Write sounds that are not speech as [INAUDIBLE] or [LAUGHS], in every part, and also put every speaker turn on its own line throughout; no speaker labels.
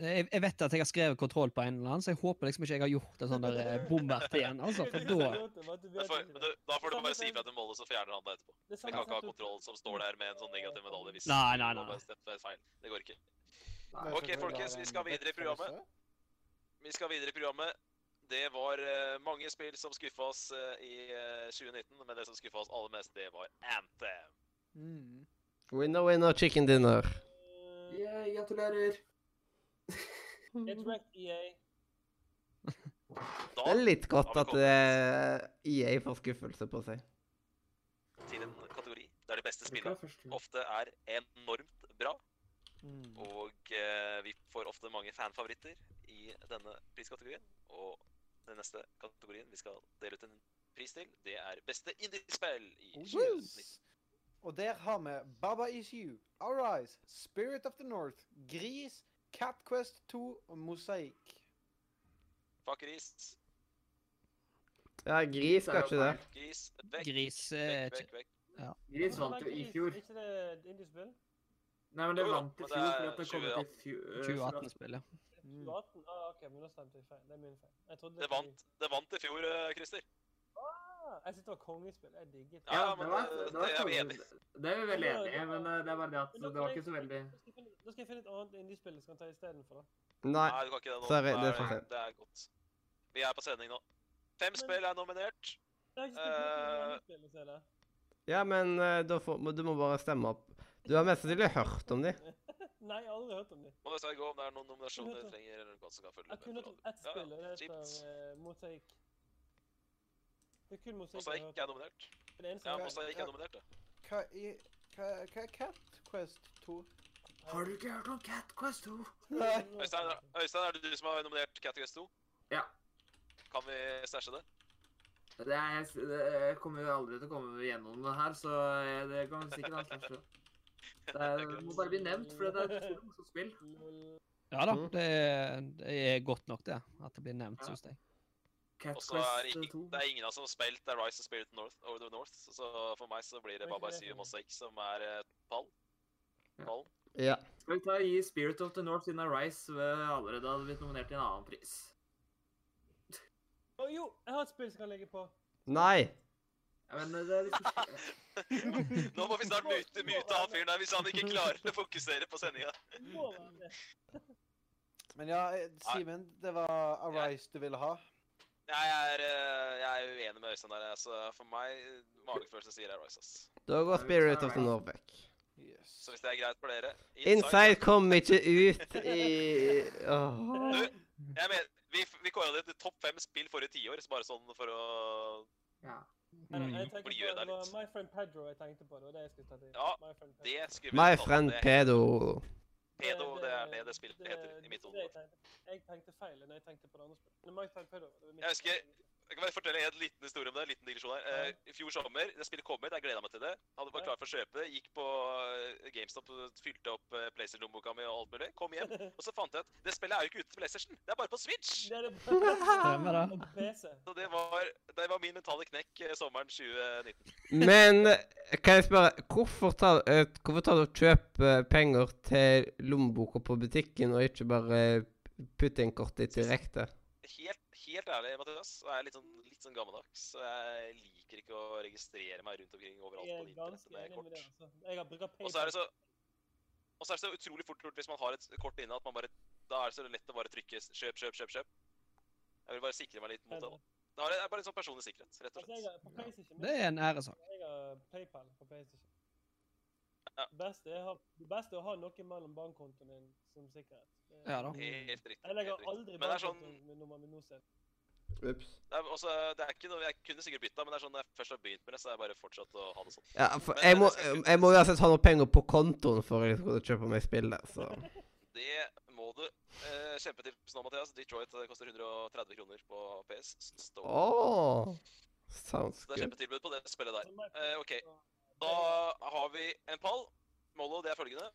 Jeg, jeg vet at jeg har skrevet kontroll på en eller annen, så jeg håper liksom ikke jeg har gjort en sånn der eh, bommert igjen, altså. For da
Da får, men du, da får du bare si ifra til Molde, så fjerner han det etterpå.
Det
Vi kan ikke ha kontroll som står der med en sånn negativ medalje hvis
Nei, nei,
Molde
nei.
har stemt for et feil. Det går ikke. Ok, folkens, vi skal videre i programmet. Vi skal videre i programmet. Det var eh, mange spill som skuffa oss eh, i eh, 2019, men det som skuffa oss aller mest, det var Anthem.
Mm.
Winner, winner, chicken dinner.
Eh,
Yeah, gratulerer.
It's ranked EA.
Da
Det er litt godt at det er EA får skuffelse på seg.
til en kategori der de beste
Det er
spillene
første.
ofte er enormt bra,
Mm.
og eh, vi får ofte mange fanfavoritter i denne priskategorien. Og den neste kategorien vi skal dele ut en pris til, det er beste indiespill i
Oh,
Oh,
2019.
Yes. Og der har vi Baba Is You, Our Eyes, Spirit of the North, Gris, Cat Quest 2 og Mosaikk.
Fakkeris,
Ja, gris skal ikke det.
gris, vekk,
Gris eh,
vekk, vekk, vekk.
Gris vant jo i fjor.
Ikke det indiespill?
Nei, men det
Jo da,
vant i
men
fjor
det er
fordi at det kom ut i fjor. eh, så det-
2018-spillet.
Mm. 18? Ah, OK, men da stemte jeg feil. Det er min feil. Jeg trodde
Det vant, det vant i fjor, eh, Christer.
Ah, jeg syntes det var kongespill. Jeg digget det.
Ja,
Ja,
men eh,
det var,
det-
det, var
det er vi
konge-
enige.
det er vi veldig enige i, men eh, det er bare det at
Men da kan
det var
jeg-
ikke så veldig
Da skal jeg finne- Da skal jeg finne et annet indiespill jeg skal ta istedenfor.
Nei.
Nei, du kan ikke det nå.
Sorry,
Nei,
det er for sent.
Det er godt. Vi er på sending nå. Fem spill er nominert. Eh,
Uh,
Ja, men eh, da får, må, du må bare stemme opp. Du har mest sannsynlig hørt om de.
[LAUGHS] Nei, jeg har aldri hørt om dem.
Må nesten gå om det er noen nominasjoner
Jeg
vi
kunne
trenger, eller noe som kan følge
Jeg
med.
kunne
på
hørt om
radioen.
ett
Ja,
spill, og det heter
kjipt.
eh, Mosaikk. Det er kun Mosaikk jeg har
Mosaikk
hørt om.
er nominert.
Det er det eneste
Ja,
jeg har hørt om.
Mosaikk er nominert, ja.
Hva i- hva- hva er Cat Quest 2?
Har du ikke hørt om Cat Quest 2?
Nei.
Øystein, er- Øystein, er det du som har nominert Categories 2?
Ja.
Kan vi stæsje det?
Det, er, jeg s- det jeg kommer jo aldri til å komme gjennom det her, så jeg, det kan vi sikkert ha slags for. Det er, det må bare bli nevnt, for det er et utrolig morsomt spill.
Ja da,
Mm.
det er, det er godt nok, det. At det blir nevnt,
Ja.
syns jeg.
Cat
Og så er det
Quest eh,
ingen,
2.
det er ingen av oss som har spilt The Rise of Spirit North, Over the North, så for meg så blir det
Hva er
Baba
det?
Siu Mosaikk som er eh, pall.
Ja.
Pallen.
Ja.
Skal vi ta og gi Spirit of the North siden Rise allerede hadde blitt nominert til en annen pris?
Å jo, jeg har et spill som kan legge på.
Nei.
Ja, men eh, [LAUGHS] det er litt...
[LAUGHS] Nå må vi snart mute, mute han fyren der hvis han ikke klarer å fokusere på sendinga.
Må være det.
Men ja, eh, Simen, det var Arise du ville ha.
Jeg er, eh, jeg er uenig med Øystein der. Altså, for meg, eh, magefølelsen sier jeg Rice. Ass.
Da går Spirit of the North vekk.
Yes.
Så hvis det er greit for dere
Inside kom ikke ut i Åh.
Du, jeg mener, vi, vi kåra det til topp fem spill forrige tiår, så bare sånn for å
Ja.
Nei,
Mm.
nei, Jeg tenker
Blir jo
på det
der
var
litt.
My Friend Pedro jeg tenkte på. Det var det jeg skulle ta til.
Ja,
My Friend Pedro.
Det skriver
My
vi på
friend
tallene.
pedo.
Pedo, det er det det spillet heter i mitt
det jeg
hode.
tenkte. Jeg tenkte feil når jeg tenkte på det andre spillet. Men My Friend Pedro. det var mitt-
Jeg husker- Jeg kan bare fortelle en liten historie om det. en liten digresjon her. Eh, I fjor sommer, det spillet kom ut, jeg gleda meg til det. Hadde vært klar for å kjøpe det. Gikk på eh, GameStop, fylte opp eh, PlayStation-lommeboka mi og alt mulig. Kom hjem, og så fant jeg at det spillet er jo ikke ute til PlayStation, det er bare på Switch!
Det er det Stemmer [LAUGHS]
det.
PC.
Så det var, det var min mentale knekk eh, sommeren 2019.
Men kan jeg spørre, hvorfor tar, eh, hvorfor tar du og kjøper eh, penger til lommeboka på butikken, og ikke bare eh, putter inn kortet direkte?
Helt, helt ærlig, Mathias, så er jeg litt sånn, litt sånn gammeldags. Så jeg liker ikke å registrere meg rundt omkring overalt
Jeg er
på
ganske
internettet med
enig med det.
kort.
altså. Jeg har brukt
Og så er det
PayPal.
så og så er det så utrolig fort gjort hvis man har et kort inne, at man bare Da er det så lett å bare trykke s- kjøp, kjøp, kjøp. kjøp. Jeg vil bare sikre meg litt mot det. da. Det har- det er bare en sånn personlig sikkerhet, rett og
Altså, jeg
slett.
Altså, har, på PlayStation,
Det er en æresak.
Jeg har PayPal på PlayStation.
Ja.
Det beste er å ha- det beste er å ha noe mellom bankkontoen din som sikkerhet. Det-
Ja da.
Helt riktig.
Jeg legger
helt riktig.
aldri
Men det er sånn-
bankkontoen min nummer med Nocet.
Ups.
Det er, også, det er ikke noe, jeg kunne sikkert bytta, men det er sånn når jeg først har begynt med det, så har jeg bare fortsatt å ha det sånn.
Ja, for jeg må, jeg må uansett ha noen penger på kontoen for å kunne kjøpe meg spill, der, så
Det må du eh, kjempe til nå, Mathias. Detroit eh, koster 130 kroner på PS. Store.
Åh. Oh, Sounds
Så det er
good.
kjempetilbud på det spillet der. Eh, ok, da har vi en pall. Mollo, det er følgende.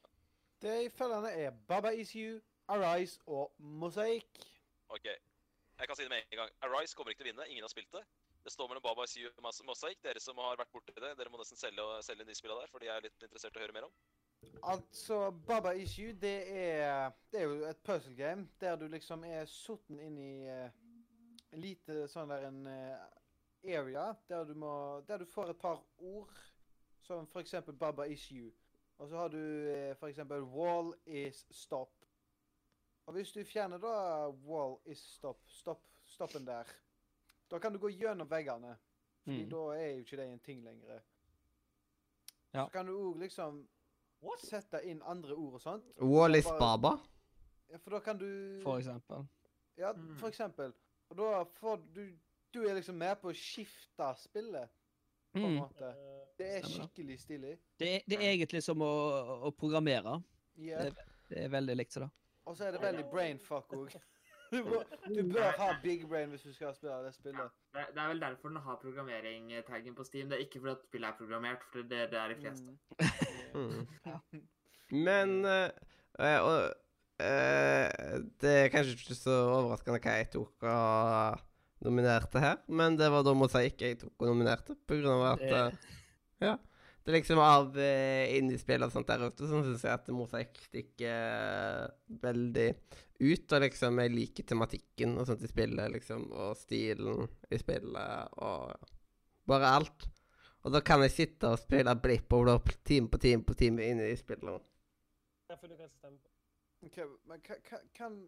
Det i følgende er Baba Is You, Arise og Mosaikk.
Ok, jeg kan si det med en gang. Arise kommer ikke til å vinne. Ingen har spilt det. Det står mellom Baba Siu og Mas- Mosaic. Dere som har vært borti det, dere må nesten selge, selge nyspillene der, for de er litt interessert i å høre mer om.
Altså, Baba Is You, det er, det er jo et puzzle game der du liksom er sorten inn i eh, en lite sånn der en eh, area der du må Der du får et par ord, som for eksempel Baba Is You. Og så har du eh, for eksempel Wall is stop. Og hvis du fjerner da Wall is stop, stopp, stoppen der, da kan du gå gjennom veggene. Fordi
Mm.
da er jo ikke det en ting lenger.
Ja.
Så kan du òg liksom sette inn andre ord og sånt.
Wallis
Bare-
Baba?
Ja, For da kan du
Oh. For eksempel.
Ja,
Mm.
for eksempel. Og da får du Du er liksom med på å skifte spillet, på en
Mm.
måte.
eh,
Det
Stemmer
er
det.
skikkelig stilig.
Det, er- det er egentlig som å, å programmere.
Ja.
Det er veldig likt til det.
Og så er det veldig brainfuck òg. [LAUGHS] Du, må- du bør ha big brain hvis du skal spille det spillet.
Det er, det er vel derfor den har programmering-taggen på Steam. Det er ikke fordi at spillet er programmert, for det, det er de fleste.
Mm.
Mm.
Ja.
Men eh, eh, og, eh, Det er kanskje ikke så overraskende hva jeg tok og nominerte her, men det var da mot seg ikke jeg tok og nominerte, på grunn av at
Det-
eh, Ja. Det er liksom av eh, indiespill og sånt der ute, så syns jeg at mosaikk stikker eh, veldig ut. Og liksom, jeg liker tematikken og sånt i spillet, liksom, og stilen i spillet og bare alt. Og da kan jeg sitte og spille blipp over time på time på time inne i spillet.
Derfor du kan stemme på.
Ok, men ka- ka- kan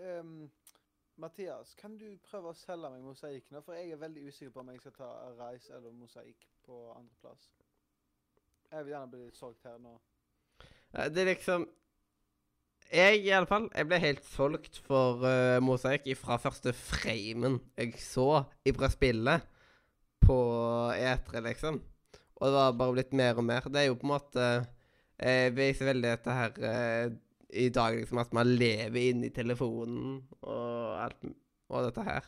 ehm, Mathias, kan du prøve å selge meg mosaikk nå? For jeg er veldig usikker på om jeg skal ta reis eller mosaikk på andreplass. Jeg vil gjerne bli litt solgt her nå.
Eh, Det er liksom Jeg i alle fall, jeg ble helt solgt for uh, Mosaikk fra første framen jeg så ifra spillet på E3, liksom. Og det var bare blitt mer og mer. Det er jo på en måte eh, Jeg viser veldig dette her eh, i dag, liksom, at man lever inni telefonen og alt m- Og dette her.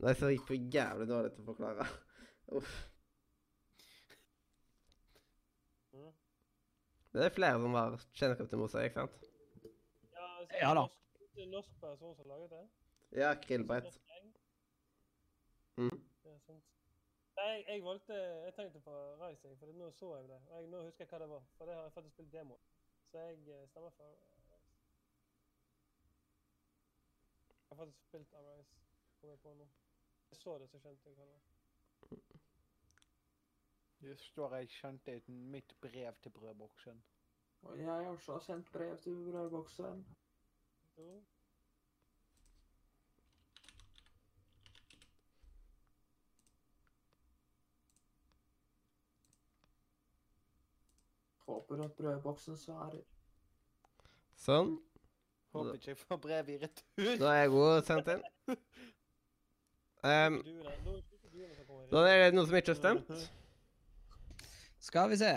Det er så jævlig dårlig til å forklare. Uff.
Mm.
Men Det er flere som har kjennskap til mosaikk, sant?
Ja, altså,
Ja da.
norsk- Det er en norsk person som laget det.
Ja, krillbeit.
Norsk gjeng.
Mhm.
Det er sant. Nei, jeg, jeg valgte Jeg tenkte på Rise, jeg, for nå så jeg det. Og jeg, nå husker jeg hva det var, for det har jeg faktisk spilt demo. Så jeg eh, stemmer for eh, Rise. Jeg har faktisk spilt Arise, kom jeg på nå. Jeg så det, så skjønte jeg hva det var.
Det står jeg skjønte i mitt brev til brødboksen.
Og jeg har også sendt brev til brødboksen.
Jo.
Håper at brødboksen svarer.
Sånn.
Håper ikke jeg får brev i [LAUGHS] retur.
Da er jeg god sendt inn. Ehm,
Duene, nå er det duene som kommer
da
inn.
er det noen som ikke har stemt.
Skal vi se.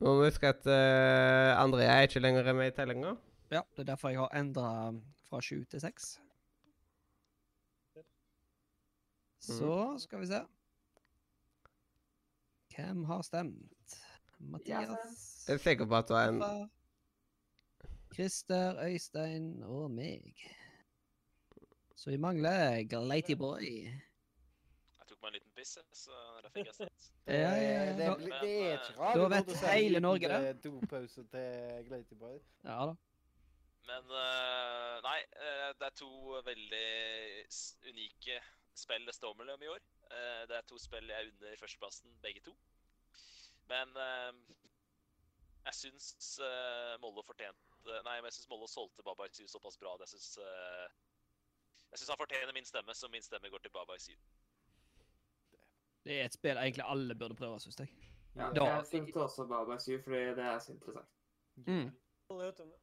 Nå må vi huske at eh, Andrea er ikke lenger med i tellinga.
Ja, det er derfor jeg har endra fra sju til seks. Så skal vi se. Hvem har stemt? Mathias.
Jeg er sikker på at du har en
Eva, Christer, Øystein og meg. Så vi mangler Glaty Boy.
Jeg tok meg en liten piss, jeg, så der fikk jeg stemt.
Ja, ja, ja.
Det, er- det er ikke rart.
Da vet hele Norge det.
Dopause til Glaty Boy.
Ja da.
Men eh, nei, eh, det er to veldig s- unike spill det står mellom i år. Eh, det er to spill jeg er under førsteplassen, begge to. Men eh, jeg syns eh, Molde fortjente Nei, men jeg syns Molde solgte Baba Isu såpass bra at jeg syns eh, Jeg syns han fortjener min stemme, så min stemme går til Baba Isu.
Det er et spill egentlig alle burde prøve, syns jeg.
Ja,
Da-
jeg sendte også Baba 7, fordi det er så interessant.
Mm.
Aldri hørt om det.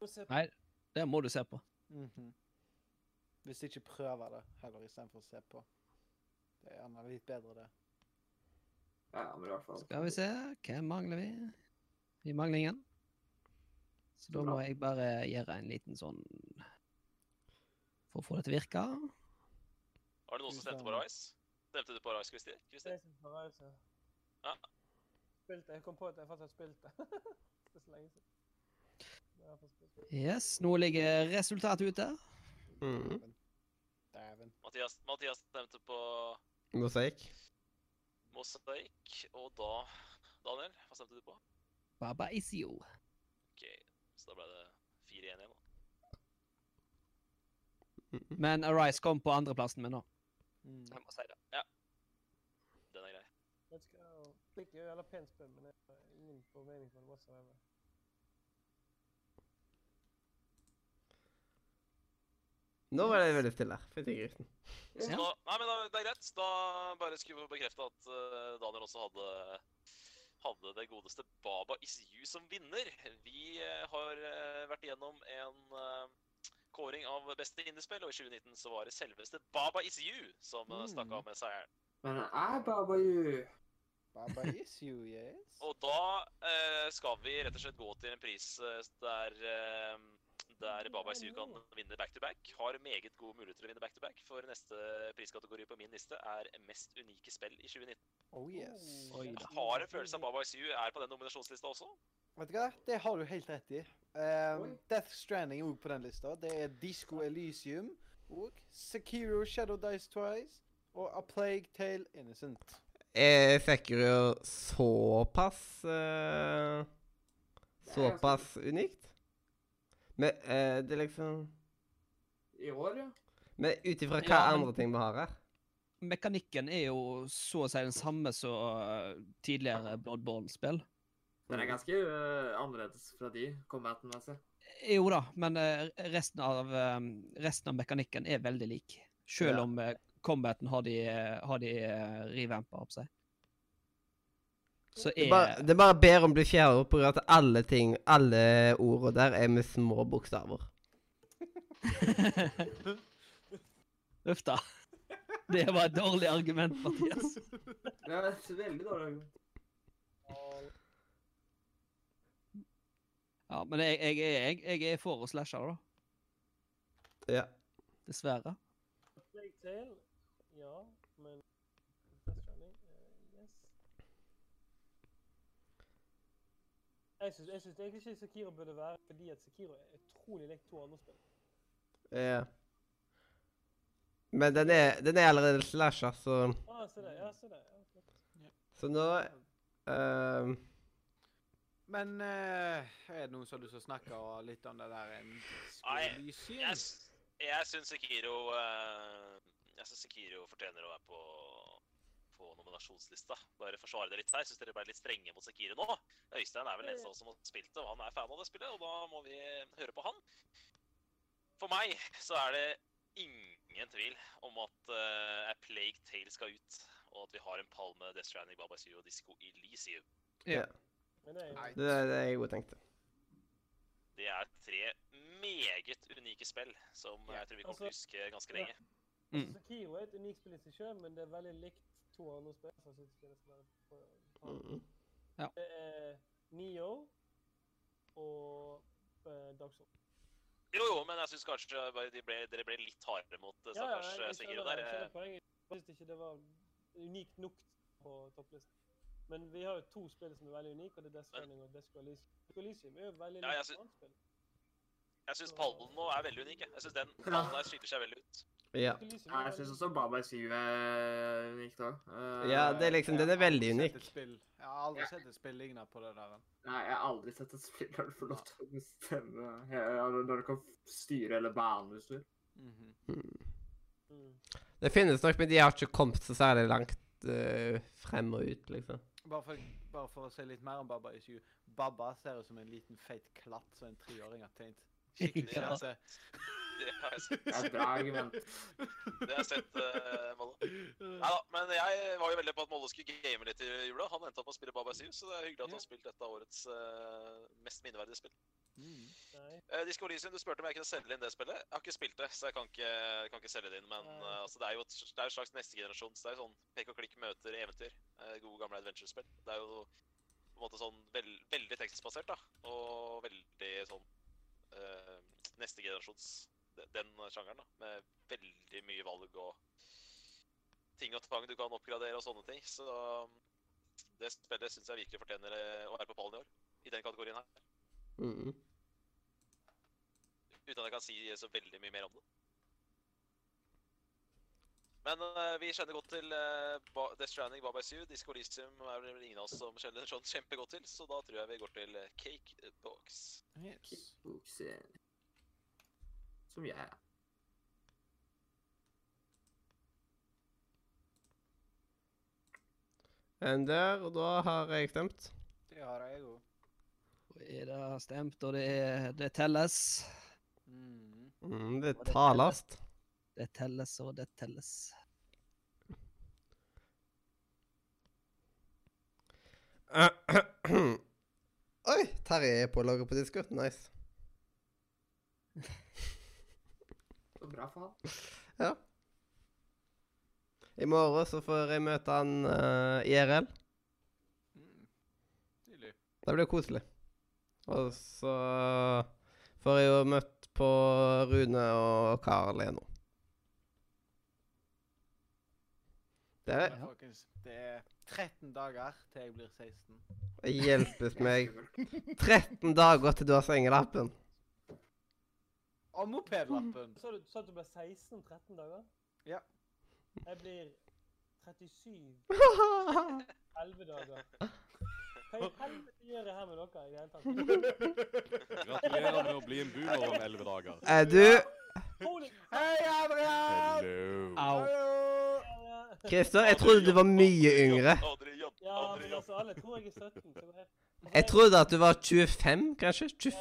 Nå ser jeg
Nei, det må du se på.
Mhm. Hvis ikke prøver det, heller istedenfor å se på. Det er gjerne litt bedre, det.
Ja, ja, men i hvert fall.
Skal vi se, hvem mangler vi? Vi mangler ingen. Så da må jeg bare gjøre en liten sånn For å få det til å virke.
Var det noen som
Fy
stemte på
faen.
Rice? Stemte du på Rice, Christer? Christer?
Jason fra Rause.
Ja.
Spilt det. Jeg kom på at jeg faktisk har spilt det. [LAUGHS] det er så lenge siden. Det har jeg faktisk spilt.
Yes, nå ligger resultatet ute.
mm,
Dæven. Dæven.
Mathias, Mathias stemte på
mosaikk.
Mosaikk. Og da, Daniel, hva stemte du på?
Baba is you.
Ok, så da ble det 4-1 igjen, da.
Men Arise kom på andreplassen min nå.
Mm.
Jeg må si det.
Den er grei.
Jeg skal ikke gjøre jævla pent spill, men jeg har ingen formening for det whatsoever.
Nå var det veldig stille. Fytti grisen.
Så
Ja.
da, nei, men da, det er greit. Da bare skulle vi bekrefte at eh, Daniel også hadde, hadde det godeste Baba is you som vinner. Vi eh, har eh, vært igjennom en eh, kåring av beste indiespill, og i 2019 så var det selveste Baba is you som eh, stakk av med seieren.
Men det er Baba Yu.
Baba is you,
[LAUGHS]
yes.
Og da eh, skal vi rett og slett gå til en pris eh, der eh, der Baba Isiu kan vinne back-to-back. Har meget gode muligheter til å vinne back-to-back, for neste priskategori på min liste er mest unike spill i 2019.
Oh yes.
Oi da.
Jeg har en følelse av at Baba Isiu er på den nominasjonslista også.
Vet du hva? Det har du helt rett i. Ehm,
Oi.
Death Stranding er òg på den lista. Det er Disco Elysium og Sekiro Shadow Dice Twice og A Plague Tale Innocent.
Er Sekiro såpass eh, Såpass unikt? Men eh, det er liksom
I år, ja.
Men ut ifra hva
Ja, men-
andre ting vi har her
Mekanikken er jo så å si den samme som uh, tidligere Bloodborne-spill.
Den er ganske øh, annerledes fra de altså. combaten-messig.
Jo da, men eh, resten av, eh, resten av mekanikken er veldig lik. Selv
Ja.
om eh, combaten har de, har de eh, revampa opp seg. Så
Det
er
er bare, det er bare bedre om du skjærer opp pga. at alle ting, alle ordene der er med små bokstaver.
[LAUGHS] Uff da. Det var et dårlig argument, Mathias.
Det er et veldig dårlig argument.
Og
Ja, men jeg, jeg, er- jeg, jeg er for å slashe det, da.
Ja.
Dessverre.
Plague Tale, ja, men Death Stranding, eh, yes. Jeg syns, jeg syns egentlig ikke Sekiro burde være fordi at Sekiro er utrolig likt to andre spill.
ja. Men den er, den er allerede slasha, så
Ah, se der. Ja, se der. Ja, flott.
Så nå eh,
Men eh, er det noen som har lyst til å snakke og litt om det der en Disco
Nei,
Elysium?
Jeg, s- jeg syns Sekiro eh, Jeg synes Sekiro fortjener å være på, på nominasjonslista. Bare forsvare det litt her. Syns dere ble litt strenge mot Sekiro nå? Øystein er vel den eneste av oss som har spilt det, og han er fan av det spillet, og da må vi høre på han. For meg så er det ingen tvil om at uh, A Plague Tale skal ut, og at vi har en pall med Death Stranding, Baba Suyo og Disco Elysium.
Men det er jo
Nei.
Det er det jeg òg tenkte.
Det er tre meget unike spill som jeg tror vi kommer til å huske ganske lenge.
Mm.
Altså, Sekiro er et unikt spill i seg selv, men det er veldig likt to andre spill. som jeg synes ikke det skal være på- på-
Mm.
Det er Neo og uh, Dark Souls.
Jo, jo, men jeg syns kanskje bare de ble, dere ble litt hardere mot eh, stakkars
jeg-
eh,
jeg
Sekiro
skjønner-
der.
Jeg skjønner
eh.
poenget. Jeg synes ikke det var unikt nok på topplisten. Men vi har jo to spill som er veldig unike, og det er Death Stranding og Death Elysium. Death Elysium er jo veldig
Ja, jeg
likt
sy-
annet spill.
Eh, Jeg syns pallen nå er veldig unik. jeg. Jeg syns den pallen der skiller seg veldig ut.
Ja.
Death Elysium
Nei,
er
Jeg syns
veldig-
også Baba Yu er unikt Øh, òg.
Ja, det er liksom- den er veldig
Jeg har aldri
unik.
sett et spill- Jeg har aldri
Ja.
sett et spill lignende på det der.
Nei, jeg har aldri sett et spill der du får lov til å bestemme ja, Når du kan styre eller bane, hvis du vil.
Mhm.
Mm.
Det finnes nok, men de har ikke kommet så særlig langt eh, frem og ut, liksom.
Bare for, bare for å si litt mer om Baba is you. Baba ser ut som en liten feit klatt som en treåring har tegnet. Skikkelig
Ja.
kjente.
Det har jeg sett,
Det er et bra argument.
det har jeg sett eh, Mollo. Nei da, men jeg var jo veldig på at Mollo skulle game litt i jula. Han endte opp med å spille Baba Siv, så det er hyggelig at han har spilt dette årets eh, mest minneverdige spill.
Mm.
Nei.
Uh, Disko Elysium, du spurte om jeg kunne selge inn det spillet. Jeg har ikke spilt det, så jeg kan ikke, kan ikke selge det inn. Men
Nei.
eh, altså, det er jo et, det er et slags neste generasjon. Så det er jo sånn pek og klikk møter eventyr. Eh, gode, gamle adventure-spill. Det er jo på en måte sånn vel, veldig tekstbasert, da. Og veldig sånn eh, neste generasjons de- Den sjangeren, da. Med veldig mye valg og ting og tang du kan oppgradere og sånne ting. Så det spillet syns jeg virkelig fortjener eh, å være på pallen i år. I den kategorien her.
Mm.
Uten at jeg kan si så veldig mye mer om det. Men eh, vi kjenner godt til eh, ba Death Stranding, Baba Is You, Disco Elysium er det vel ingen av oss som kjenner sånn kjempegodt til, så da tror jeg vi går til eh, Cake Box.
Yes.
Bukse. Som jeg er.
En der, og da har jeg stemt.
Det har jeg òg.
Og er det stemt, og det, er, det telles.
Mm.
Mm, det
Og det
tales.
Det telles, og det telles.
[COUGHS] Oi, Terje er pålogget på Discord. Nice. [LAUGHS]
Så bra for han.
I morgen så får jeg møte han eh, IRL.
Mm. Stilig.
Det blir koselig. Og så får jeg jo møtt på Rune og Karl igjen nå. Det
Nei,
er-
folkens, det er 13 dager til jeg blir 16.
hjelpes
[LAUGHS]
meg 13 dager til du har sengelappen.
Og mopedlappen.
[LAUGHS] Så du sa at du ble 16-13 dager?
Ja.
Jeg blir 37
Å,
11 dager. Hva i helvete gjør jeg her med dere i det hele tatt? [LAUGHS]
Gratulerer med å bli en boomer om elleve dager.
Er du
Holy
Hei, Adrian!
Hello.
Au.
Hallo!
Ja, altså,
Christer, jeg trodde du var mye yngre.
Aldri jobb, aldri
men
jobb.
altså, alle tror jeg er 17. Så Altså, det er,
Jeg trodde at du var 25, kanskje?
Jeg trodde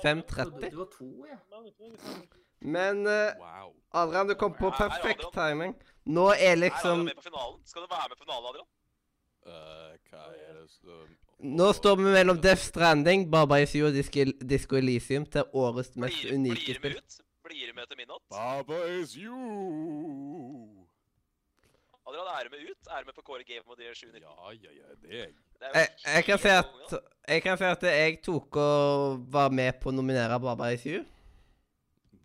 25-30?
Du var to, ja.
mange tror jeg er 17.
Men eh,
Wow.
[LAUGHS]
Adrian, du kom på
Ja, her er
perfekt
Adrian.
timing. Nå
Er
er
Adrian
liksom
med på finalen? Skal du være med på finalen, Adrian?
Eh, hva er det som
Nå står vi mellom Death Stranding, Baba Is You og Disco, Disco Elysium til årets mest
Blir-
unike
Blir
spill.
du med ut? Blir du med til midnatt?
Baba is you.
Adrian, er du med ut? Er du med på Kåre Game of the Year 790?
Ja, ja, ja, det er jeg.
Det er jo
Jeg, jeg kan si
helt konge,
at
da.
jeg kan si at jeg tok og var med på å nominere Baba Is You.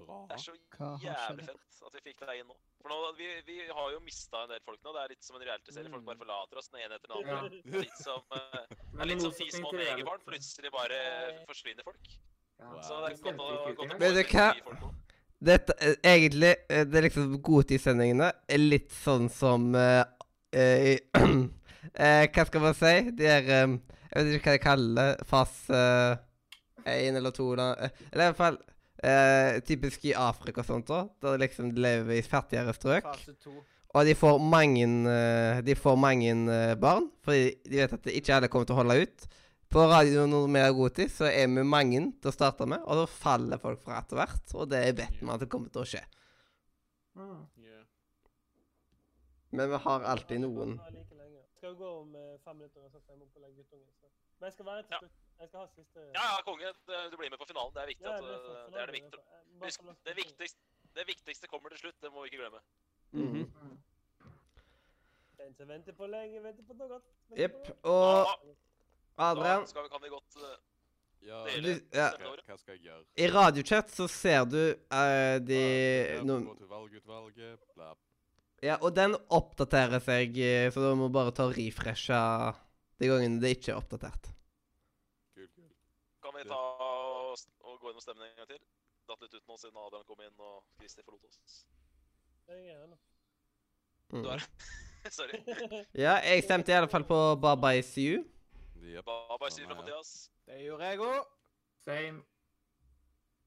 Bra.
Det er så
Hva har
jævlig
skjedd?
fett at vi fikk deg inn nå. For nå, Vi, vi har jo mista en del folk nå. Det er litt som en realityserie. Folk bare forlater oss den ene etter den andre. Det er Litt [LAUGHS] som, eh, det
Men
er
i
litt som
motsetning
de små
til reality-
negerbarn. Plutselig bare forsvinner folk.
Ja,
Så det er godt å,
stemte
godt
ikke ut
å
engang.
få
Men det
litt
kan-
nye folk nå.
Dette eh, egentlig eh, Det er liksom godtidssendingene. er Litt sånn som eh, eh, [CLEARS THROAT] eh, Hva skal man si? De er eh, Jeg vet ikke hva jeg kaller det. Fas én eller to da, eh, Eller i hvert fall eh, typisk i Afrika og sånt òg. Der liksom de lever i fattigere strøk.
Fase to.
Og de får mange, eh, de får mange eh, barn, fordi de vet at det ikke alle kommer til å holde ut. På Radio Nordmea Goti så er vi mange til å starte med, og da faller folk fra etter hvert. Og det vet vi at det kommer til å skje.
Mm.
Yeah.
Men vi har alltid noen.
Jeg like lenge. Skal jo gå om eh, fem minutter, og så skal jeg må på å legge guttungen. Så. Men jeg skal være til
Ja.
slutt. Jeg skal ha siste
Ja, ja, konge. det- Du blir med på finalen. Det er viktig.
Ja,
At,
jeg blir for-
eh,
for
det er det
lang,
viktige.
jeg må bare
Husk,
få lov til
det
å-
viktigste, det viktigste kommer til slutt. Det må vi ikke glemme.
Mhm.
Den som venter på lenge, venter på noe godt. venter
Jepp.
på noe godt.
Og
Da
Adrian,
Ah, skal vi, kan vi godt eh,
Ah, Ja,
dele
Du- ja.
dette
hva,
året.
hva skal jeg gjøre? Ah,
i radiochat så ser du eh, de
Ja,
no,
Gå til valgutvalget, bla.
Ja, og den oppdaterer seg, eh, så du må bare ta og refreshe de gangene det ikke er oppdatert.
Kul, kul.
Kan vi
Ja.
ta og, og gå gjennom stemningen en gang til? Datt litt ut nå siden Adrian kom inn og Christer forlot oss.
Jeg er her nå.
Mm.
Du har Sorry.
Ja, jeg stemte i alle fall på Baba Is You.
Jepp.
Baba sier fra
Nei.
Mathias.
Det gjorde jeg òg.
Same.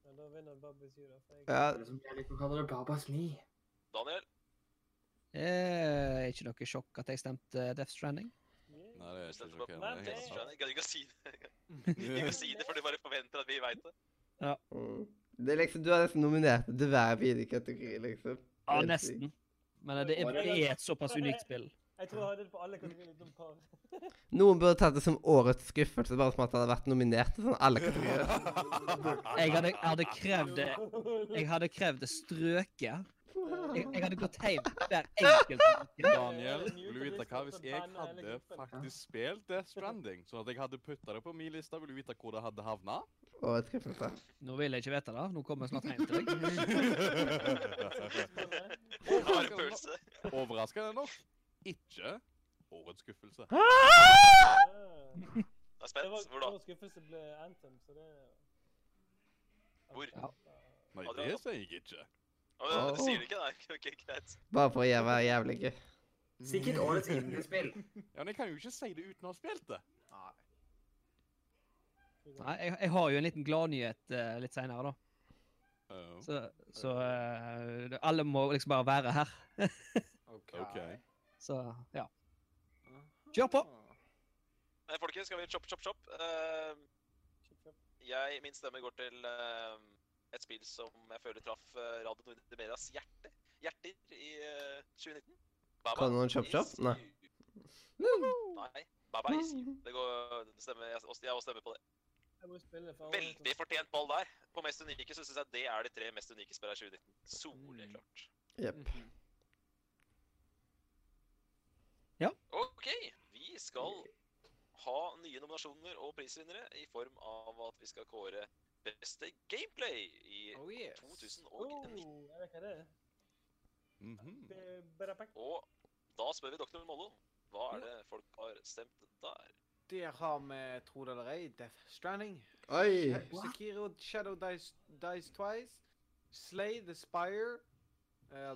Ja, da vinner Babbys jul. da, for jeg-
Ja,
Eller som jeg liker å kalle det, Babas Li.
Daniel.
Det er Eh, ikke noe sjokk at jeg stemte Death Stranding.
Yeah.
Nei, det er
Du
ikke
stemte på
sjokkerende.
Nei,
det er
det-
helt sant.
Stranding. Kan du ikke si det? Du kan ikke si det, for du bare forventer at vi veit det.
Mm. Det er liksom, Du er nesten nominert til hver videokategori, liksom.
Ja,
Det er
nesten. Men det er, det er et såpass unikt spill.
Jeg tror jeg hadde det på alle kategorier utenom par.
Noen burde tatt det som årets skuffelse, bare som at det hadde vært nominert til sånn alle kategorier.
Jeg hadde, jeg hadde krevd det
[LAUGHS]
Jeg hadde krevd det strøket. Jeg, jeg hadde gått hjem hver enkelt uke.
[LAUGHS] Daniel, vil du vite hva hvis jeg
eh,
hadde faktisk spilt Death Stranding, sånn at jeg hadde putta det på min liste, vil du vite hvor det hadde havna?
[LAUGHS]
Årets skuffelse.
Nå vil jeg ikke vite det. Nå kommer jeg snart hjem til deg.
Jeg har en følelse.
Overraskende nok ikke årets skuffelse.
Ah.
Jeg er
Det var
spent. Hvor da?
stor skuffelse ble Anthem, så det
Hvor?
Nei, det sier jeg ikke.
Ja, men, Du sier det ikke, nei? [LAUGHS] Ok, greit.
Bare for å gjøre- være jævlig gøy.
Mm.
Sikkert årets
[LAUGHS]
indiespill.
Ja, men jeg kan jo ikke si det uten å ha spilt det.
Nei, jeg, jeg har jo en liten gladnyhet uh, litt seinere, da.
Oh,
Så, så eh, det- alle må liksom bare være her.
OK.
Så ja. Kjør på!
Men folkens, skal vi chop, chop, chop? Eh, jeg, min stemme går til eh, et spill som jeg føler traff eh, Radio Nordre Medias hjerte. Hjerter i eh, 2019. Baba
Kan noen chop,
is
chop? Nei.
you. Nei. Baba is you. Det går, det stemmer, jeg, også- jeg også stemmer på det.
Jeg må jo spille for
Veldig fortjent ball der. På mest unike så syns jeg det er de tre mest unike spillene i 2019.
Mm.
Soleklart.
Jepp.
Mhm.
OK, vi skal ha nye nominasjoner og prisvinnere i form av at vi skal kåre beste gameplay i
Oh, yes.
2019.
Oh, jeg vet hva det er.
Mhm.
Det er bare pakk.
Oh.
Og da spør vi doktor Mollo. Hva er det folk har stemt der?
Der har vi, tro det eller ei, Death Stranding.
Oi!
Sekiro Shadow Dice, Dice Twice. Slay the Spire. eh,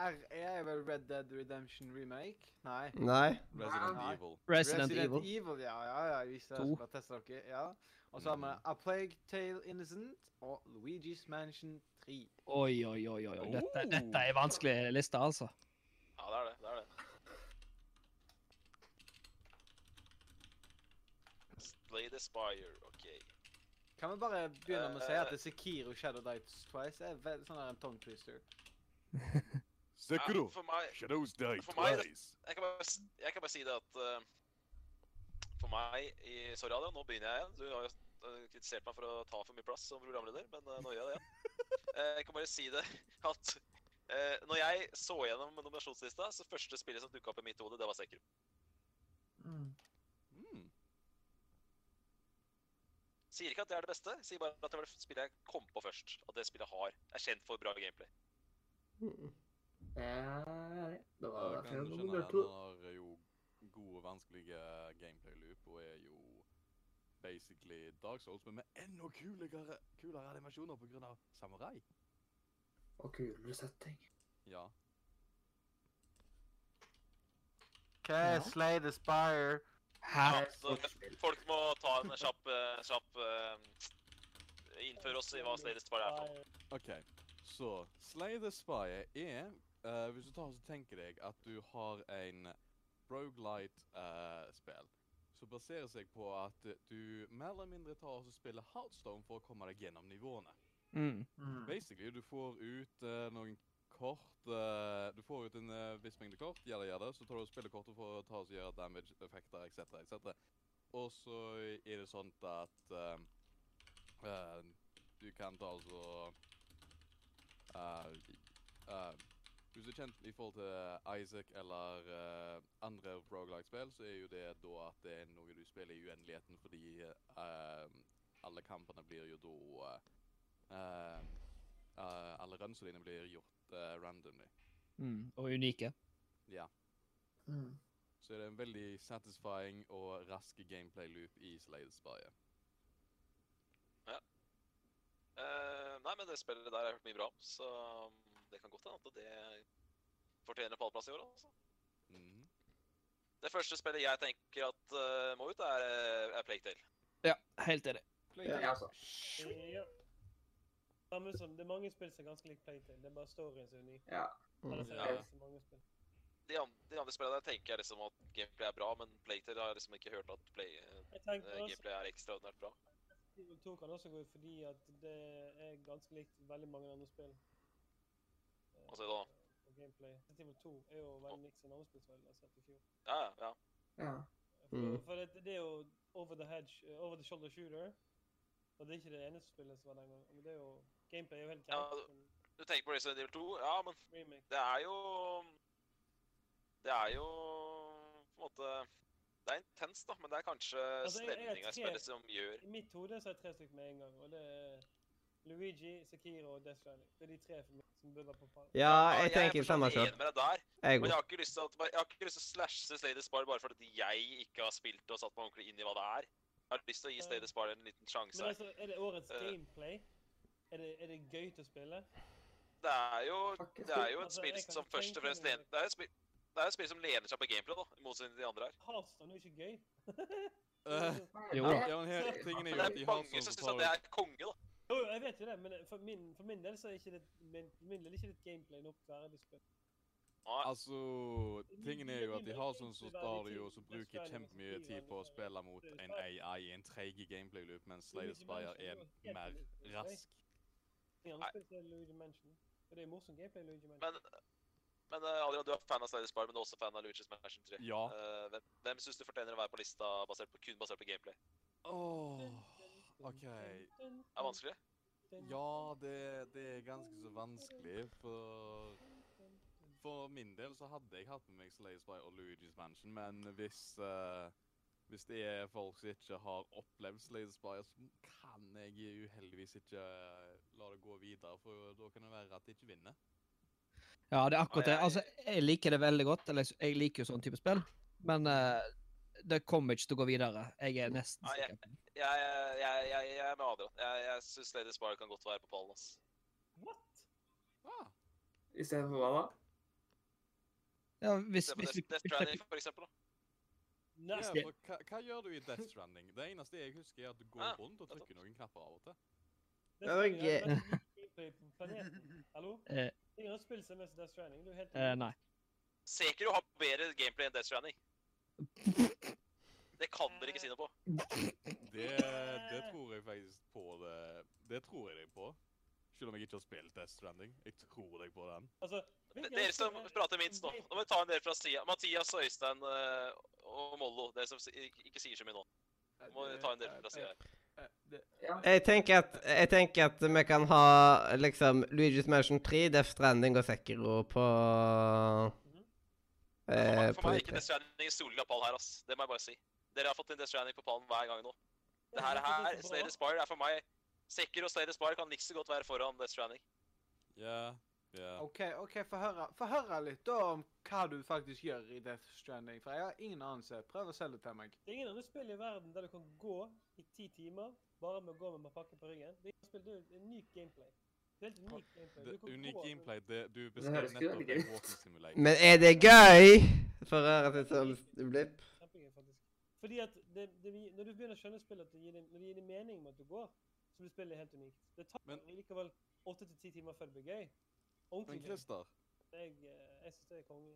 RE er vel Red Dead Redemption Remake? Nei.
Nei.
Resident
Nei.
Evil.
Resident,
Evil.
Evil.
ja, ja, ja, jeg visste
To.
jeg skulle teste dere. ja. Og så har vi
Mm.
A Plague Tale Innocent og Luigi's Mansion 3.
Oi, oi, oi. oi. oi. Dette, dette er en vanskelig liste, altså.
Ja, det er det. det er det. Slay the Spire, OK.
Kan vi bare begynne med å si
Eh,
at Sekiro Shadow Dice Twice er vel, sånn der en tongue twister?
Sekiro.
Ja, for meg
Shadows die
For meg-
twice.
jeg kan, bare, s- jeg kan bare si det at eh, For meg i, Sorry, Adrian, nå begynner jeg igjen. Du har jo eh, kritisert meg for å ta for mye plass som programleder, men eh, nå gjør jeg det igjen. Eh, jeg kan bare si det [LAUGHS] at eh, når jeg så gjennom nominasjonslista, så første spillet som dukka opp i mitt hode, det var Sekiro.
Mm.
Sier ikke at det er det beste, sier bare at det var det spillet jeg kom på først. At det spillet har er kjent for bra gameplay.
Ja, det
Ja,
var
jeg kan
derfor jeg
skjønne
var
at
to.
han har jo gode, vanskelige gameplay-loop, og er jo basically Dark Souls, men med enda kulere, kulere animasjoner på grunn av samurai.
Og kulere setting.
Ja.
OK, Slay the Spire.
Ja,
Det er
så
stort spill.
folk må ta en kjapp, eh, kjapp eh, Innføre oss i hva Slay the Spire er for noe.
OK, så Slay the Spire er eh, Hvis du tar og tenker deg at du har en Brogelight-spill som baserer seg på at du mer eller mindre tar og spiller Heartstone for å komme deg gjennom nivåene.
Mm.
Mm.
Basically, du får ut eh, noen kort eh, Du får ut en eh, viss mengde kort, gjør det, gjør det, så tar du og spiller kortet for å ta og gjøre damage, effekter, etc., etc. Og så er det sånn at eh, eh, du kan ta altså eh, eh, Hvis du er kjent i forhold til Isaac eller eh, andre roguelike-spill, så er jo det da at det er noe du spiller i uendeligheten fordi eh, alle kampene blir jo da eh, Eh, eh, alle rønsene dine blir gjort eh, randomly.
Mm. Og unike.
Mm.
Så er det en veldig satisfying og rask gameplay-loop i Slade-spillet.
Eh, nei, men det spillet der har jeg hørt mye bra om, så um, det kan godt hende at det fortjener pallplass i år. altså.
Mhm.
Det første spillet jeg tenker at eh, må ut, er, eh, er Plague Tale.
Ja, helt enig.
Ja, altså.
Ja. Samme som, det er mange spill som er ganske lik Playtale. Det er bare storyen som er unik.
Ja.
Ellers er
Ja.
det så mange spill.
De, an de andre spillene der tenker jeg liksom at gameplay er bra, men Plague Tale har jeg liksom ikke hørt at play eh,
Jeg tenker også
gameplay er ekstraordinært bra.
Evil 2 kan også gå ut fordi at det er ganske likt veldig mange andre spill. Eh,
Hva sier du da?
og Gameplay. Resident Evil 2 er jo veldig likt som andre spill som jeg har sett i fjor.
Ja, ja, ja.
Ja.
For,
Mm.
for det, det er jo over the, hedge, eh, over the shoulder shooter. Og det er ikke det eneste spillet som var den gangen. Men det er jo, gameplay er jo helt greit.
Ja,
men
Du tenker på Resident Evil 2? Ja, men
remake.
det er jo Det er jo på en måte Det er intenst, da, men det er kanskje
Altså, jeg- jeg er
stemninga i
tre-
spillet som gjør
I mitt hode så er det tre stykker med en gang. Og det er Luigi, Sekiro og Death Stranding. Det er de tre for meg som burde være på pallen.
Ja,
Ja,
jeg
er
tenker
for så
samme
vidt
sjøl.
enig med deg der.
Jeg er
Men jeg
god.
har ikke lyst til, at, jeg har ikke lyst til å slashe Slay the Spire bare fordi jeg ikke har spilt og satt meg ordentlig inn i hva det er. Jeg har lyst til å gi Slay the Spire en liten sjanse.
Men
her.
altså, er det årets
Eh.
gameplay? Er det, er det gøy til å spille?
Det er jo,
Faktisk.
det er jo et
Altså,
spill
jeg kan
som
ikke
først og
tenke
fremst
meg-
lener, det er et spill, det er et spill som lener seg på gameplay, da, i motsetning til de andre her.
Hearthstone er jo ikke gøy.
Eh,
Jo
[LAUGHS]
Nei,
da.
jeg-
ja, men her, tingen er
Men
jo
det
at
er mange
i
som
Hearthstone
syns at
så
det
tar
er konge, da.
[LAUGHS] Jo, jo, jeg vet jo det, men for min, for min del så er ikke det min, for min del er ikke det et gameplay nok verdig spill.
Nei,
Altså, tingen er jo at sånn i Hearthstone så står det jo så bruker jeg kjempemye tid på å spille mot en AI i en treig gameplay-loop, mens Slay the Spire er mer rask.
I andre spill så er det Luigi Mansion. Og det er morsomt gameplay i Luigi Mansion.
men men eh, Adrian, du er fan av Sliders Bar, men du er også fan av Luigi's Mansion 3.
Ja.
Eh, hvem hvem syns du fortjener å være på lista basert på, kun basert på gameplay?
Åh, OK.
Er
Mm.
det vanskelig?
Ja, det, det er ganske så vanskelig, for For min del så hadde jeg hatt med meg Slay the Spire og Luigi's Mansion, men hvis eh, hvis det er folk som ikke har opplevd Slay the Spire, så kan jeg uheldigvis ikke eh, la det gå videre, for da kan det være at jeg ikke vinner.
Ja, det er akkurat det.
jeg-
Altså, jeg liker det veldig godt. Eller jeg liker jo sånn type spill. Men eh, det kommer ikke til å gå videre. Jeg er nesten
Nei, jeg-
sikker. på det.
Jeg, jeg, jeg, jeg er med Adrian. Jeg, jeg syns Sliders Bar kan godt være på pallen. ass.
What?
Ah.
Istedenfor hva da?
Ja, hvis,
Se på
hvis vi
Death Death Stranding, for eksempel. da.
Nei.
Ja,
Skal-
for hva, hva gjør du i Death Stranding? Det eneste jeg husker, er at du går
Ah,
rundt og
nettopp.
trykker noen knapper av og til.
Det er
Det var
sånn det er gameplay på planeten.
[LAUGHS]
Hallo?
Eh.
Ingen har spilt seg mest Death Stranding. Du er helt
Eh, Nei.
Sekiro har bedre gameplay enn Death Stranding. Det kan dere ikke si noe på.
Det, det tror jeg faktisk på det Det tror jeg deg på. Selv om jeg ikke har spilt Death Stranding. Jeg tror deg på den.
Altså, hvilken
Dere som
spill er-
prater minst nå. Nå må vi ta en del fra sida. Mathias, Øystein eh, og Mollo. Dere som si- ikke ikke sier så mye nå. Nå må vi ta en del fra sida her.
Ja.
Jeg tenker, at, jeg tenker at vi kan ha liksom Luigi's Mansion 3, Death Stranding og Sekiro på
For meg-
eh,
Mm-hmm. For
på
meg er
litt-
ikke Death Stranding en soleklar pall her, ass. Det må jeg bare si. Dere har fått en Death Stranding på pallen hver gang nå. Det her, her Slayer Spire, er for meg Sekker og Slayer Spire kan like så godt være foran Death Stranding. [LAUGHS]
Ja, ja.
OK, ok, få høre, få høre litt da om hva du faktisk gjør i Death Stranding. For jeg har ingen anelse. Prøv å selge det til meg.
Det er ingen andre spill i verden der du kan gå i ti timer bare med å gå med pakke på ryggen. Det er ingen spill, det er jo en unik gameplay. Det er helt unikt gameplay.
Det
Du kan
unik
gå-
gameplay. Det, du
høres
beskrev
ikke
nettopp
veldig
en
gøy ut.
walking simulator.
Men er det gøy? For å høre et sånt blipp.
Kjempegøy, faktisk. Fordi at det, det, gir- Når du begynner å skjønne spillet, at det gir deg- når det gir deg mening med at du går, så blir spillet helt unikt. Det tar
Men-
likevel åtte til ti timer før det blir gøy. Ordentlig
Men
gøy.
Christer,
Jeg, eh, jeg syns det er konge.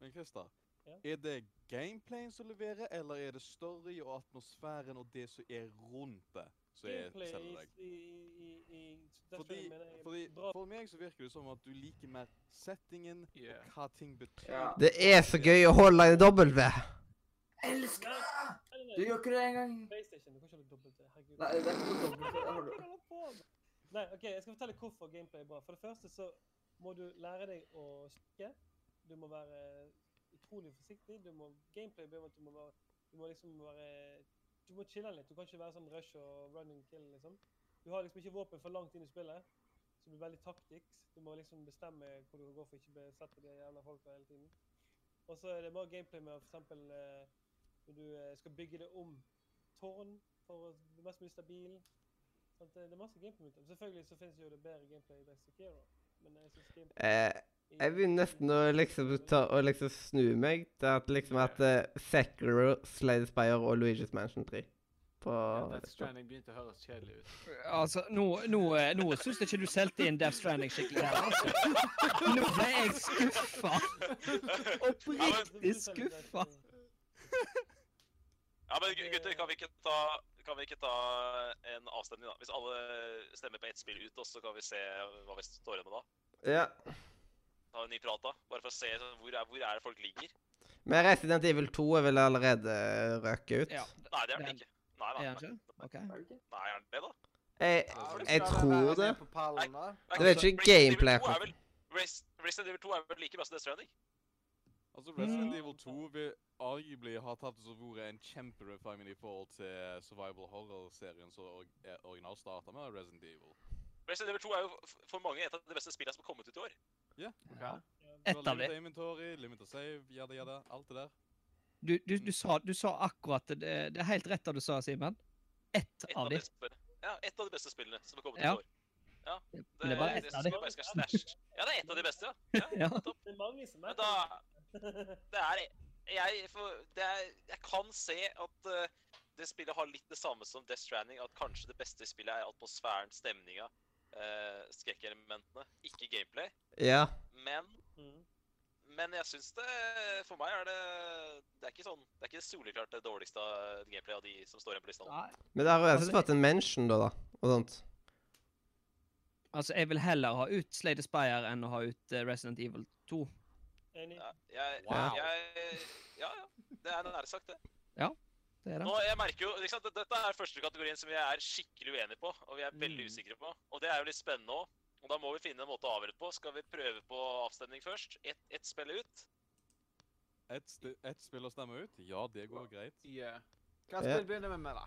men Christer.
Ja?
Er det gameplayen som leverer, eller er det story og atmosfæren og det som er rundt det, som er
Gameplay
selger
i,
deg?
i, i, i Death
Fordi,
Stranding mener jeg er
fordi
bra.
For meg så virker det som at du liker mer settingen
Yeah.
og hva ting betyr.
Ja.
Det er så gøy å holde en W.
Elsker det!
Eller,
Du gjør ikke det engang.
PlayStation, du kan ikke holde dobbelt det. Herregud.
Nei, det er ikke noe dobbelt. det
Hva
har
er det
du.
du holder på med? Nei, ok, jeg skal fortelle hvorfor gameplay er bra. For det første så må du lære deg å stikke. Du må være utrolig forsiktig. Du må, gameplay betyr at du må, være, du må liksom være Du må chille litt. Du kan ikke være sånn rush og run and kill, liksom. Du har liksom ikke våpen for langt inn i spillet, så det blir veldig taktisk. Du må liksom bestemme hvor du går for ikke å bli sett av de jævla folka hele tiden. Og så er det bra gameplay med f.eks. når du eh, skal bygge det om tårn for å bli mest mulig stabil. Sant, det det er masse gameplay ut av det. Selvfølgelig så finnes jo det bedre gameplay i Best of Kero, men jeg synes gameplay
Eh,
i-
jeg begynner nesten å liksom ta og liksom snu meg til at liksom at eh, Sekiro, Slade Spire og Luigi's Mansion 3 på
Death Stranding begynte å høres kjedelig ut.
Altså, nå, nå, eh, nå syns jeg ikke du solgte inn Death Stranding skikkelig her, altså. Nå ble jeg skuffa. Oppriktig skuffa.
Ja, men gu- gutter, kan vi ikke ta, kan vi ikke ta en avstemning, da? Hvis alle stemmer på ett spill ut, oss, så kan vi se hva vi står igjen med da.
Ja.
Ta en ny prat, da. Bare for å se sånn, hvor, er, hvor er det folk ligger.
Men Resident Evil 2 er vel allerede eh, røket ut?
Ja,
Nei, det er
Det
den
er-
ikke. Nei,
er
nei,
han
nei.
ikke? OK.
Er det ikke?
nei er den det, da?
Jeg,
Altså, Skal
jeg
den
tror
være
det.
med På pallen, da?
Nei,
Det er
altså,
ikke
Resident Evil
gameplay,
2 er
akkurat.
vel- Res- Resident Evil 2 er vel like bra som Death Stranding?
Altså, Resident
Mm.
Evil 2 vil arguably ha tatt som vært en kjemperefiming i forhold til survival horror-serien som or eh, originalt starta med Resident Evil.
Resident Evil 2 er jo f- for mange et av de beste spillene som har kommet ut i år.
Du har
Ett av
limited
de.
Inventory, limited save, jada jada, alt det der.
Du, du, du, sa, du sa akkurat det. Det er helt rett det du sa, Simen. Ett
Et
av
av de
de.
beste spillene. Ja, et av de beste spillene som har kommet
Ja.
ut i år. Ja,
Det
Det,
det er bare
det
ett
synes
av
jeg
dem.
bare skal stasje. Ja, det er ett av de beste, ja. ja.
Ja.
topp.
Det er mange som
Men
er
da Det er Jeg, for, det er, jeg kan se at eh, det spillet har litt det samme som Death Stranding, at kanskje det beste i spillet er atmosfæren, stemninga, eh, skrekkelementene, ikke gameplay.
Ja.
Men
Mhm.
men jeg syns det For meg er det Det er ikke sånn Det er ikke soleklart det dårligste av gameplay av de som står igjen på lista. nå.
Nei.
Men det har jo
Altså,
uansett fått en mention, da, da. Og sånt.
Altså, jeg vil heller ha ut Slay the Spire enn å ha ut eh, Resident Evil 2.
Enig.
Ja, jeg,
Wow.
jeg, ja, ja. Det er nære sagt, det.
Det er
Nå,
det.
jeg merker jo, ikke sant, Dette er første kategorien som vi er skikkelig uenige på, og vi er
Mm.
veldig usikre på. Og det er jo litt spennende òg. Og da må vi finne en måte å avgjøre det på. Skal vi prøve på avstemning først? Ett ett spill ut?
Ett sti- ett spill å stemme ut? Ja, det går greit.
Yeah. Hva
Ja.
spill begynner vi med, da?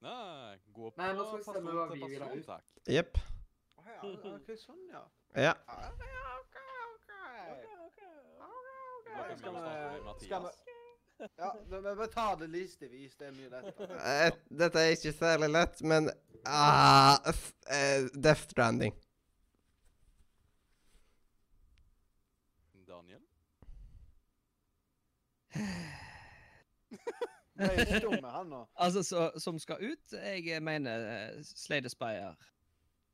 Nei, gå på
Nei, nå skal vi stemme
person
hva
til
vi vil ha
person,
ut.
takk.
Jepp.
Å ja, ok, sånn, ja.
Ja.
Ja, ja, OK, OK.
Nå kan vi
Skal
jo starte
[LAUGHS]
med
vi, skal vi
Mathias.
Ja, men men vi tar det listevis. Det er mye lettere.
[LAUGHS]
Eh, Dette er ikke særlig lett, men ah, f- eh, Death Stranding.
Daniel?
Jeg er stum med han nå.
Altså, så, som skal ut, jeg mener eh, Slay the Spire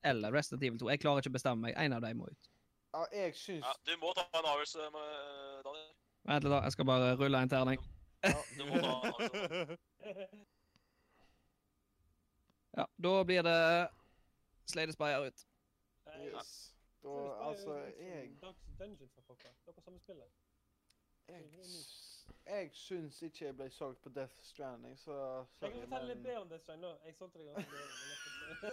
eller Resident Evil 2. Jeg klarer ikke å bestemme meg. En av dem må ut.
Ja, jeg syns
Ja, du må ta en avgjørelse, med- Daniel.
Vent litt, da. Jeg skal bare rulle en terning.
Du må ta en avgjørelse.
Ja, da blir det Slay the Spire ut.
Nei,
yes. Da,
så vi spiller
altså,
jo litt
jeg
sånn som liksom Dark Dungeon for pokker. Det er på samme spillet.
Jeg, s- jeg syns ikke jeg ble solgt på Death Stranding, så
Jeg kan fortelle litt
men- [LAUGHS]
bedre om det, Svein. nå. Jeg solgte deg ganske mye.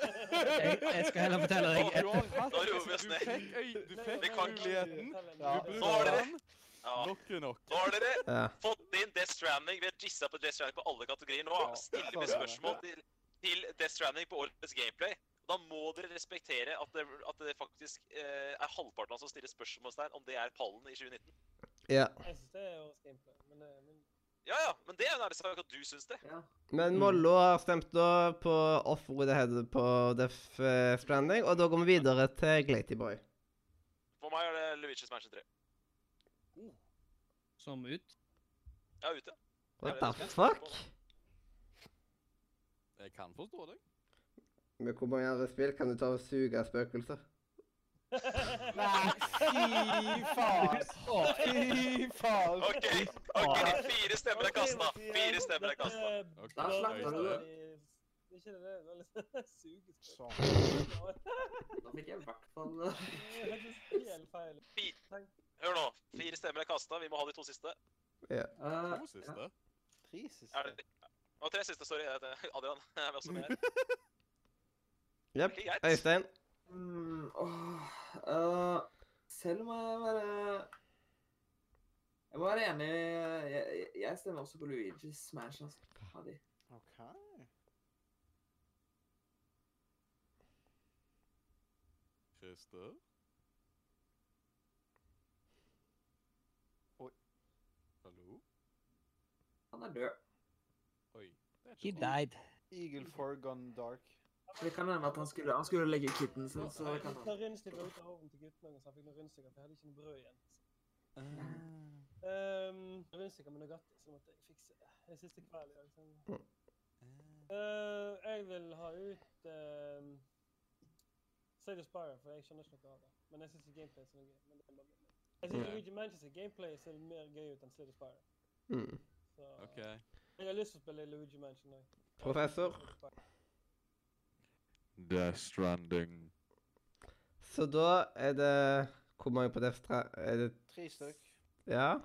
[LAUGHS] Jeg, jeg skal heller fortelle deg
Du har hatt-
Da roer vi oss
du
ned.
fikk øy- Du fikk
Vi kan ikke-
muligheten.
Ja.
Du
Nå var
bruker
det-
den.
Ja.
Nok er nok.
Nå har dere
Ja.
fått inn Death Stranding. Vi har jissa på Death Stranding på alle kategorier nå.
Ja,
Stiller
sånn
med
er det.
spørsmål til, til Death Stranding på årets gameplay. Da må dere respektere at det, at det faktisk eh, er halvparten av oss som stiller spørsmålstegn om det er pallen i 2019.
ja.
Jeg synes det er årets gameplay, men, eh, men
Ja ja, men det er jo nærmest sagt at du syns det.
Ja.
Men Mollo har stemt da på off with the head på Death eh, Stranding, og da går vi videre til Glatyboy.
For meg er det Luigi's Mansion 3.
som ut.
Ja, ute.
What the fuck?
Jeg kan forstå deg.
Med hvor mange andre spill kan du ta og suge spøkelser?
Nei, fy faen! Fy faen!
OK, ok, [LAUGHS] fire stemmer er kasta. Fire stemmer er kasta.
Ok,
Da slakter du
Øystein.
det.
Ikke det, det er veldig [LAUGHS] sugesprøyt.
Sånn.
Da fikk jeg i hvert fall
Det
[LAUGHS]
er faktisk helt feil.
Hør nå. Fire stemmer er kasta. Vi må ha de to siste.
Eh,
To siste.
Tre
Er
siste.
det... Og tre siste, sorry. jeg heter Adrian [LAUGHS] er vi også med her.
Jepp.
Ok, greit.
Øystein.
Mm, åh, øh, selv må jeg være Jeg må være enig Jeg, jeg- jeg stemmer også på Luigi's Mansion. Altså. Ha de.
OK.
Christer.
Oi.
Hallo?
Han er død.
Oi. det er
He
ikke sånn.
died.
Eagle Four Gone Dark.
Det kan hende at han skulle, han skulle legge ut kitten sin, så
Jeg
kan
fikk
han
noen rundstykker ut av hoven til guttungen, så han fikk noen rundstykker, for jeg hadde ikke noe brød igjen. Um, rundstykker med Nugatti, så måtte jeg fikse det. Det er siste kveld i dag. så- Eh, jeg vil ha ut um, Slade Spire, for jeg skjønner ikke noe av det. Men jeg syns gameplay er så gøy. Men det er bare... Jeg syns
Ja.
Luigi Manchester gameplay ser mer gøy ut enn Slade Spire.
Mm.
Så
OK.
jeg har lyst til å spille Luigi Mansion nå.
Professor.
Death Stranding.
Så da er det Hvor mange på Death Strand... Er det
Tre stykk.
Ja?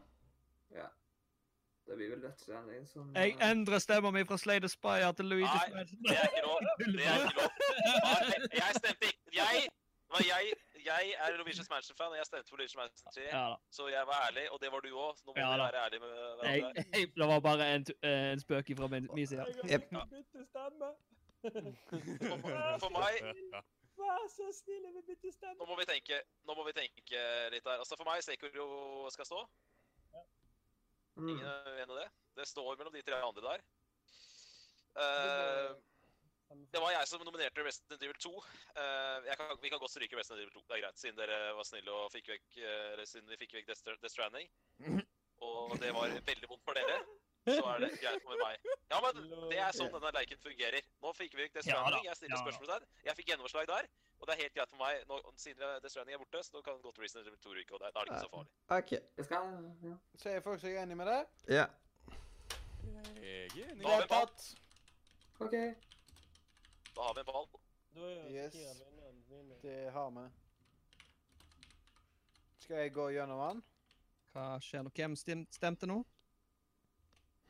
Det blir vel Death Stranding som
Jeg
eh,
endrer stemma mi fra Slay the Spire til Luigi's
Nei, Det
Mansion.
er ikke lov. Det er ikke lov. Nei, Jeg stemte ikke Jeg, det var jeg, jeg er Norwegian Mansion-fan, og jeg stemte for Norwegian Mansion 3.
Ja da.
Så jeg var ærlig, og det var du òg. Nå må
Ja
vi
da.
være ærlige med
Jeg,
hverandre.
jeg, det var bare en, tu- eh, en spøk fra min, min side.
Jeg
Jep.
har bytte stemme. [LAUGHS]
For- For meg
Vær så snill, jeg vil bytte stemme.
Nå må vi tenke, nå må vi tenke litt der. Altså For meg Sekuro skal stå.
mm,
Ingen er uenig i det. Det står mellom de tre andre der. Eh, Det var jeg som nominerte Resident Evil 2. Eh, jeg kan, vi kan godt stryke Resident Evil 2, det er greit, siden dere var snille og fikk vekk, eh, eller siden vi fikk vekk Death Stra- Death Stranding. Og det var veldig vondt for dere. Så er det greit med meg. Ja, men det er sånn denne leiken fungerer. Nå fikk vi vekk Death
Ja da,
Stranding. Jeg stiller
ja da.
spørsmålstegn. Jeg fikk gjennomslag der. Og det er helt greit for meg. Nå, siden Death Stranding er borte, så nå kan godt Resident Evil 2 ryke. Og det, da er det ikke så farlig.
OK.
Jeg skal, ja.
Så er folk som er enig med det?
Ja.
Jeg er enig.
Da har vi en ball.
Tatt.
OK.
Da har vi en ball.
[LAUGHS] Da er jo
Yes.
Kira vinner, vinner.
Det har vi. Skal jeg gå gjennom den?
Hva skjer nå? Hvem stem- stemte nå?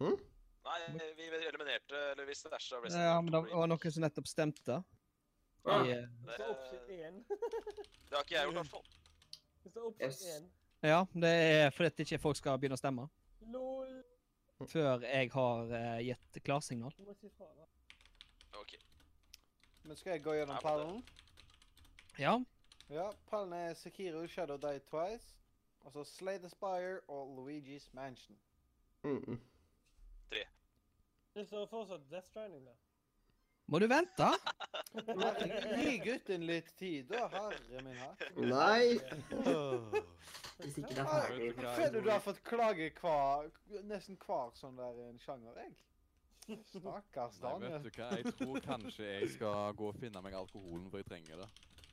Nei, vi eliminerte Eller vi stæsja Resident
Ja, men det
Evil 2.
var noen som nettopp stemte.
Ja.
I, eh,
Det,
Så oppsett én.
det har ikke jeg gjort, i hvert fall.
Hvis det er oppsett
Yes.
én
ja, det er fordi at ikke folk skal begynne å stemme
LOL!
før jeg har eh, gitt klarsignal.
Du må si fra. da.
Ok.
Men skal jeg gå gjennom
Ja, men det-
pallen?
Ja,
Ja, pallen er Sekiro Shadow Die Twice. Og så Slay the Spire og Luigi's Mansion.
Mm.
Det står fortsatt Death Stranding der.
må du vente?
Gi gutten litt tid, da. Herre min hatt.
Nei.
Hvis ikke det er
Ah,
ferdig
Ja,
Føler du
Roy.
har fått klage hver, nesten hver sånn der en sjanger, jeg? Stakkars
Nei, vet
Daniel.
du hva, jeg tror kanskje jeg skal gå og finne meg alkoholen, for jeg trenger det.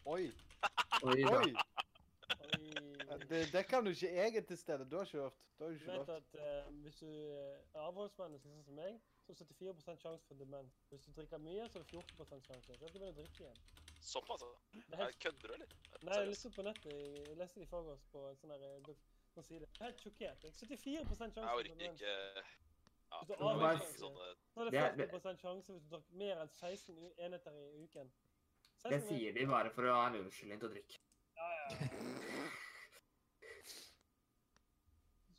Oi,
[LAUGHS] Oi, da.
oi!
Oi.
Det, det kan du ikke. Jeg er til stede. Du har ikke hørt. Du har
Du
ikke
vet
hørt.
at eh, hvis du eh, er avholdsmenneske sånn som meg, så er det 74 sjanse for demens. Hvis du drikker mye, så er det 14 sjanse. Så jeg skal begynne å drikke igjen.
Såpass, altså.
Det er
Nei,
helt...
Kødder du, eller?
Nei, jeg
seriøst.
leste på nettet. i- Jeg leste det i forgårs på en sånn her eh, dok- sånn side. Jeg er Helt sjokkert. Jeg er 74 sjanse
Jeg
for
orker
demens.
ikke ja,
Du
jeg
har
orker
bare-
ikke sånne
sånn- Så er det
Det er-
40 sjanse hvis du drikker mer enn 16 u- enheter i uken.
Det
16
sier de bare for å ha en unnskyldning til å drikke.
Ja, ja.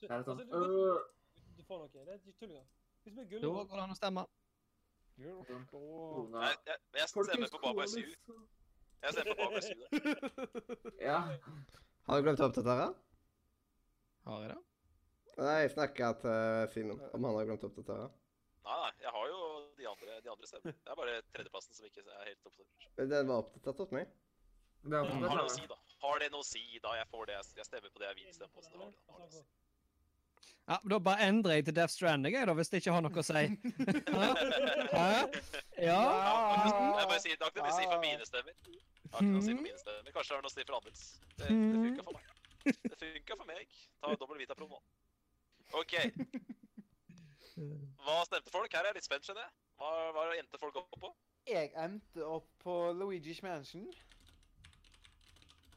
Det er sånn
Altså, du,
øh,
du får noe. Det er ikke tull engang. Hvis vi er
Da [LAUGHS]
gullrot
går det an å stemme.
Åh.
kona.
Nei, jeg, men jeg stemmer på Baba SU. Jeg stemmer på Baba SU. da.
Ja.
Har du glemt å oppdatere?
Har jeg det?
Nei, jeg snakka til Simen om han har glemt å oppdatere.
Nei, nei, jeg har jo de andre, de andre stemmer. Det er bare tredjeplassen som ikke er helt oppdatert.
Den var oppdatert hos meg.
Det er
Har det
akkurat
noe å
det
si,
samme.
da? Har det noe å si, da? Jeg får det, jeg, jeg stemmer på det jeg vil stemme på. Så det har det, har det å si.
Ja, men Da bare endrer jeg til Death Stranding, jeg, da, hvis det ikke har noe å
[LAUGHS]
si. Hæ? Hæ? Ja.
Ja, faktisk, [LAUGHS] jeg bare sier, det har ikke noe å si for mine stemmer. Det har ikke noe å si for mine stemmer. Kanskje det har noe å si for andres. Det,
Mm.
det funka for meg. Det funka for meg. Ta dobbel Vita Pro nå. OK. Hva stemte folk? Her er jeg litt spent, skjønner jeg. Hva, hva endte folk opp på?
Jeg endte opp på Luigi's Mansion.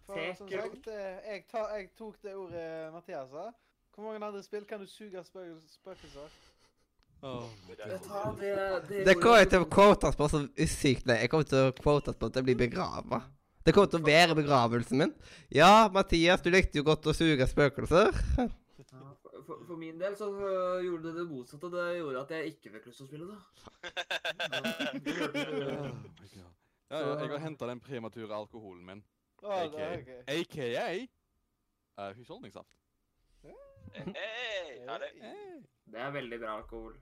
For som
Sekiro.
sagt, eh, jeg, ta, jeg tok det
eh,
ordet Mathias sa. Hvor mange andre spill kan du suge av spøkel- spøkelser?
Jeg tar Det det
Det kommer jeg
ordet.
til å quote oss på så sykt lenge. Jeg kommer til å quote oss på at jeg blir begrava. Det kommer til å være begravelsen min. Ja, Mathias, du likte jo godt å suge spøkelser.
Ja, for- For, for min del så øh, gjorde det det motsatte. Det gjorde at jeg ikke fikk lyst til å
[LAUGHS]
spille, da.
Oh my God. Ja, ja, jeg har henta den premature alkoholen min,
Å,
Ok.
det er ok.
aka eh, husholdningssaft.
Hei, herlig.
Det er veldig bra alkohol.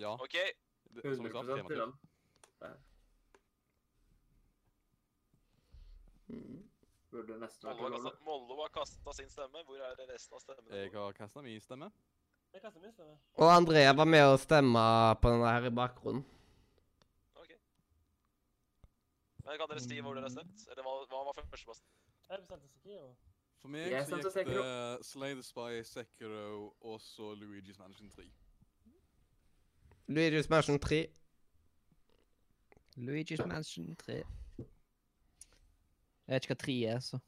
Ja,
OK,
det, som jeg sa,
100 til
prematur.
den. Burde nesten vært
Mollo har
lov.
kastet- Mollo har kasta sin stemme. Hvor er det resten av
Jeg
stemmene?
har kasta min stemme.
Jeg kaster min stemme.
Og Andrea var med å stemme på denne her i bakgrunnen.
Men kan dere si hvor dere har stemt? Eller hva, hva var førsteplassen?
Jeg bestemte Sekiro.
For meg
Jeg
så
stemte
gikk det
Sekiro.
Slay the Spy, Sekiro og så Luigi's Mansion 3.
Luigi's Mansion 3.
Luigi's Mansion 3. Jeg vet ikke hva 3 er, så.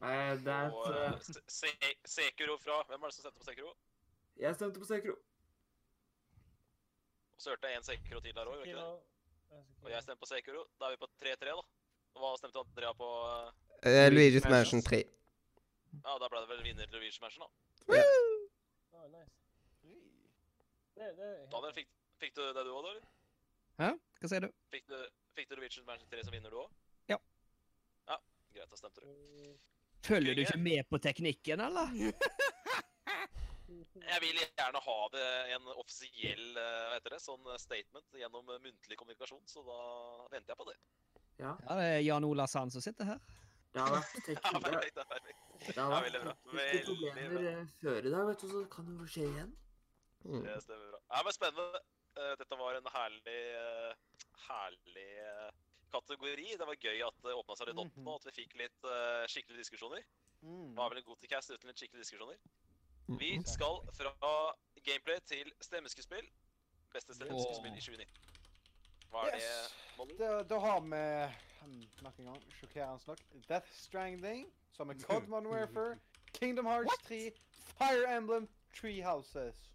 Nei, det er
Og eh,
et, øh,
Se- Se- Sekiro fra Hvem var det som stemte på Sekiro?
Jeg stemte på Sekro.
Og så hørte jeg en Sekiro til der òg.
Sekiro.
Og jeg stemte på Sekiro. Da er vi på 3-3, da. Og Hva stemte Andrea på? eh?
Eh, Luigi's Mansion 3.
Ja, da ble det vel vinner til Luigi Mansion, da.
Ah, nice. Det, det er
Daniel, fikk, fikk du det du òg, da? eller?
Hva sier du?
Fikk du, fikk du Luigi Mansion 3 som vinner, du òg?
Ja.
Ja, Greit, da stemte du.
Følger du ikke med på teknikken, eller?
Jeg vil gjerne ha det en offisiell eh, hva heter det, sånn statement gjennom eh, muntlig kommunikasjon, så da venter jeg på det.
Ja.
Ja, det er Jan Ola Sand som sitter her.
Det har
[LAUGHS] Ja,
vært teknisk, det,
perfekt, det er perfekt.
det har
Ja,
vært
veldig bra.
tekniske
Veldig
problemer
bra.
eh, før i dag, vet du, så det kan jo skje igjen.
Mm.
Det eh, stemmer bra. Ja, men spennende. Eh, Dette var en herlig, eh, herlig eh, kategori. Det var gøy at det åpna seg litt opp nå, at vi fikk litt eh, skikkelige diskusjoner.
Mhm.
Det var vel en god cast uten litt skikkelige diskusjoner. Vi skal fra gameplay til stemmeskuespill. Beste stemmeskuespill i 2019. Hva er det,
Yes.
Molly?
Da, da har vi hmm, nok en gang sjokkerende nok Death Stranding, som er Cod Modern Warfare, Kingdom Hearts 3, Fire Emblem, Tree Houses.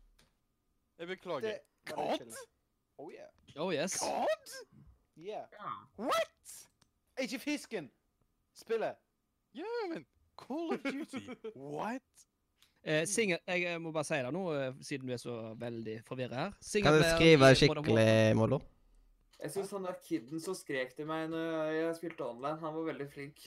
Jeg beklager.
Det- Var det chillen? Oh yeah.
Oh yes.
Yeah.
Ja.
What?! Ikke fisken! Spillet.
Ja, men Call of Duty, what? [LAUGHS]
Eh, single, jeg eh, må bare si det nå, eh, siden du er så veldig forvirra her.
Kan du
Singleplayer i
skrive
Modern Warfare.
skikkelig, Mollo?
Jeg syns han der kiden som skrek til meg når jeg spilte online, han var veldig flink.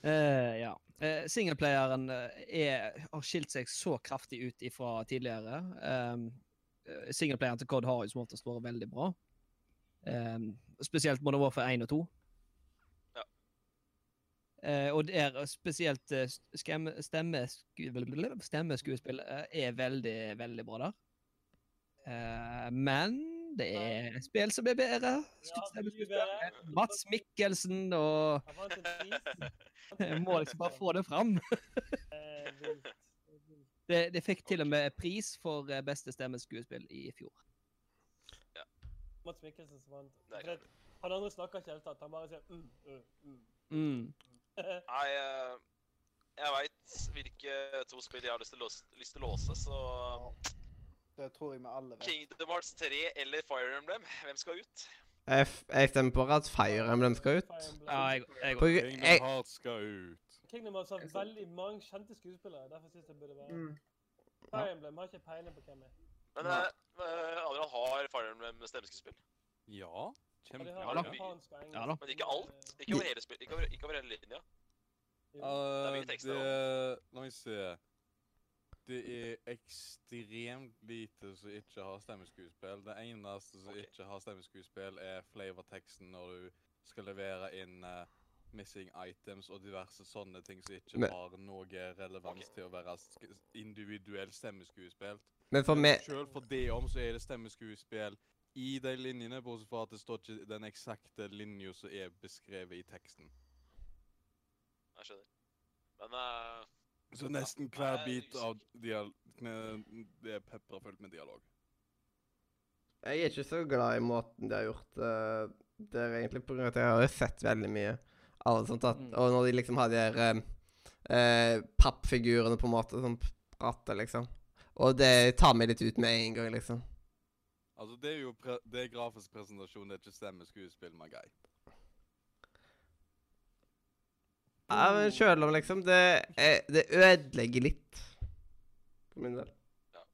Eh, ja. Eh, Singleplayeren eh, er, har skilt seg så kraftig ut ifra tidligere. Um, eh, Singleplayeren til Cod har jo som oftest vært veldig bra. Um, spesielt Modern Warfare 1 og 2.
Ja.
Eh, og der eh, spesielt eh, s- skemme, stemmesku, stemmeskuespill eh, er veldig, veldig bra der. Eh, men det er spill som er bedre.
mye
Stemmeskuespill.
bedre.
Mats Mikkelsen og
Han vant en pris.
jeg [LAUGHS] må liksom
[LAUGHS]
bare få det fram.
Eh, vilt. Det er vilt.
Det, det fikk til og med pris for eh, beste stemmeskuespill i fjor.
Mats Mikkelsen som vant.
Nei,
For det- Han andre snakker ikke i det hele tatt. Han bare sier mm, mm, mm. [LAUGHS]
Nei, eh, jeg veit hvilke to spill jeg har lyst til å låse, lyst til å låse så
Det tror jeg vi alle vet.
Kingdom Hearts 3 eller Fire Emblem, hvem skal ut?
Jeg, f- jeg stemmer på at Fire Emblem skal ut.
Fire Emblem.
Ja, jeg, jeg,
På, jeg,
Kingdom Hearts skal ut.
Kingdom Hearts har
Jeg så-
sånn veldig mange kjente skuespillere. Derfor synes jeg det burde være
Mm.
Fire Emblem har ikke peiling på hvem er.
Men
Nei.
eh, eh, Adrian har Fire Emblem stemmeskuespill.
Ja.
Og de
Kjempe.
har
Ja da.
japansk og engelsk.
Ja da.
Men ikke alt. Ikke over hele, spill, ikke over, ikke over hele linja. er mye
Eh,
tekst
det
der
La meg se. Det er ekstremt lite som ikke har stemmeskuespill. Det eneste som
Ok.
ikke har stemmeskuespill, er flavorteksten når du skal levere inn eh, missing items og diverse sånne ting som ikke
Men-
har noe relevans til å være sk individuelt stemmeskuespilt.
men for meg
Selv for det om, så er det stemmeskuespill i de linjene, bortsett fra at det står ikke den eksakte linja som er beskrevet i teksten.
Jeg skjønner. Men eh,
Så nesten
Ja,
hver
jeg er
bit
usikker.
av dial kne- det er pepra fullt med dialog.
Jeg er ikke så glad i måten de har gjort eh, det er egentlig på grunn av at jeg har jo sett veldig mye av det sånt. At,
Mm.
Og når de liksom har de der eh, eh, pappfigurene på en måte som prater, liksom. Og det tar meg litt ut med en gang, liksom.
Altså, det er jo pre det er grafisk presentasjon, det er ikke stemmeskuespill, my guy.
Ja, men sjøl om, liksom det, er, det ødelegger litt. For min del.
Ja.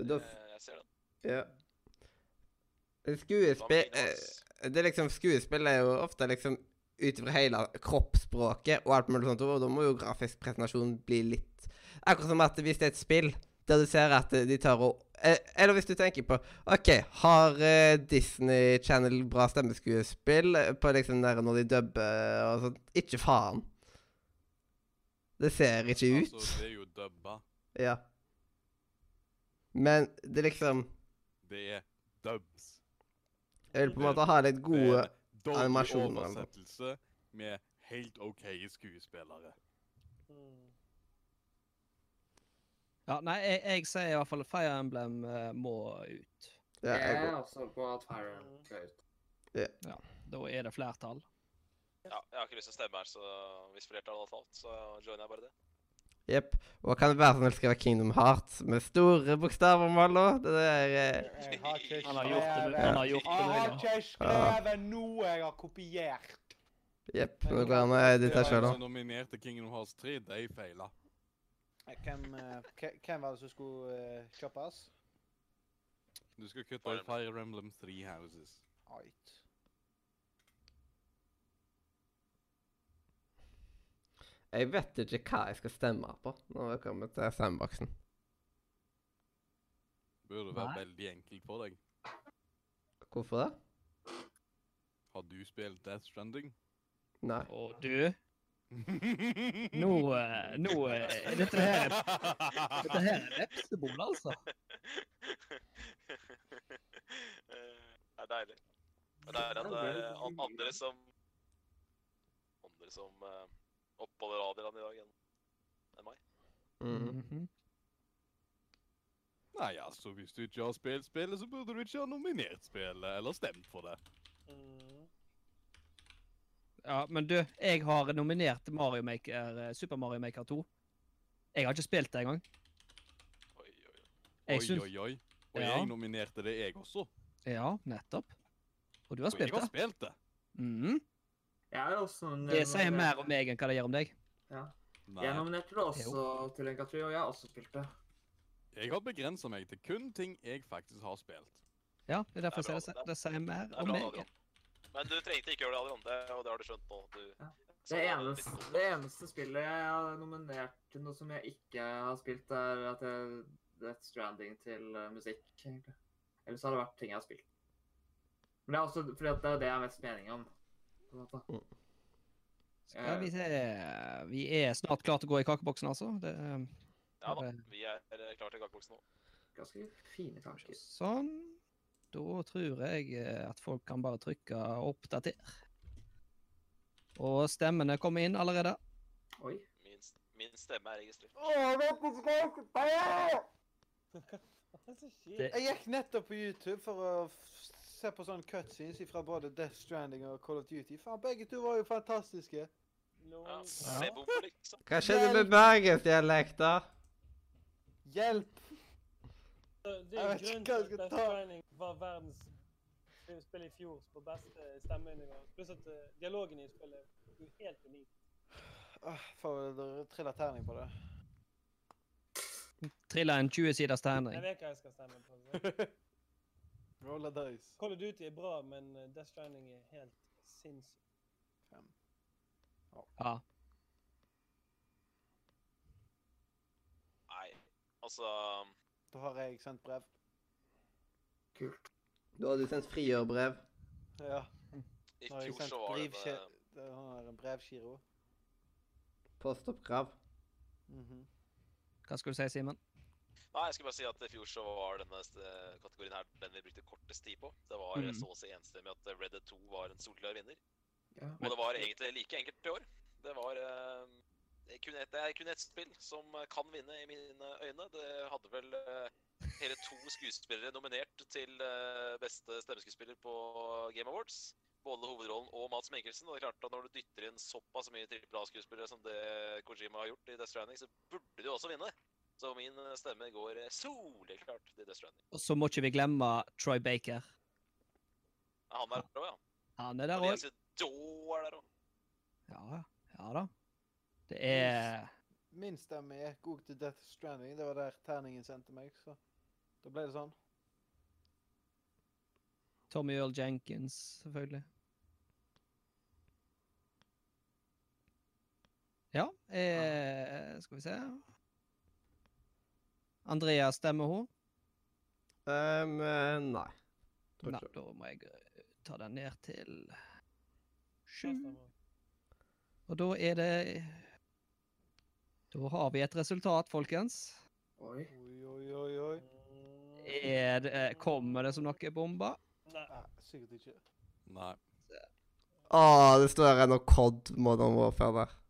Og da,
eh, jeg ser den.
ja.
Hva med
Skuespill
Kingdom
eh,
Hearts?
det er liksom, Skuespill er jo ofte liksom ut ifra hele kroppsspråket og alt mulig sånt, og da må jo grafisk presentasjon bli litt Akkurat som at hvis det er et spill der du ser at de tar og eh, Eller hvis du tenker på OK, har eh, Disney Channel bra stemmeskuespill eh, på liksom der når de dubber og sånt? Ikke faen. Det ser ikke ut.
Altså, det er jo dubba.
Ja. Men det er liksom
Det er dubs.
Jeg vil på en måte ha litt
Det er
gode
en dårlig
animasjoner, eller noe.
oversettelse med helt OK skuespillere.
Mm.
ja, nei, jeg, jeg sier i hvert fall Fire Emblem eh, må ut.
ja,
Jeg
jeg går.
er også på at Fire Emblem skal ut.
Da er det flertall.
Ja, jeg har ikke lyst til å stemme her, så hvis flertallet har talt, så joiner jeg bare det.
Jepp. Og kan det være sånn at det skal være Kingdom Hearts med store bokstaver, Mollo? Det der eh,
Jeg har ikke
Han
har gjort det med- han har gjort det
Jeg har
med
ikke skrevet noe jeg har kopiert.
Jepp. Nå går det an å editere
var
sjøl
en
òg.
som altså, nominerte Kingdom Hearts 3, de feila.
Hvem, eh, hve- hvem var det som skulle eh, kjøpes?
Du skal kutte
Fire
ut Fire Emblem Three Houses.
Ait.
Jeg vet ikke hva jeg skal stemme på når vi kommer til sandboxen.
Burde være veldig enkelt for deg.
Hvorfor det?
Har du spilt Death Stranding?
Nei.
Og du Nå, eh, nå eh, Dette her er
[LAUGHS]
dette her er vepsebol, altså.
Eh, Det er deilig. Og det er at det er an- andre som Andre som eh, oppholder Adrian i dag enn enn meg.
Mhm.
Nei, altså, hvis du ikke har spilt spillet, så burde du ikke ha nominert spillet, eller stemt for det.
Mm. [LAUGHS]
Ja, men du, jeg har nominert Mario Maker, eh, Super Mario Maker 2. Jeg har ikke spilt det engang.
Oi, oi, oi.
Jeg
oi,
syns-
oi, oi. Og
Ja.
jeg nominerte det, jeg også.
Ja, nettopp. Og du har
Og jeg
spilt
har
det.
spilt det.
Mhm.
Jeg er jo også en- eh,
Det sier mer om meg enn hva det gjør om deg.
Nei,
Jeg nominerte det også til en kategori, og jeg har også spilt det.
jeg har begrenset meg til kun ting jeg faktisk har spilt.
Ja, det er derfor
Det er
jeg
bra,
sier det. Det sier mer
Det
om
er bra,
meg.
Adrian. Men du trengte ikke gjøre det, Adrian. Det, og det har du skjønt nå. Du,
Ja.
Så
Det
det er
eneste,
litt- sånn-
det eneste spillet jeg har nominert til noe som jeg ikke har spilt, er at jeg, Death Stranding til eh, musikk. egentlig. Ellers har det vært ting jeg har spilt. Men det er også fordi at det er det jeg har mest mening om. på en måte.
Eh.
Skal vi se Vi er snart klare til å gå i kakeboksen, altså. Det, eh,
Ja da, vi er eh, klare til kakeboksen nå.
Ganske fine tanker.
sånn. Da tror jeg eh, at folk kan bare trykke 'oppdater'. Og stemmene kommer inn allerede.
Oi.
Min, s- min stemme er registrert.
Hva er det som skjer?
Det-
Jeg gikk nettopp på YouTube for å f- se på sånne cutscenes fra både Death Stranding og Call of Duty. Faen, begge to var jo fantastiske.
Lol.
Ja, se hvorfor, liksom.
Hva skjedde med bergensdialekta?
Hjelp!
Så Det
Jeg
er
vet ikke
grunnen
hva
til
jeg
at
skal
Death
ta.
Stranding var verdens spill i fjor på beste stemmenivå. Pluss at eh, dialogen i spillet er jo helt unik.
Åh, Får vel trille terning på det. [LAUGHS]
Trilla en 20-siders terning.
Jeg vet hva jeg skal stemme på. så.
Roll a dice.
Call of Duty er bra, men eh, Death Stranding er helt sinnssykt.
Ja.
Nei, altså
Da har jeg sendt brev.
Kult.
Da har du sendt frigjørbrev.
Ja.
I
Nå har jeg
fjor
sendt
så var det
brevskje...
med-
det er en brevgiro.
Postoppkrav.
Mhm.
Hva skulle du si, Simen?
Nei, jeg skulle bare si at i fjor så var denne eh, kategorien her den vi brukte kortest tid på. Det var
Mm.
så å si enstemmig at Red Dead 2 var en solklar vinner.
Ja.
Og det var egentlig like enkelt i år. Det var eh, det er kun ett- det er kun ett spill som eh, kan vinne i mine øyne. Det hadde vel eh, hele to skuespillere nominert til eh, beste stemmeskuespiller på Game Awards. Både hovedrollen og Mads Mikkelsen. Og det er klart at når du dytter inn såpass mye aaa skuespillere som det Kojima har gjort i Death Stranding, så burde du også vinne. Så min eh, stemme går eh, soleklart til Death Stranding.
Og så må ikke vi glemme Troy Baker.
Ja, Han er der òg, ja.
Han er
Og
der
de er
òg.
ganske dår der òg.
Ja, ja da. Det er
Min stemme er god til Death Stranding. Det var der terningen sendte meg, så da ble det sånn.
Tommy Earl Jenkins, selvfølgelig. Ja, eh, skal vi se Andrea stemmer hun?
Um, eh, nei. Tror
Nei,
ikke.
da må jeg eh, ta den ned til
Da
sju.
stemmer jeg.
Og da er det Da har vi et resultat, folkens.
Oi.
Oi, oi, oi, oi.
[LAUGHS] Er det, eh, kommer det som noe bomber?
Nei.
Nei, sikkert ikke.
Nei.
Å, det står ennå COD Modern Warfare der.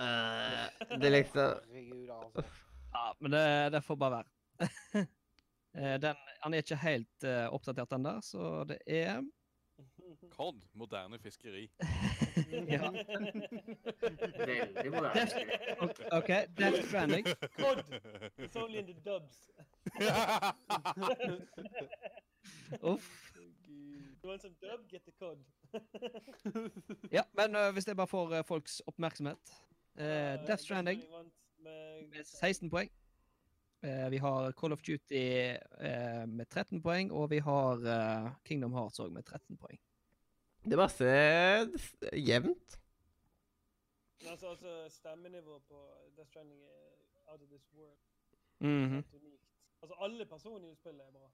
Eh, det er liksom
Herregud, altså.
[LAUGHS]
Ja, men det, det får bare være. [LAUGHS] Eh, den, han er ikke helt eh, oppdatert ennå, så det er
Cod, moderne fiskeri.
[LAUGHS] ja.
[LAUGHS]
Veldig
[LAUGHS]
moderne. spill.
OK, Death Stranding.
Cod! It's only in the dubs.
Uff.
You want some dub? Get the cod.
Ja, men eh, hvis jeg bare får eh, folks oppmerksomhet eh,
Eh,
Death Stranding
vant med-
med 16 poeng. Eh, vi har Call of Duty eh, med 13 poeng, og vi har eh, Kingdom Hearts òg med 13 poeng.
Det er bare så jevnt.
Men altså, altså stemmenivået på Death Stranding er out of this world.
Mhm.
Helt unikt. Altså, alle personene i spillet er bra.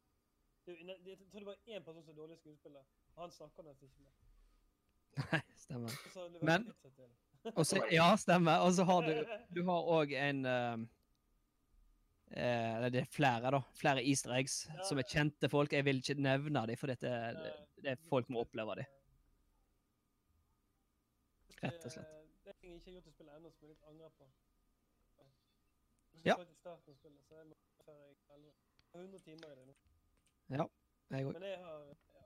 Det, ne- det- jeg tror det var én person som er dårlig skuespiller. og Han snakker nesten ikke med.
[LAUGHS] Nei, stemmer.
Og så har det vært
Men-
litt sett til.
Og så, ja, stemmer. Og så har du
[LAUGHS]
Du har òg en ehm, eh, Eller det er flere, da. Flere easter eggs
Ja.
som er kjente folk. Jeg vil ikke nevne dem, for dette, det,
Nei.
det er folk må oppleve dem. Rett og slett.
Det- Det er ting jeg ikke har gjort i spillet ennå, som jeg litt angrer på.
Ja.
Jeg starten av spillet, så jeg må før jeg elver. Jeg har 100 timer i det nå.
Jeg òg.
Men jeg har ja,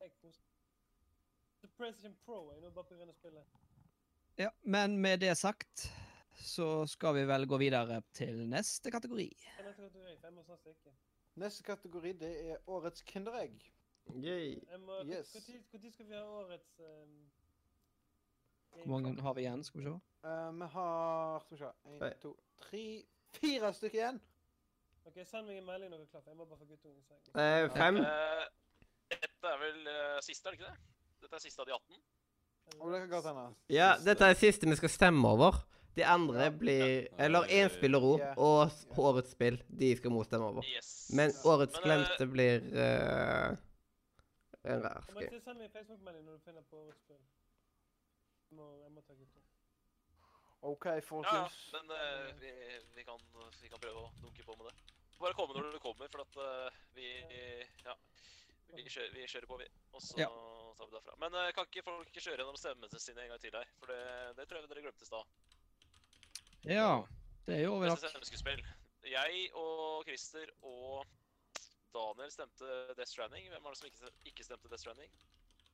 jeg koser meg. Så PlayStation Pro er nå bare på grunn av spillet.
Ja, men med det sagt så skal vi vel gå videre til neste kategori.
Jeg vet ikke hva du er, for jeg må snart stikke.
Neste kategori det er årets Kinderegg.
Yay.
Jeg må,
Yes.
hvor, tid, hvor tid skal vi ha årets ehm,
Hvor mange har vi igjen? Skal vi se.
Eh, vi har Skal vi se
Nei.
Én, to, tre Fire stykker igjen!
Ok, Send meg en melding når du er klar, for jeg må bare få guttungen i seng.
Eh, fem.
Eh, dette er vel eh, siste, er det ikke det? Dette er siste av de 18.
Og det kan godt hende.
Ja, dette er siste vi skal stemme over. De andre blir Eller én spiller ro,
Ja.
og s- årets spill. De skal motstemme over.
Yes.
Men årets
Men, eh,
glemte blir eh, en rar
Jeg må
skri.
ikke sende meg en Facebook-melding når du finner på årets spill. Jeg må, jeg må ta guttungen.
OK,
ja, ja,
folkens.
men eh, vi, vi, kan, vi kan prøve å dunke på med det. Bare komme når du kommer, for at eh, vi Ja. Vi kjører, vi kjører på, vi. Og så
Ja.
tar vi derfra. Men eh, kan ikke folk kjøre gjennom stemmene sine en gang til her? For det, det tror jeg dere glemte i stad.
Ja, det gjorde vi
Beste
nok.
stemmeskuespill. Jeg og Christer og Daniel stemte Death Stranding. Hvem var det som ikke, ikke stemte Death Stranding?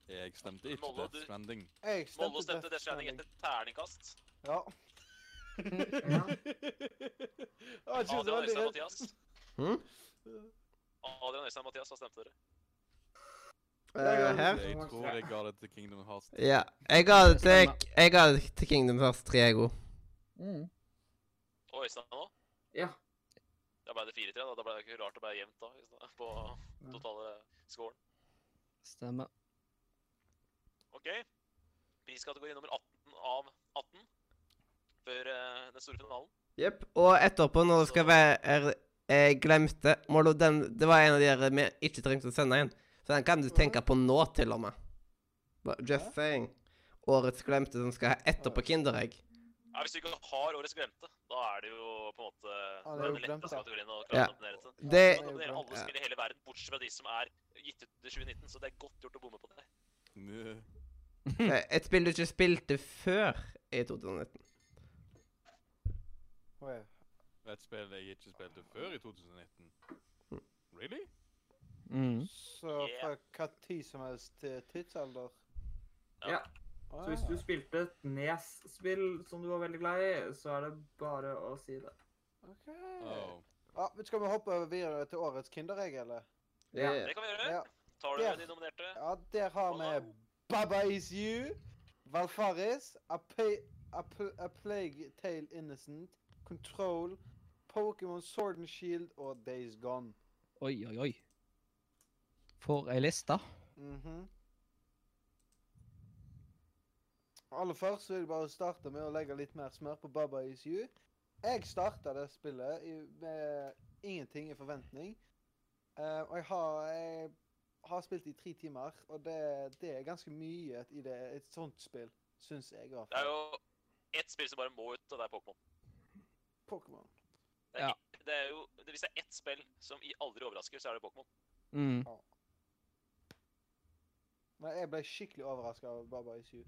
Jeg stemte ikke
Mollo,
Death
du-
Stranding.
Jeg
Mollo
stemte
stemte Death Stranding etter terningkast.
[LAUGHS]
Ja.
Ja.
liksom
Å, Jesus, det
Adrian
var
Øystein
litt-
Mathias.
Hm?
Adrian Øystein Mathias, hva stemte dere?
Eh, her.
Jeg tror jeg ga det til Kingdom Hearts.
Ja. Jeg ga det til, jeg ga det til Kingdom Hearts 3, jeg òg.
Og Øystein nå?
Ja.
Da ble det 4-3, da. Da ble det ikke rart å bli jevnt da, i stedet, på totale scoren.
Stemmer.
OK. Priskategori nummer 18 av 18 før eh, den store finalen.
Jepp. Og etterpå, når det skal være Jeg glemte Molo, den, Det var en av de der vi ikke trengte å sende inn. Så den kan du
Mhm.
tenke på nå, til og med. Ba- Just saying. Årets glemte som skal ha etterpå Kinderegg.
Ja, Hvis du ikke har årets glemte, da er det jo på en måte
Ja,
det
det er
er
jo
den
glemt,
letteste
ja.
kategorien å
Ja.
klare å nominere til.
Det
Så
jo
nominerer
bra.
alle spill i hele verden, bortsett fra de som er gitt ut i 2019, så det er godt gjort å bomme på det.
Nø.
eh, Et spill du ikke spilte før i 2019.
Oi.
Et spill jeg ikke spilte før i 2019. Really?
Mm.
Så fra hva tid som helst til tidsalder? Ah.
Ja.
Å,
Så hvis du spilte et Nes-spill som du var veldig glad i, så er det bare å si det.
OK.
Oh.
Ja, men Skal vi hoppe videre til årets Kinderegg, eller?
Ja.
Det kan vi gjøre.
Ja.
Tar du
Ja.
de nominerte?
ja, der har vi Baba Is You, Valfaris, A, Pa- A, Pl- A Plague Tale Innocent, Control, Pokémon Sword and Shield og Days Gone.
Oi, oi, oi. For ei liste.
Mhm. Aller først så vil jeg bare starte med å legge litt mer smør på Baba Is You. Jeg starta det spillet i, med ingenting i forventning. Eh, og jeg har, jeg har spilt i tre timer, og det, det er ganske mye i det, et sånt spill, syns jeg. i hvert
Det er
fall.
jo ett spill som bare må ut, og det er Pokémon.
Pokémon.
Det er jo, det- hvis det er ett spill som i- aldri overrasker, så er det Pokémon.
Mm.
Men jeg ble skikkelig overraska av Baba Is You.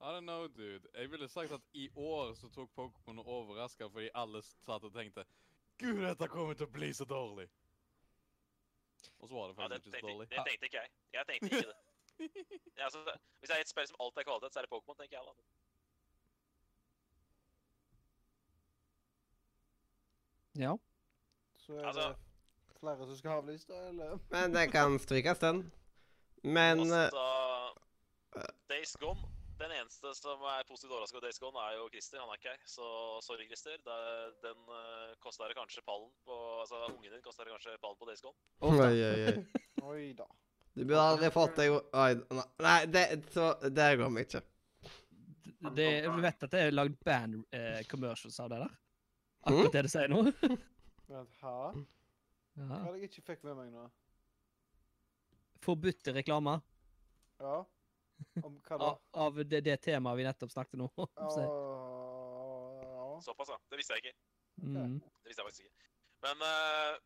I don't know, dude. Jeg ville sagt at i år så tok Pokémon og overraska fordi alle satt og tenkte Gud, dette kommer til å bli så dårlig. Og så var det
Ja, det,
faktisk ikke så
tenkte,
dårlig.
det tenkte ikke jeg. Jeg tenkte ikke det.
[LAUGHS]
Ja, altså, hvis det er ett spill som alltid er kvalitet, så er det Pokémon, tenker jeg da.
Ja.
Så er
Altså-
det flere som skal ha avlyst, da, eller?
Men den kan strykes, den. Men eh,
Altså, Days Gone Den eneste som er positivt overraska over Days Gone, er jo Christer. Han er ikke her. Så sorry, Christer. det- Den uh, kosta deg kanskje pallen på Altså, ungen din kosta deg kanskje pallen på Days Gone.
Oi, oi, oi.
[LAUGHS]
[LAUGHS]
Oi da.
Du burde aldri fått deg Oi. Nei, det, så, der går vi ikke.
det, du vet at det er lagd band-commercials av det der? Akkurat det du sier nå?
Vent, hæ? Hva
Ja.
hadde jeg ikke fikk med meg nå?
Forbudte reklamer
Ja? Om hva da?
av, av det, det temaet vi nettopp snakket om. [LAUGHS] Så,
Åh,
Såpass, ja. Det visste jeg ikke.
mm.
Det visste jeg faktisk ikke. Men eh,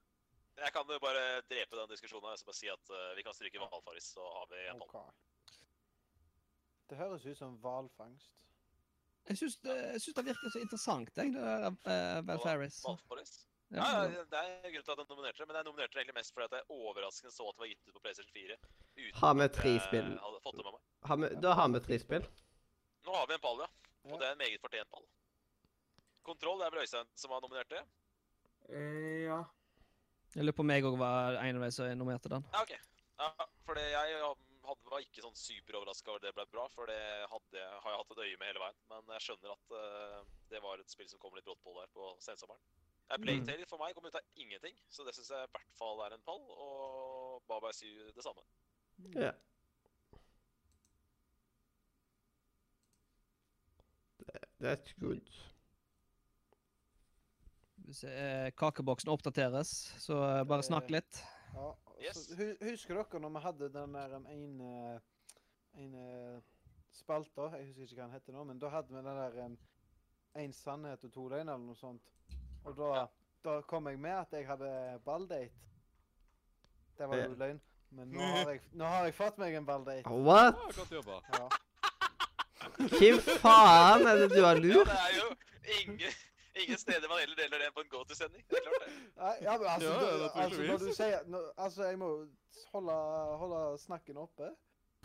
jeg kan jo bare drepe den diskusjonen her og så bare si at eh, vi kan stryke hvalfaris, så har vi
ja,
Japan.
ok. Det høres ut som hvalfangst.
Jeg syns det, jeg syns det virker så interessant, jeg, det der uh, Val Ferris.
Hvalfaris? Ja,
Ja,
ja, det er grunnen til at jeg nominerte det, men jeg nominerte det egentlig mest fordi at jeg overraskende så at det var gitt ut på PlayStation 4. Uten
Har vi
at
tre
jeg
spill?
hadde fått det med meg.
Har vi, da har vi tre spill.
Nå har vi en pall, ja.
Ja.
Og det er en meget fortjent pall. Kontroll, det er vel Øystein som har nominert det?
Eh, ja.
jeg lurer på om jeg òg var en av de som nominerte den.
Ja, OK. Ja, for det- jeg hadde, var ikke sånn superoverraska over at det ble bra, for det hadde, har jeg hatt et øye med hele veien. Men jeg skjønner at eh, det var et spill som kom litt brått på der på sensommeren. Eh,
Mm.
Playtale for meg kom ut av ingenting, så det syns jeg i hvert fall er en pall. Og Baba Sue det samme.
Ja. That's good.
Hvis, eh, kakeboksen oppdateres, så eh, bare snakk litt.
Ja,
Yes.
så hu- Husker dere når vi hadde den der um, ene, ene eh, spalta? Jeg husker ikke hva den heter nå, men da hadde vi den der um, En sannhet og to løgner eller noe sånt. Og da, da kom jeg med at jeg hadde balldate. Det var
Ja.
jo løgn. Men nå har, jeg, nå har jeg fått meg en balldate.
What?
Ja, godt jobba.
Ja.
Hvem faen er det du
Uh.
har
Ja,
lurt?
det er jo ingen, ingen steder man heller deler det på en go-to-sending. Det er klart, det.
Nei, Ja, men altså,
Ja, ja,
da, altså når
naturligvis.
du sier når, Altså, jeg må jo holde, holde snakken oppe.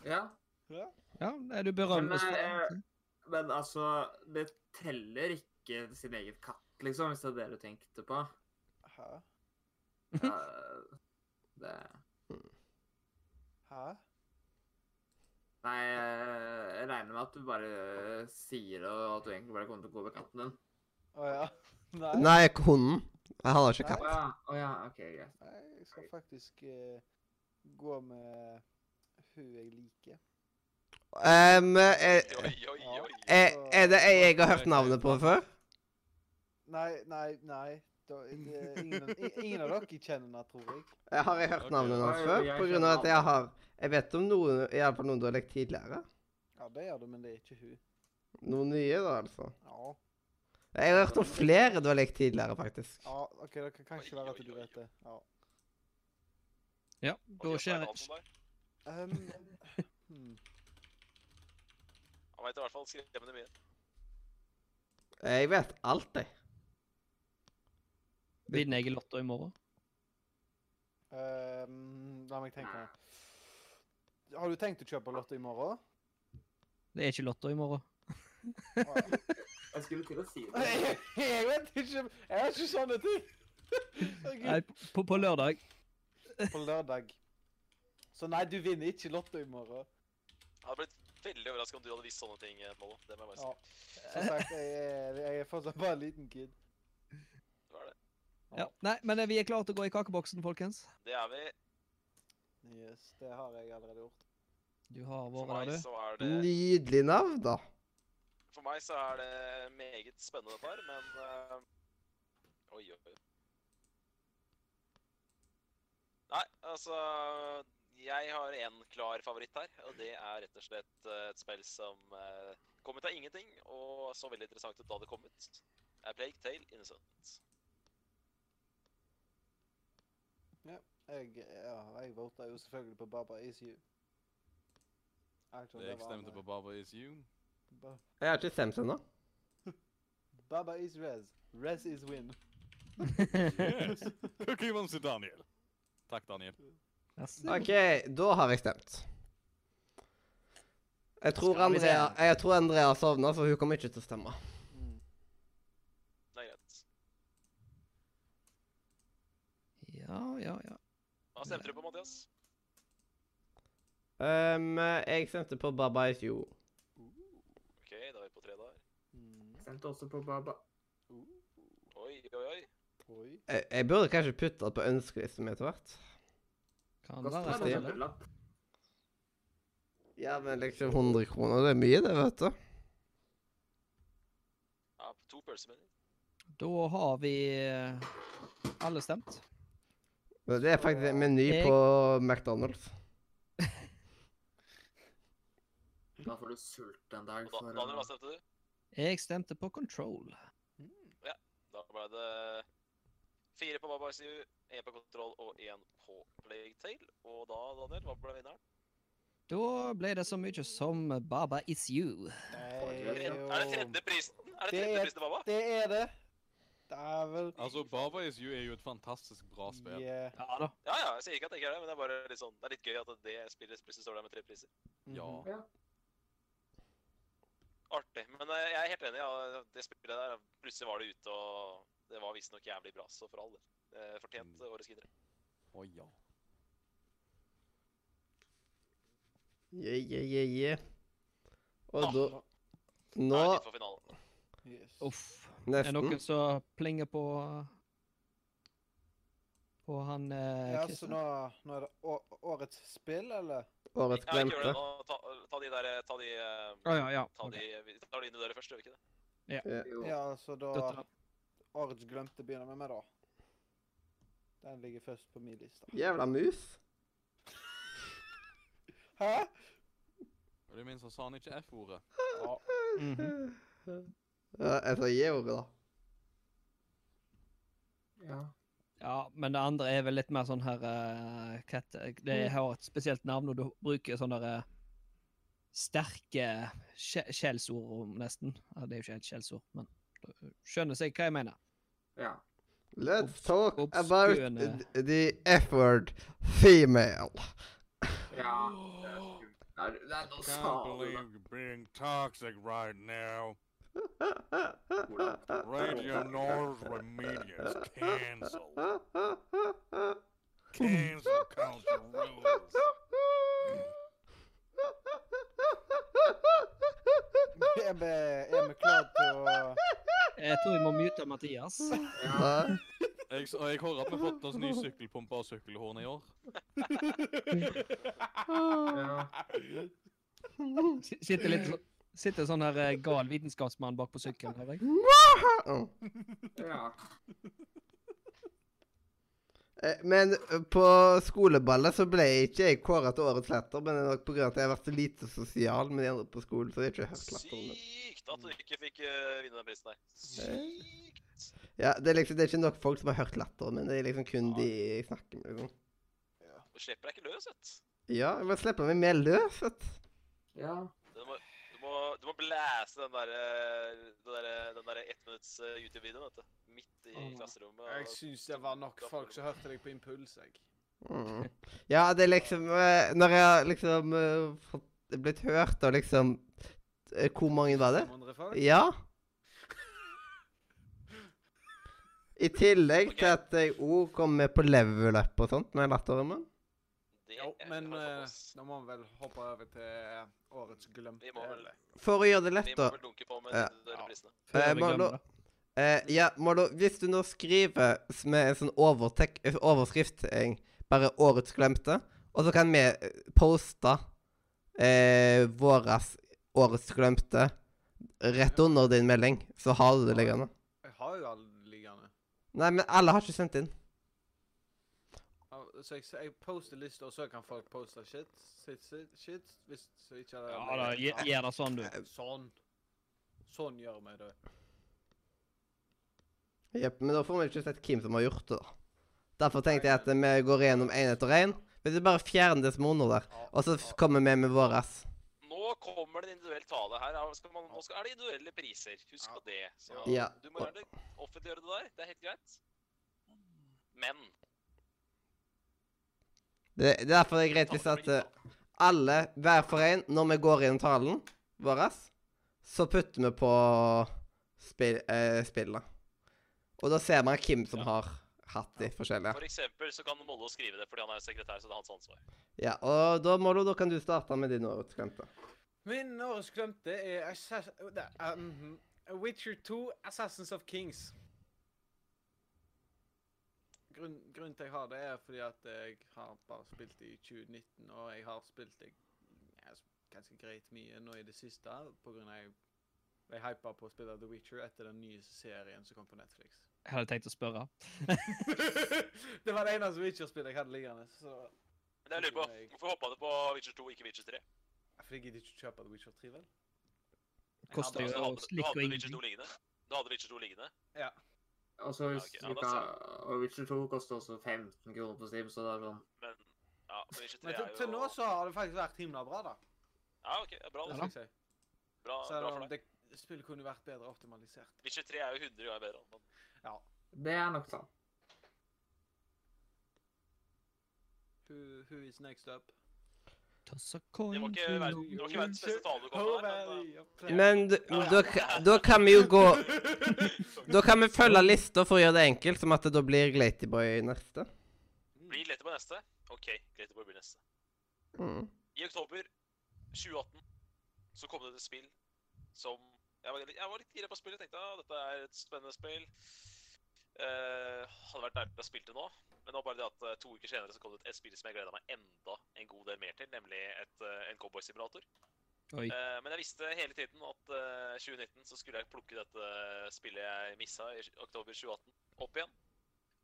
ja.
Ja, er du berømt?
Men, eh, Men altså, det teller ikke sin egen katt, liksom, hvis det er det du tenkte [LAUGHS] på.
Hæ?
Ja, det
Hæ?
Nei, jeg regner med at du bare sier det, og at du egentlig bare kommer til å gå med katten din.
Å ja. [LAUGHS] Nei.
Nei, hunden. Jeg har ikke
Å
katt.
ja. Å ja, OK, greit.
Nei, jeg skal faktisk eh, gå med hun jeg liker.
Um, er,
Eh,
Oi, oi, oi.
er, eh, er det ei jeg har hørt navnet på før?
Nei, nei, nei. Da, det, er ingen, i- ingen av dere kjenner henne, tror jeg.
Jeg Eh, har jeg hørt
Ok.
navnet hans
Oi,
før?
jeg
På grunn
kjenner
av at jeg har Jeg vet om noen, i alle fall noen du har lekt tidligere.
Ja, det gjør du, men det er ikke hun.
Noen nye, da, altså.
Ja,
Jeg har hørt om flere du har lekt tidligere, faktisk.
ja OK, det kan kanskje
Oi,
være
oi,
at du
oi,
vet det. Ja.
ja,
Og
da
Jostein
skjer
Hansen der.
Um, hmm.
Han veit i hvert fall skremmende mye.
Eh, Jeg vet alt, jeg.
Vinner jeg i Lotto i morgen?
um, la meg tenke. Har du tenkt å kjøpe Lotto i morgen?
Det er ikke Lotto i morgen.
Å, ja.
Jeg skulle til å si det.
Jeg jeg vet ikke Jeg har ikke sånne [LAUGHS] ting. Å, Gud.
Nei, på, på lørdag.
På lørdag. Så nei, du vinner ikke Lotto i morgen.
Jeg hadde blitt veldig overraska om du hadde visst sånne ting, eh, Mollo. Det må jeg bare si.
Ja. Som sagt, jeg er, jeg er fortsatt bare en liten kid.
Det var det.
Ja. Nei, men eh, vi er klare til å gå i kakeboksen, folkens.
Det er vi.
Yes, det har jeg allerede gjort.
Du har
For
vært
meg
der, du.
så er det
Nydelig navn, da.
For meg så er det meget spennende dette her, men eh, Oi, oi, oi. Nei, altså Jeg har én klar favoritt her, og det er rett og slett eh, et spill som eh, kom ut av ingenting, og så veldig interessant ut da det kom ut. Det er Plague Tale Innocent.
Jeg, ja, jeg vota jo selvfølgelig på Baba Is You. Actually, det
Jeg
var
stemte
han,
på
eh,
Baba Is You.
[LAUGHS] Ba-
Jeg har ikke stemt ennå.
Baba is Rez. Rez is win.
Yes. Pokémon til Daniel. Takk, Daniel.
Yes.
OK, da har jeg stemt. Jeg tror
Skal vi se.
Andrea, jeg tror Andrea sovna, så hun kommer ikke til å stemme.
Mm.
Det er greit.
Ja, ja, ja.
Hva stemte du på, Mathias?
Um, jeg stemte på Baba Is You.
OK, da er vi på tre der.
Mm.
Stemte også på Baba.
Oi, oi, oi.
Oi.
Jeg, jeg burde kanskje putte det på ønskelisten min etter hvert.
Kan
Koster
være
det en
sånn.
hundrelapp?
Ja, men liksom 100 kroner, det er mye, det, vet du.
pølse, mener jeg.
Da har vi eh, alle stemt.
Men Det er faktisk en meny på McDonald's.
Da får du sult en dag
Og
for
da, Daniel, hva stemte du?
Jeg stemte på Control.
Da ble det fire på Baba ICU, én på kontroll og én på Playtale. Og da, Daniel, hva ble vinneren?
Da ble det så mye som Baba is you.
Er det tredje- er det tredje prisen? Er det
Det
tredje
er-
prisen til Baba?
Det er det. Dævel.
Altså, Baba Is You er jo et fantastisk bra spill.
Yeah.
Ja da.
Ja, ja, jeg sier ikke at jeg ikke er det, men det er bare litt sånn, det er litt gøy at det spillet plutselig står der med tre priser.
Ja.
Mm-hmm.
Mhm.
Artig. Men eh, jeg er helt enig, ja, det spillet der, plutselig var det ute, og det var visstnok jævlig bra, så for all del. Eh, Fortjent eh, årets vinnere.
Å ja.
Yeah, yeah, yeah, yeah. Og
Ah.
da
Da
Nå
er det tid for finalen.
Yes.
Uff. Er det
Nesten.
noen som plinger på På han eh,
Ja, så
Christian?
nå, nå er det å- årets spill, eller?
Ja,
Årets
ikke gjør det
glemte.
nå. Ta, ta de der, eh, ta de, eh,
Å ja, ja.
ta
ok.
de, vi tar de inn i døra først, gjør vi ikke det?
Jo.
Ja, så
Da
da
tar-
Årets glemte begynner med meg, da. Den ligger først på min liste.
Jævla mus.
Hæ?
Og det minste sa han ikke F-ordet.
Mhm.
Ja, jeg sa G-ordet, da.
Ja.
Ja, men det andre er vel litt mer sånn her eh, hva heter det?
Mm.
Det har et spesielt navn, og du bruker sånne der, eh, sterke skje- skjellsord, om nesten. Ja, det er jo ikke helt skjellsord, men du skjønner seg hva jeg mener.
ja.
Let's
Obs-
talk about
obskøne.
th- the F-word female.
ja. Det er skummelt. Nei, du- Nei, nå sa du det.
you're being toxic right now. Uh,
[LAUGHS]
Nord's remedies cancel. Cancel culture rules.
Er vi, er vi klare til å
Jeg tror vi må mute Mathias.
Ja.
Hæ?
Jeg, s- og jeg hører at vi har fått oss ny sykkelpumpe og sykkelhorn i år.
ja.
S- Sitter litt så- Sitter sånn her eh, gal vitenskapsmann bak på sykkelen, hører jeg.
Åh.
ja.
Eh, Men eh, på skoleballet så ble jeg ikke jeg kåra til årets latter, men det er nok på grunn av at jeg har vært så lite sosial med de andre på skolen, så jeg har ikke hørt latteren min.
Sykt
Mm.
at du ikke fikk eh, vinne den prisen der. Sykt!
Ja, det er liksom det er ikke nok folk som har hørt latteren min, det er liksom kun
Ja.
de jeg snakker med. Liksom.
Du slipper deg ikke løs, vet du.
Ja, jeg bare slipper meg mer løs, vet du.
ja.
Du må, du må, du må blæse den derre den der, den der ett minutts eh, YouTube-videoen, vet du. Midt i
Åh.
klasserommet.
Jeg syns det var nok folk som hørte deg på impuls, jeg.
Mm. Ja, det er liksom eh, Når jeg har liksom eh, fått blitt hørt, og liksom eh, Hvor mange var det?
500 folk?
Ja. I tillegg til at jeg òg kom med på level up og sånt med latteren min.
Det
Jo,
er-
men
det var
eh,
såpass.
nå må vi vel hoppe over til årets glemte.
Vi må vel-
eller?
For å gjøre det lett,
Vi må
da.
vel dunke på med
Ja.
de der prisene.
Før
Eh,
vi
Marlo-
glemmer det.
Eh, ja, Marlo, hvis du nå skriver s- med en sånn overtek eh, overskrift eh, Bare 'Årets glemte', og så kan vi eh, poste eh, våras 'Årets glemte' rett under din melding, så har du det liggende.
Jeg har jo alle liggende.
Nei, men alle har ikke sendt inn.
Al- Så jeg, så jeg poster lister, og så kan folk poste shit, shit, shit, shit hvis så ikke det
Ja da, gjør gjør det sånn, du.
Sånn. Sånn gjør vi det.
Jepp, men da får vi ikke sett hvem som har gjort det, da. Derfor tenkte jeg at eh, vi går igjennom én etter én. Hvis du bare fjerner det som er under der,
Ja,
og så f- kommer vi med våras.
Nå kommer det en individuell tale her. Her Skal man, nå skal, er det individuelle priser. Husk på det. Så
Ja.
du må gjerne offentliggjøre det der. Det er helt greit. Men
Det, det er derfor det er greit hvis at eh, alle, hver for en, når vi går gjennom talen vår, så putter vi på spill, eh, spillet. Og da ser man hvem som har hatt de forskjellige.
for eksempel så kan Mollo skrive det fordi han er sekretær, så det er hans ansvar.
Ja, og da, Mollo, da kan du starte med din åretsglemte.
Min årets glemte er Assass... det er, mhm. Witcher 2, Assassins of Kings. Grunn, grunnen til jeg har det, er fordi at jeg har bare spilt det i 2019, og jeg har spilt det ja, s- ganske greit mye nå i det siste, på grunn av jeg Jeg hypa på å spille The Witcher etter den nye serien som kom på Netflix. [LAUGHS]
Jeg hadde tenkt å spørre.
det var det eneste Witcher-spillet jeg hadde liggende. så...
Men jeg lurer på, hvorfor hoppa du på Witcher 2, ikke Witcher 3?
For jeg gidder ikke kjøpe The Witcher 3, vel?
Koster
Du
jo
hadde, du
slikk og
hadde Witcher
ingenting.
2 liggende. Du hadde Witcher 2 liggende.
Og så Altså, hvis
Ja, ok, ja,
du
da
ikke har- Og Witcher 2 koster også 15 kroner på Steam, så det er sånn
Men ja, men Witcher 3
Men til,
er
til nå
jo
så har det faktisk vært himla bra, da.
Ja, OK, det er bra,
Det
det.
da.
skal jeg si.
Bra, bra
Selv
for
om
deg.
det spillet kunne vært bedre optimalisert.
Witcher 3 er jo 100 ganger bedre. Men
Det er nok sant.
Who, who is next up?
Toss a coin
det må ikke
to-
være, det må ikke være den beste talen du kan ha der,
[LAUGHS]
[LAUGHS] men eh,
Men d- da, ka- da kan vi jo gå Da kan vi følge lista for å gjøre det enkelt, som at det da blir Glatyboy neste.
eh, blir lett på neste. OK, greit, det blir neste.
Mm.
I oktober 2018 så kom det et spill som Jeg var, jeg var litt gira på spillet. Tenkte at dette er et spennende spill. Eh, hadde vært deilig å spille det nå. Men det var bare det at eh, to uker senere så kom det et- et spill som jeg gleda meg enda en god del mer til, nemlig et, eh, en cowboysimulator.
Oi.
Eh, men jeg visste hele tiden at eh, 2019 så skulle jeg plukke dette spillet jeg missa i oktober 2018, opp igjen.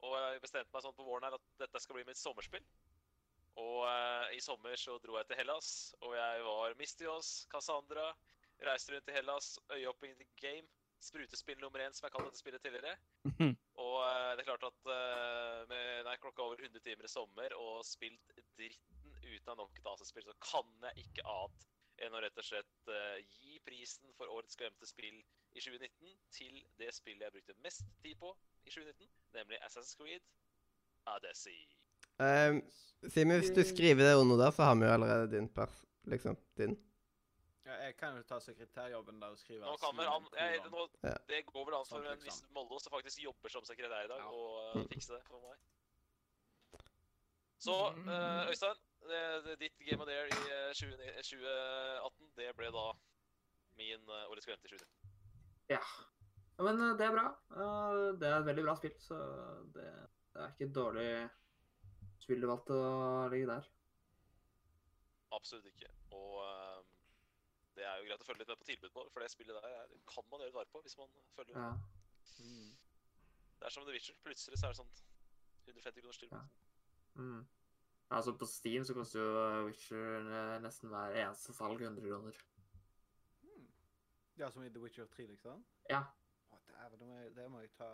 Og jeg bestemte meg sånn på våren her at dette skal bli mitt sommerspill. Og eh, i sommer så dro jeg til Hellas, og jeg var Mistios, Cassandra, reiste rundt i Hellas, øyehopping the game, sprutespill nummer én, som jeg kalte dette spillet tidligere.
Mhm.
Og eh, det er klart at eh, med nei, klokka over 100 timer i sommer og spilt dritten ut av nok et AC-spill, så kan jeg ikke annet enn å rett og slett eh, gi prisen for årets glemte spill i 2019 til det spillet jeg brukte mest tid på i 2019, nemlig Assassin's Creed Odyssey.
Um, Simen, hvis du skriver det under der, så har vi jo allerede din pers. Liksom. Din.
Ja, jeg kan jo ta sekretærjobben der og skrive
Nå kan vel han jeg,
kolon.
nå,
Ja.
Det går vel an for
Sant,
en
ikke
viss
sant?
Mollo som faktisk jobber som sekretær i dag,
Ja.
å eh,
Mm.
fikse det for meg. Så eh, Øystein, det- det- ditt Game of the Year i eh, 20, 2018, det ble da min eh, årets glemte 2019.
Ja. Ja, Men eh, det er bra. Eh, Det er et veldig bra spill, så det, det er ikke et dårlig spill du valgte å ligge der.
Absolutt ikke. Og eh, det er jo greit å følge litt med på tilbudet vår, for det spillet der er- kan man gjøre vare på hvis man følger
Ja.
Det er som The Witcher. Plutselig så er det sånn 150 kroner styrk.
Ja. Mm. Altså På Steam så koster jo eh, Witcher eh, nesten hver eneste salg 100 kroner.
Ja, som i The Witcher 3, liksom?
Ja.
Å, dæven, det må jeg- det må jeg ta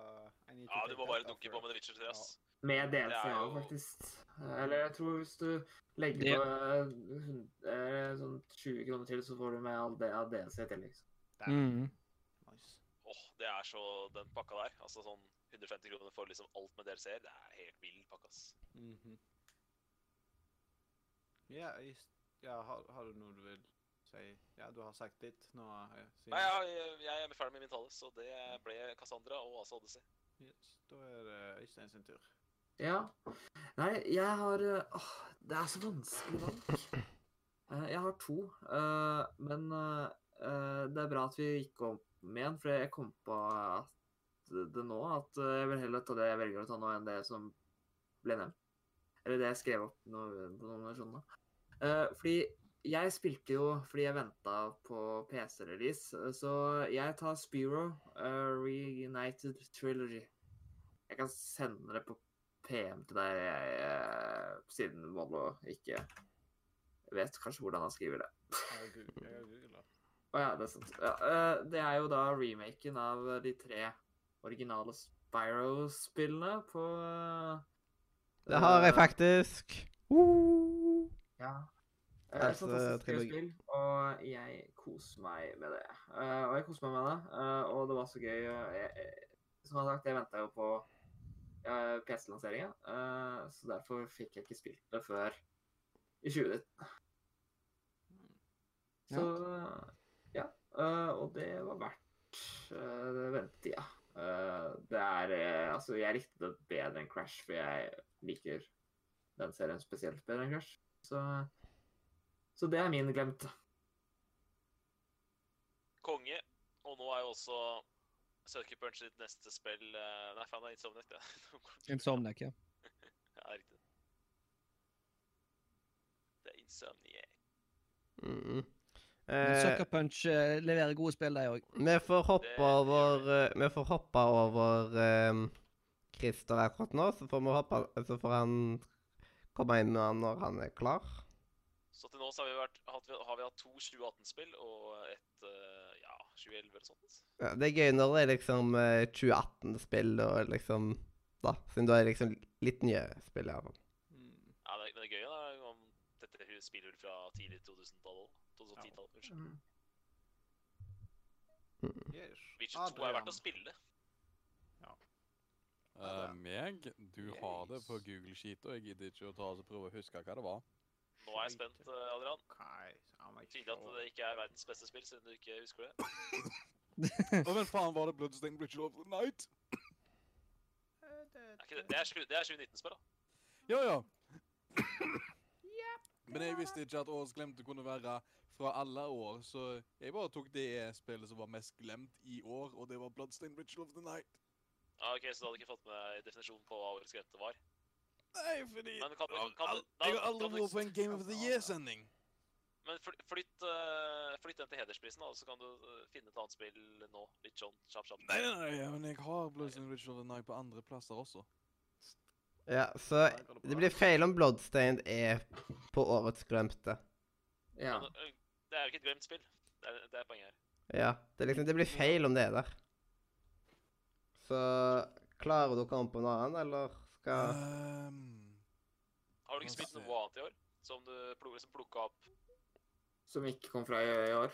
I need to
Ja,
take
du må
that
bare
up
dunke
for-
på med The Witcher 3, ass.
Med DLC
Det er
også,
jo-
faktisk. Eller jeg tror hvis du legger
Det-
på eh, hun- eh, sånn 20 kroner til, så får du med all det av DLC til. liksom.
Mm.
Nice.
Åh, det er så den pakka der. Altså sånn 150 kroner for liksom alt med DLC-er. Det er helt vill pakke, ass.
Mhm. Ja, i s- ja har, har du noe du vil si? Ja, du har sagt ditt nå. eh, Simen.
Nei, jeg, jeg er ferdig med min tale, så det ble Cassandra og Asa Odyssey.
Yes, da er det Øystein sin tur.
Ja. Nei, jeg har eh, Åh, det er så vanskelig valg. Eh, Jeg har to, eh, men eh, eh, det er bra at vi gikk om igjen, for jeg kom på at det nå at eh, jeg vil heller ta det jeg velger å ta nå, enn det som ble nevnt. Eller det jeg skrev opp nå- på nominasjonene. Eh, Fordi jeg spilte jo fordi jeg venta på PC-release, så jeg tar Spiro eh, Reunited Trilogy. Jeg kan sende det på PM til deg, jeg, eh, siden Vollo ikke vet kanskje hvordan han skriver det.
Jeg har Gu- jeg har googla.
Å ja, det er sant. Ja, eh, det er jo da remaken av eh, de tre originale Spyro-spillene på eh,
Det har jeg
eh,
faktisk. Woo!
Ja. Eh,
Altså,
fantastisk gøy
trilogi.
spill, og jeg koser meg med det. Eh, og jeg koser meg med det, eh, og det var så gøy. og jeg, jeg- som jeg har sagt, jeg venta jo på uh, PC-lanseringa, eh, så derfor fikk jeg ikke spilt det før i 2019. Så ja. eh, og det var verdt uh, ventetida. Eh, det er eh, Altså, jeg likte det bedre enn Crash, for jeg liker den serien spesielt bedre enn Crash. Så, så det er min glemte.
Konge. Og nå er jo også Sucker Punch sitt neste spill eh, Nei, faen, det er Insomniac, det. [LAUGHS]
Insomniac, ja.
Ja, riktig. Det er Insomniac.
Mm.
Men
Eh,
Sucker Punch eh, leverer gode spill, de òg.
Vi får hoppe over eh, Vi får hoppe over ehm, Christer akkurat nå, så får vi hoppe Så får han komme inn med han når han er klar.
Så til nå så har vi, vært, hatt, har vi hatt to 2018-spill og et eh, ja, 2011 eller sånt.
Ja, det er gøy når det er liksom eh, 2018-spill og liksom Da. Siden da er det liksom litt nye spill, iallfall.
Mm.
Ja, det, men det gøye er om dette hu- spiller vel fra tidlig 2000-tall òg. 2010-tall, unnskyld.
Mm.
Yes.
Witcher 2 er verdt å
Adrian.
spille.
Eh, meg? Du har det på
Yes.
Google Sheet, og jeg gidder ikke å ta og så prøve å huske hva det var.
Nå er jeg spent, eh, Adrian.
Okay, so I'm like,
Tydelig at
sure.
det ikke er verdens beste spill, siden du ikke husker det.
Å, men faen, var det Bloodstained Ritual of the Night?
Er ikke det. Det er, sju- det er 2019-spill, da.
Ja, ja. Men jeg visste ikke at årets glemte kunne være fra alle år, så jeg bare tok det spillet som var mest glemt i år, og det var Bloodstained Ritual of the Night.
Ja, ok, Så du hadde ikke fått med definisjonen på hva årets grønte var?
Nei, fordi
Men kan du-
Jeg har
kan du-
al- Jeg har
da-
aldri
kan du-
vært på en Game of the Year-sending.
Men fly- flytt, eh, flytt den til hedersprisen, da, og så kan du eh, finne et annet spill nå. Litt sånn kjapt, kjapt.
Nei, nei, nei, ja, men jeg har Bloodstained Ritual of the Night på andre plasser også.
Ja, så det blir feil om Bloodstained er på årets glemte.
Ja.
Men, eh, Det er jo ikke et glemt spill. Det er, det er poenget her.
Ja. Det, er liksom, det blir feil om det er der. Så klarer du å komme på noe annet, eller skal
Ehm,
Har du ikke
Hva
spilt
sier-
noe annet i år? Som du pl- som plukka opp?
Som ikke kom fra i i år.
I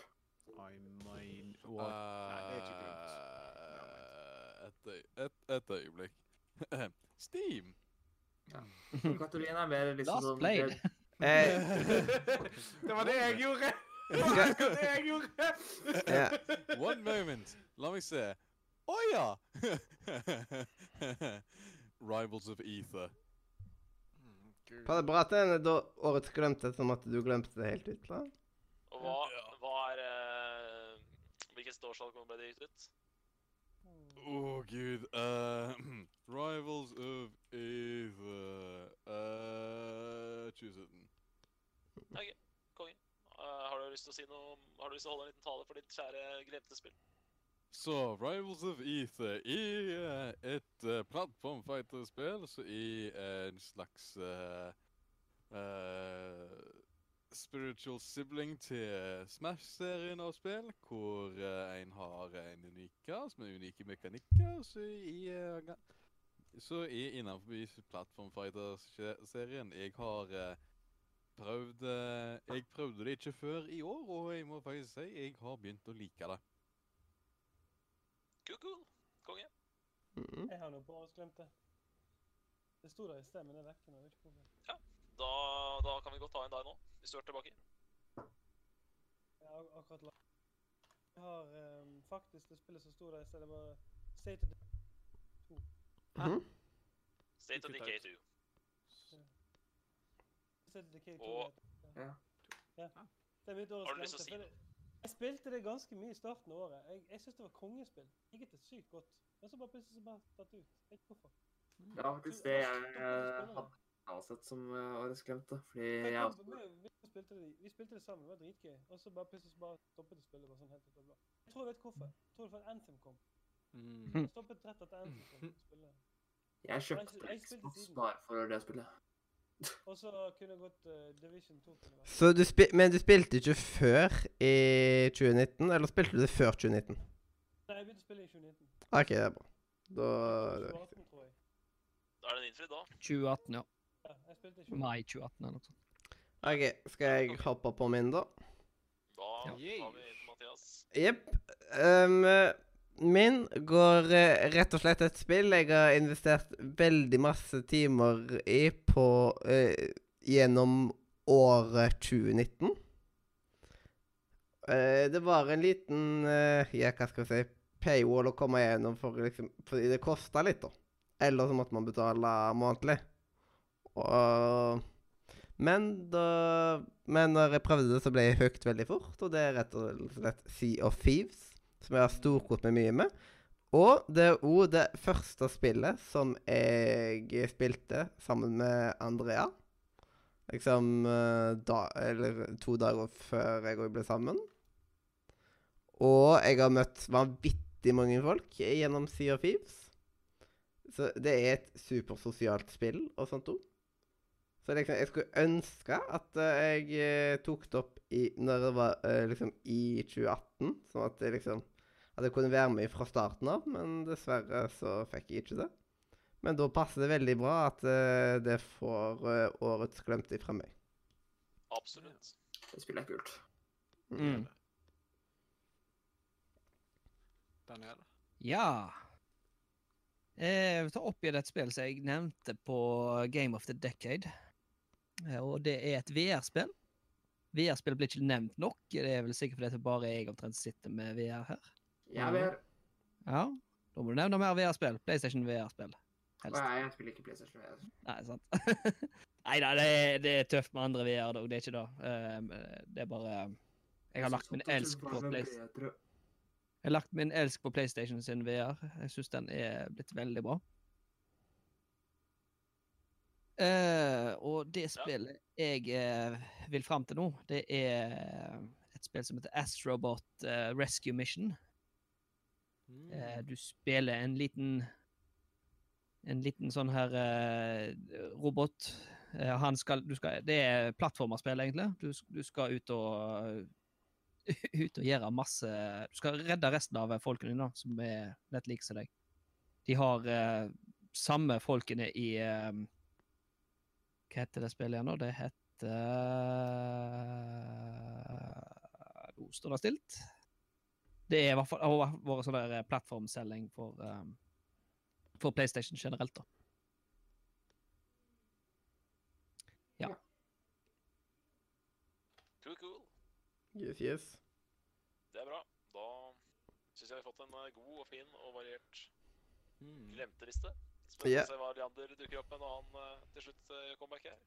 mean, det er ikke
eh, et, øy- et, et øyeblikk. [LAUGHS] Steam.
Men Katarina er mer liksom
Last
sånn
played.
det-
[LAUGHS]
eh,
det var det jeg gjorde!
skal,
Det var det jeg gjorde!
ja.
One moment. La meg se. Å ja! [LAUGHS] Rivals of Ether.
Var det bra at den er da årets glemte, som at du glemte det helt ut? da?
Og hva, hva er eh, Hvilket årstall ble det gitt ut?
Å, gud. eh, [CLEARS THROAT] Rivals of Ether Eh, 2017.
Eh, har du lyst til å si noe om Har du lyst til å holde en liten tale for ditt kjære glemte spill?
Så Rivals of Ether er et eh, plattformfighterspill som er en slags eh, eh, spiritual sibling til Smash-serien av spill, hvor eh, en har en uniker som er unike mekanikker, som er, ga- som er innenfor plattformfighter-serien. Jeg har eh, prøvd eh, Jeg prøvde det ikke før i år, og jeg må faktisk si jeg har begynt å like det.
Kuku, konge.
Mhm.
Jeg har noe på årets glemte. Det sto der i sted, men det er vekke nå. det er ikke problem.
Da, da kan vi godt ta en deg nå, hvis du er tilbake.
Jeg har ak- akkurat la... Jeg har ehm, faktisk det spillet som sto der i sted, det var State of the...
Mhm.
State of
Ikke
Decay
taut.
2.
State of the K2.
Åh.
Ja.
ja. Det er mitt årets
Har du lyst til å
glemte,
si
for
noe?
det- Jeg spilte det ganske mye i starten av året. Jeg, jeg synes det var kongespill. Det gikk etter sykt godt. Men så bare plutselig så bare tatt ut. Jeg vet ikke hvorfor.
Det var faktisk det jeg eh, hadde avsett som eh, årets glemte. Fordi
For
jeg
jeg
også
kom- vi, vi, spilte det, vi spilte det sammen, det var dritgøy. Og så bare plutselig så bare stoppet det spillet. Bare sånn helt ut av det blå. Jeg tror jeg vet hvorfor. Jeg tror det var at Anthem kom.
Mm.
Mm,
Det stoppet rett etter Anthem kom.
[LAUGHS]
Spillet.
Jeg
Jeg-
kjøpte
jeg spilte
Xbox
siden.
bare for det spillet.
Og så kunne det gått eh, Division 2. Kunne det vært.
Så du spi men du spilte ikke før i 2019? Eller spilte du det før 2019?
Nei, jeg begynte å spille i 2019.
OK, det er bra. Da det er
2018, tror jeg.
Da er den innfridd, da.
2018, ja.
Ja, jeg spilte i 2019.
Mai 2018 eller noe sånt.
viktig. OK, skal jeg hoppe på min, da?
Da tar vi
Ja.
inn Mathias.
Jepp. Um, min går eh, rett og slett et spill jeg har investert veldig masse timer i på eh, Gjennom året 2019. Eh, det var en liten eh, Ja, hva skal vi si Paywall å komme gjennom for liksom Fordi det kosta litt, da. Eller så måtte man betale månedlig. Og men da Men når jeg prøvde det, så ble jeg hooked veldig fort, og det er rett og slett Sea of Thieves, som jeg har storkost meg mye med. Og det er òg det første spillet som jeg spilte sammen med Andrea. Liksom eh, da, eller to dager før jeg og hun ble sammen. Og jeg har møtt vanvittig mange folk gjennom Sea of Thieves. Så det er et supersosialt spill og sånt òg. Så liksom, jeg skulle ønske at eh, jeg eh, tok det opp i, når det var eh, liksom i 2018, sånn at jeg liksom at jeg kunne være med fra starten av, men dessverre så fikk jeg ikke det. Men da passer det veldig bra at eh, det får eh, årets glemte fra meg.
Absolutt.
Det spillet er kult.
Mm.
Daniel?
Ja Jeg tar opp igjen et spill som jeg nevnte på Game of the Decade. Eh, Og det er et VR-spill. VR-spill blir ikke nevnt nok. Det er vel sikkert fordi det bare jeg omtrent sitter med VR her.
Jeg,
Mm.
vil,
Ja, Da må du nevne mer VR-spill. PlayStation VR-spill. Helst.
nei, jeg spiller ikke PlayStation VR.
Nei, sant. [LAUGHS] Nei da, det, er- det er tøft med andre VR, da. Det er ikke det. Um, Det er bare Jeg har lagt min elsk på PlayStation. Jeg har lagt min elsk på PlayStation sin VR. Jeg syns den er blitt veldig bra. Eh, og det spillet jeg eh, vil fram til nå, det er et spill som heter Astrobot eh, Rescue Mission. Eh, du spiller en liten En liten sånn her eh, robot. Eh, han skal, du skal Det er plattformerspill, egentlig. Du, s- du skal ut og [LAUGHS] Ut og gjøre masse Du skal redde resten av folkene dine, da, som er nett like som deg. De har eh, samme folkene i eh, Hva heter det spillet igjen, nå? Det heter Nå står det eh, stilt. Det er i hvert fall det har vært sånn der eh, plattformselging for, ehm, for PlayStation generelt, da.
Cool, cool.
Yes, yes.
Det er bra. Da syns jeg vi har fått en eh, god og fin og variert
Mm.
glemte liste. Spennende
Ja.
å se hva Leander dukker opp med når han eh, til slutt eh, gjør comeback her.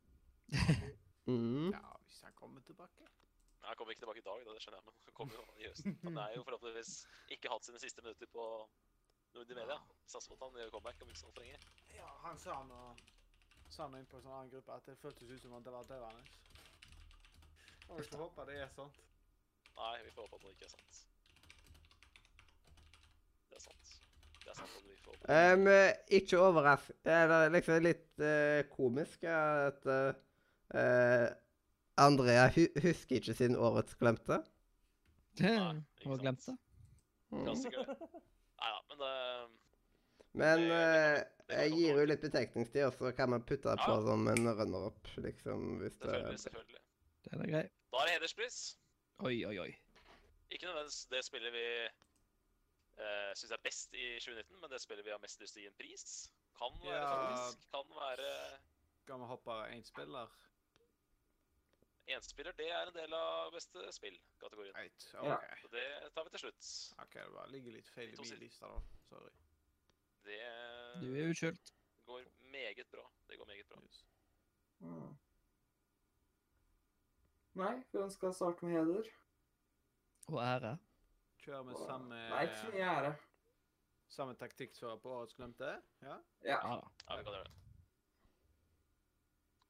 Mm.
Ja, hvis han kommer tilbake.
Nei, Han kommer ikke tilbake i dag, da, det skjønner jeg, men han kommer jo i høsten. Han er jo forhåpentligvis ikke hatt sine siste minutter på Nordic Media. Satser på at han gjør comeback om ikke så altfor lenge.
Ja, han sa noe Sa noe inn på en sånn annen gruppe at det føltes ut som at det var dødende. Og vi får håpe det er sånt.
Nei, vi får håpe at det ikke er sant. Det er sant. Det er sant at vi får håpe.
Um, eh, ikke overrask... Eller liksom litt eh, komisk er at eh, Andrea hu husker ikke sin årets glemte.
Nei, ikke
Og
sant.
glemte.
Mm.
Klassiker, det. Nei da, men det
Men
det-
eh,
det kan
jeg
komme
gir
tilbake.
jo litt betenkningstid, og så kan man putte det på
Ja.
som en runner-up, liksom, hvis det er
Selvfølgelig, selvfølgelig.
Den er grei.
Da er det hederspris.
Oi, oi, oi.
Ikke nødvendigvis det spillet vi uh, syns er best i 2019, men det spillet vi har mest lyst til å gi en pris. Kan være
Ja.
faktisk. Kan være
Skal vi hoppe én spiller?
enspiller. Det er en del av beste spill-kategorien.
Right.
Ja.
OK.
Så det tar vi til slutt.
OK, det bare ligger litt feil
Vi
i
tar
min
sitt.
liste, da. Sorry.
Det
Du er uskyldt.
går meget bra. Det går meget bra.
Yes.
Mm. Nei, hvem skal starte med heder?
Og ære.
Kjører vi
Nei, ikke så
samme,
mye ære.
samme taktikk som på årets glemte? Ja?
Ja.
Ja da.
Ja, vi kan gjøre det.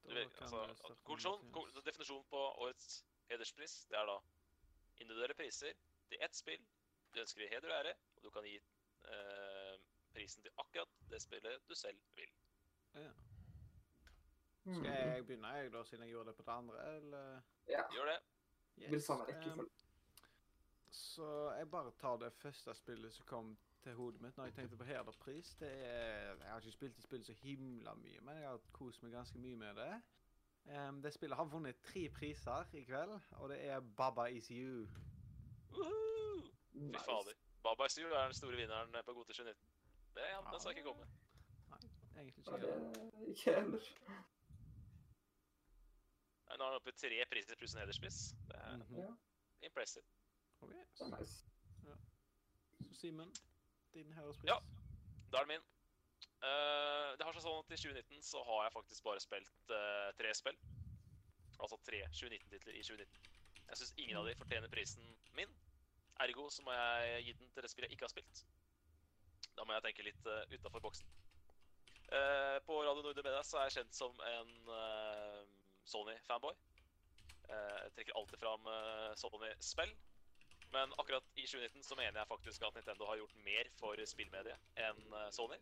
Du vet, altså, kollisjon, kol- definisjonen på årets hederspris, det er da individuelle priser til ett spill. Du ønsker i heder og ære, og du kan gi eh, prisen til akkurat det spillet du selv vil.
Skal
Mm.
jeg begynne, jeg, da, siden jeg gjorde det på det andre, eller?
Ja.
Gjør det.
Det blir samme
Yes,
rekkefølge.
ehm, så jeg bare tar det første spillet som kom til hodet mitt når jeg tenkte på Herderpris. Det er, jeg har ikke spilt det spillet så himla mye, men jeg har kost meg ganske mye med det. Ehm, det spillet har vunnet tre priser i kveld, og det er Baba Is You.
Woohoo! Fy
Nice.
fader. Baba Is You er den store vinneren på Gode 2019. Det, ja, den skal ikke komme.
Egentlig
Ja,
ikke
det
det.
er Ikke heller.
Nei, Nå er den oppe i tre priser pluss en hederspris. Det er
Mhm.
impressive.
Ok,
Det
Så
er nice.
så Simen, din Herderpris.
Ja. Da er det min. Eh, det har seg sånn at I 2019 så har jeg faktisk bare spilt eh, tre spill. Altså tre 2019-titler i 2019. Jeg syns ingen av de fortjener prisen min. Ergo så må jeg gi den til det spillet jeg ikke har spilt. Da må jeg tenke litt uh, utafor boksen. Eh, på Radio Nordre Media så er jeg kjent som en eh, Sony-fanboy. Eh, jeg trekker alltid fram eh, Sony-spill. Men akkurat i 2019 så mener jeg faktisk at Nintendo har gjort mer for spillmediet enn eh, Sony.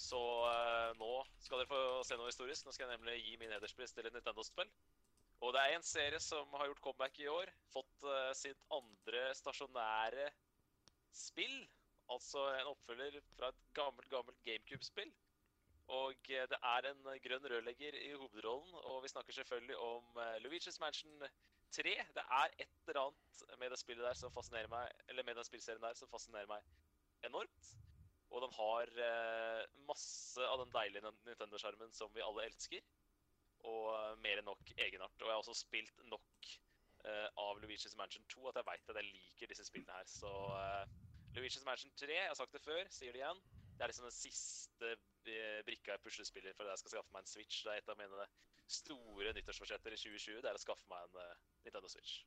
Så eh, nå skal dere få se noe historisk. Nå skal jeg nemlig gi min hederspris til et Nintendo-spill. Og det er en serie som har gjort comeback i år. Fått eh, sitt andre stasjonære spill. Altså en oppfølger fra et gammelt, gammelt GameCube-spill. Og eh, det er en eh, grønn rørlegger i hovedrollen, og vi snakker selvfølgelig om eh, Luigi's Mansion 3. Det er et eller annet med det spillet der som fascinerer meg, eller med den spillserien der som fascinerer meg enormt. Og den har eh, masse av den deilige Nin- Nintendo-skjermen som vi alle elsker. Og eh, mer enn nok egenart. Og jeg har også spilt nok eh, av Luigi's Mansion 2 at jeg veit at jeg liker disse spillene her. Så eh, Luigi's Mansion 3, jeg har sagt det før, sier det igjen. Det er liksom den siste eh, brikka jeg puslespiller for at jeg skal skaffe meg en Switch. Det er et av mine store nyttårsforsetter i 2020. Det er å skaffe meg en eh, Nintendo Switch.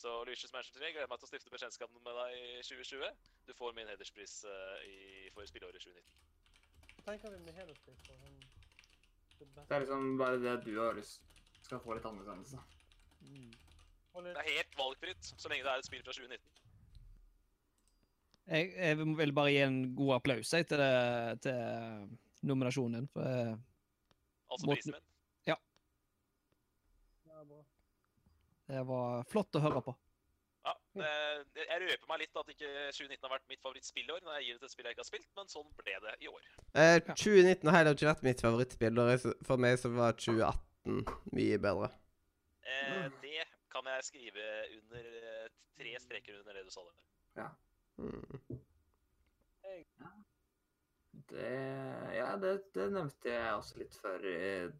Så Luigi's Mansion 3, gleder meg til å stifte bekjentskap med deg i 2020. Du får min hederspris eh, i, for spilleåret 2019.
Tenker vi med hederspris på sånn det
Det
beste.
er liksom bare det du har lyst skal få litt anerkjennelse.
Og
Det
litt-
er helt valgfritt, så lenge det er et spill fra 2019.
Jeg, jeg vil bare gi en god applaus jeg, til, det, til nominasjonen. For eh,
Altså
Måten-
prisen min.
Ja, bra.
det var flott å høre på.
Ja, det, jeg røper meg litt at ikke 2019 har vært mitt favorittspillår når jeg gir det til et spill jeg ikke har spilt, men sånn ble det i år.
Eh, 2019 har heller ikke vært mitt favorittspill. og jeg s- For meg så var 2018 mye bedre.
Eh, det kan jeg skrive under eh, tre streker under det du sa der.
Mm.
Det, ja, det, det nevnte jeg også litt før. i-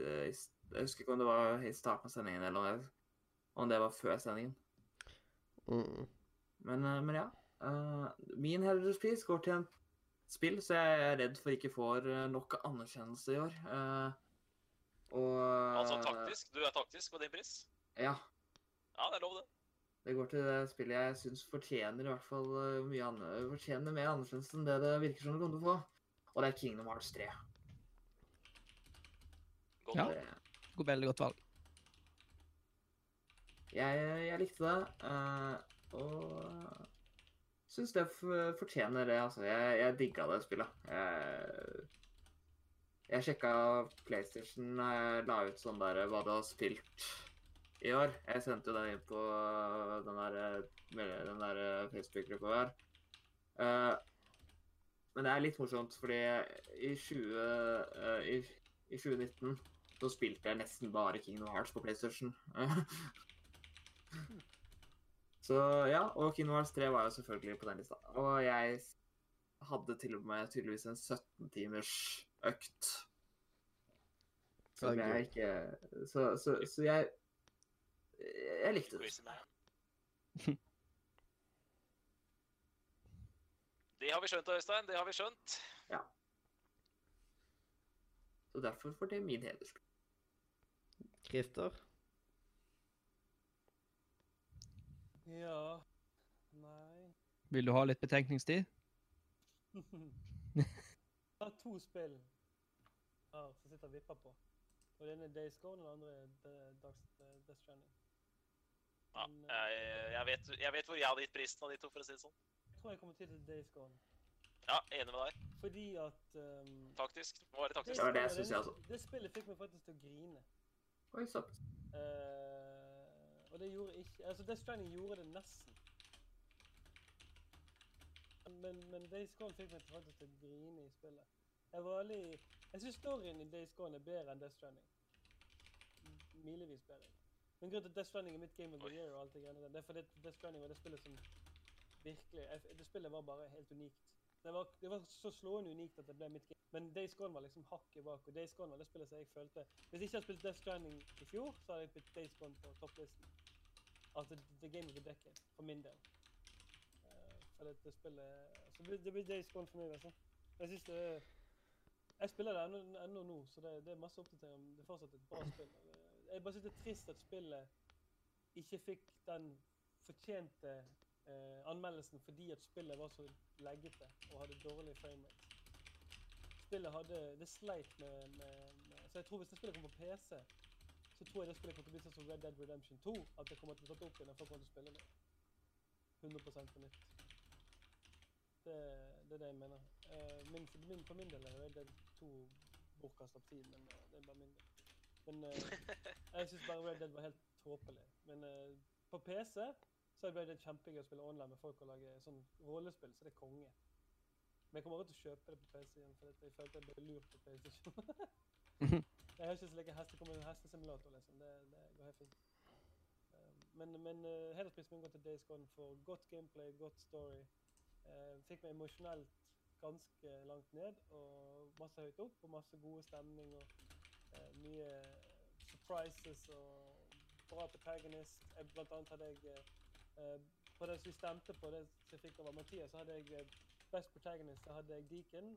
i- Jeg husker ikke om det var i starten av sendingen, eller om det, om det var før sendingen.
Mm.
Men, eh, men ja. eh, Min hederspris går til en spill, så jeg er redd for ikke får eh, nok anerkjennelse i år. Eh, Og eh,
Altså taktisk. Du er taktisk på din pris.
Ja.
Ja, det er lov, det.
Det går til det spillet jeg syns fortjener i hvert fall eh, mye an fortjener mer anerkjennelse enn det det virker som det kommer til å få. Og det er Kingdom Hearts 3.
Godt
Ja.
valg.
Det,
Go- Veldig godt valg.
Jeg, jeg likte det, eh, og syns det f- fortjener det. Altså, jeg, jeg digga det spillet. Jeg, jeg sjekka PlayStation eh, la ut sånn der hva du har spilt i år. Jeg sendte jo den inn på øh, den der, eh, mel- den der eh, Facebook-gruppa her. Eh, men det er litt morsomt, fordi i, 20, eh, i, i 2019 så spilte jeg nesten bare Kingdom Hearts på PlayStation. [LAUGHS] Så ja, og Kingdom Hearts 3 var jo selvfølgelig på den lista. Og jeg s- hadde til og med tydeligvis en 17 timers økt. Som
Ja,
jeg ikke Så, så, så jeg Eh, Jeg likte det.
Crazy man. Det har vi skjønt, Øystein. Det har vi skjønt.
Så derfor får det min hederspris.
Christer?
Ja Nei
Vil du ha litt betenkningstid?
[LAUGHS] Det er to spill her som sitter og vipper på. Og den ene er Days Gone, og den andre er The Darks- eh, Death Stranding.
Ja,
Men, eh,
jeg, jeg, vet, jeg vet hvor jeg hadde gitt prisen av de to, for å si det sånn.
jeg tror jeg kommer til til Days Gone.
Ja, enig med deg.
Fordi at ehm,
Taktisk. Det Må være
det
taktisk.
Ja, det
spillet-
synes jeg også.
Det spillet fikk meg faktisk til å grine.
Oi, så.
Eh, og det gjorde ikke Altså, Death Stranding gjorde det nesten. Men, men Days Gone fikk meg til faktisk til å grine i spillet. Jeg var veldig Jeg syns storyen i Days Gone er bedre enn Death Stranding. M- Milevis bedre. Men grunnen til at Death Stranding er mitt game of the
Oi.
year, og alt det greiene der, det er fordi at Death Stranding var det spillet som virkelig jeg, f- Det spillet var bare helt unikt. Det var, det var så slående unikt at det ble mitt game. Men Days Gone var liksom hakket bak, og Days Gone var det spillet som jeg følte hvis ikke jeg hadde spilt Death Stranding i fjor, så hadde jeg blitt Days Gone på topplisten. Altså The Game of the Decade, for min del. Eh, for det, det spillet Så det blir- det blir Days Gone for meg, altså. Jeg synes det er Jeg spiller det ennå- ennå nå, så det, det er masse å oppdatere om. Det er fortsatt et bra spill. Eh, Jeg bare synes det er trist at spillet ikke fikk den fortjente eh, anmeldelsen fordi at spillet var så leggete og hadde dårlig framerate spillet hadde Det sleit med, med, med Så jeg tror hvis det spillet kommer på PC, så tror jeg det spillet kommer til å bli sånn som Red Dead Redemption 2. At det kommer til å bli tatt opp igjen når folk kommer til å spille det. 100 på nytt. Det, det er det jeg mener. Eh, min, for, min, for min del er det to bortkasta tid, men eh, det er bare min del. Men eh, jeg syns bare Red Dead var helt tåpelig. Men eh, på PC så er Red Dead kjempegøy å spille online med folk og lage sånn rollespill, så det er konge. Men jeg kommer aldri til å kjøpe det på PC igjen, for jeg følte jeg ble lurt på PlayStation. Jeg har ikke så like hest, det kommer en hestesimulator, liksom. Det, det går helt fint. Um, Men, men eh, hedersprisen min går til Days Gone for godt gameplay, godt story. Eh, fikk meg emosjonelt ganske langt ned, og masse høyt opp, og masse gode stemning, og eh, mye surprises, og bra protagonist. Jeg, blant annet hadde jeg, eh, eh, på det som vi stemte på, det som jeg fikk over Mathias, så hadde jeg eh, best protagonist, så hadde jeg Deacon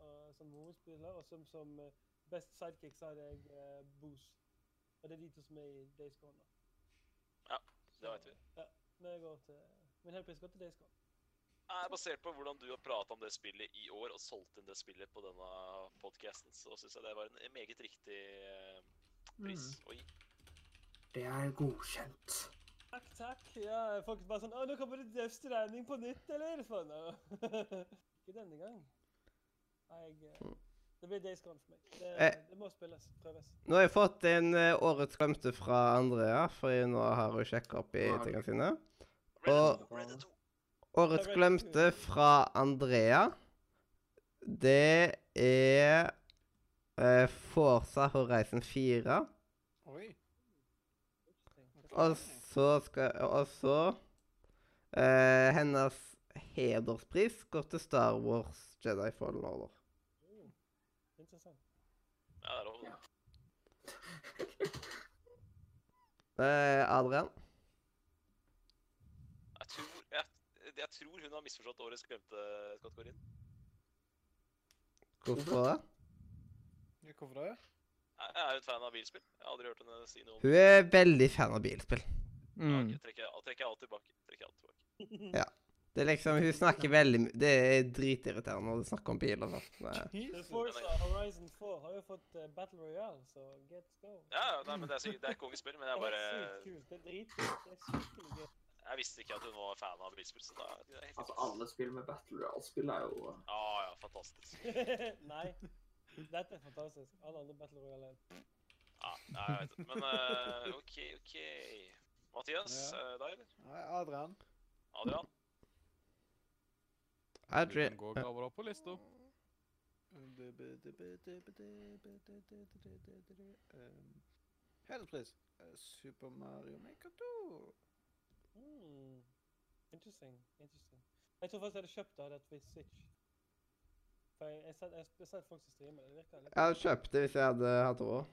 eh, som hovedspiller, og som, som eh, Best sidekick så hadde jeg eh, Booze. Og det er de to som er i Days Gone. da.
Ja, det vet vi.
Ja, det går til Min helpris går til Days Gone.
Nei, Basert på hvordan du har prata om det spillet i år, og solgt inn det spillet på denne podkasten, så syns jeg det var en meget riktig eh, pris å gi.
Det er godkjent.
Takk, takk. Ja, folk bare sånn 'Å, nå kommer det dødsregning på nytt, eller?' Faen, ja. [LAUGHS] Ikke denne gang. Nei, jeg eh, Det blir Days Gone for meg. Det,
Eh.
det må spilles. Prøves.
Nå har jeg fått en eh, årets glemte fra Andrea, for jeg nå har hun sjekka opp i
Ja.
tingene sine.
Red
Og-
Dead 2, Red Dead 2.
Årets glemte fra Andrea, det er eh, Forsa Horizon 4.
Oi.
Og så skal Og så eh, Hennes hederspris går til Star Wars Jedi Fallen Order.
Mm. Interessant.
Ja, det er lov.
Eh, Adrian?
Jeg tror, jeg, jeg tror hun har misforstått årets glemte kategori.
Hvorfor det?
Ja, Hvorfor det?
Jeg er hun fan av bilspill. Jeg har aldri hørt henne si noe om det.
Hun er veldig fan av bilspill.
Ja,
Mm.
ok, Trekker jeg trekker jeg alt tilbake. Trekker jeg alt tilbake.
Det er liksom, Hun snakker veldig my- Det er dritirriterende når du snakker om biler. da. Det-
The Forza Horizon 4 har jo fått eh, Battle Royale, så get go.
Ja, ja, nei, men det er, sikkert- det er kongespill, men jeg
det
bare
er sykt kult. Det er dritkult. Det er skikkelig gøy.
Jeg visste ikke at hun var fan av bilspill, så da det er helt
Altså,
fint.
alle spill med Battle Royale-spill er jo
Ja, ja, fantastisk.
[LAUGHS] Nei. Dette er fantastisk. Alle andre Battle Royale.
Ja, nei, jeg vet det. Men eh, OK, OK. Mathias,
Ja.
eh, deg, eller?
Nei, Adrian.
Adrian?
Du
Adrian
kan gå og grave det opp på lista.
Ehm, Um, Hederspris. Eh, Super Mario Maker 2.
Mm. Interesting. Interesting. Jeg tror faktisk jeg hadde kjøpt det hadde jeg hatt Wii Switch. For jeg, jeg, sett- jeg, jeg har sett folk som streamer det. Det virker litt
Jeg hadde kjøpt det hvis jeg hadde hatt råd.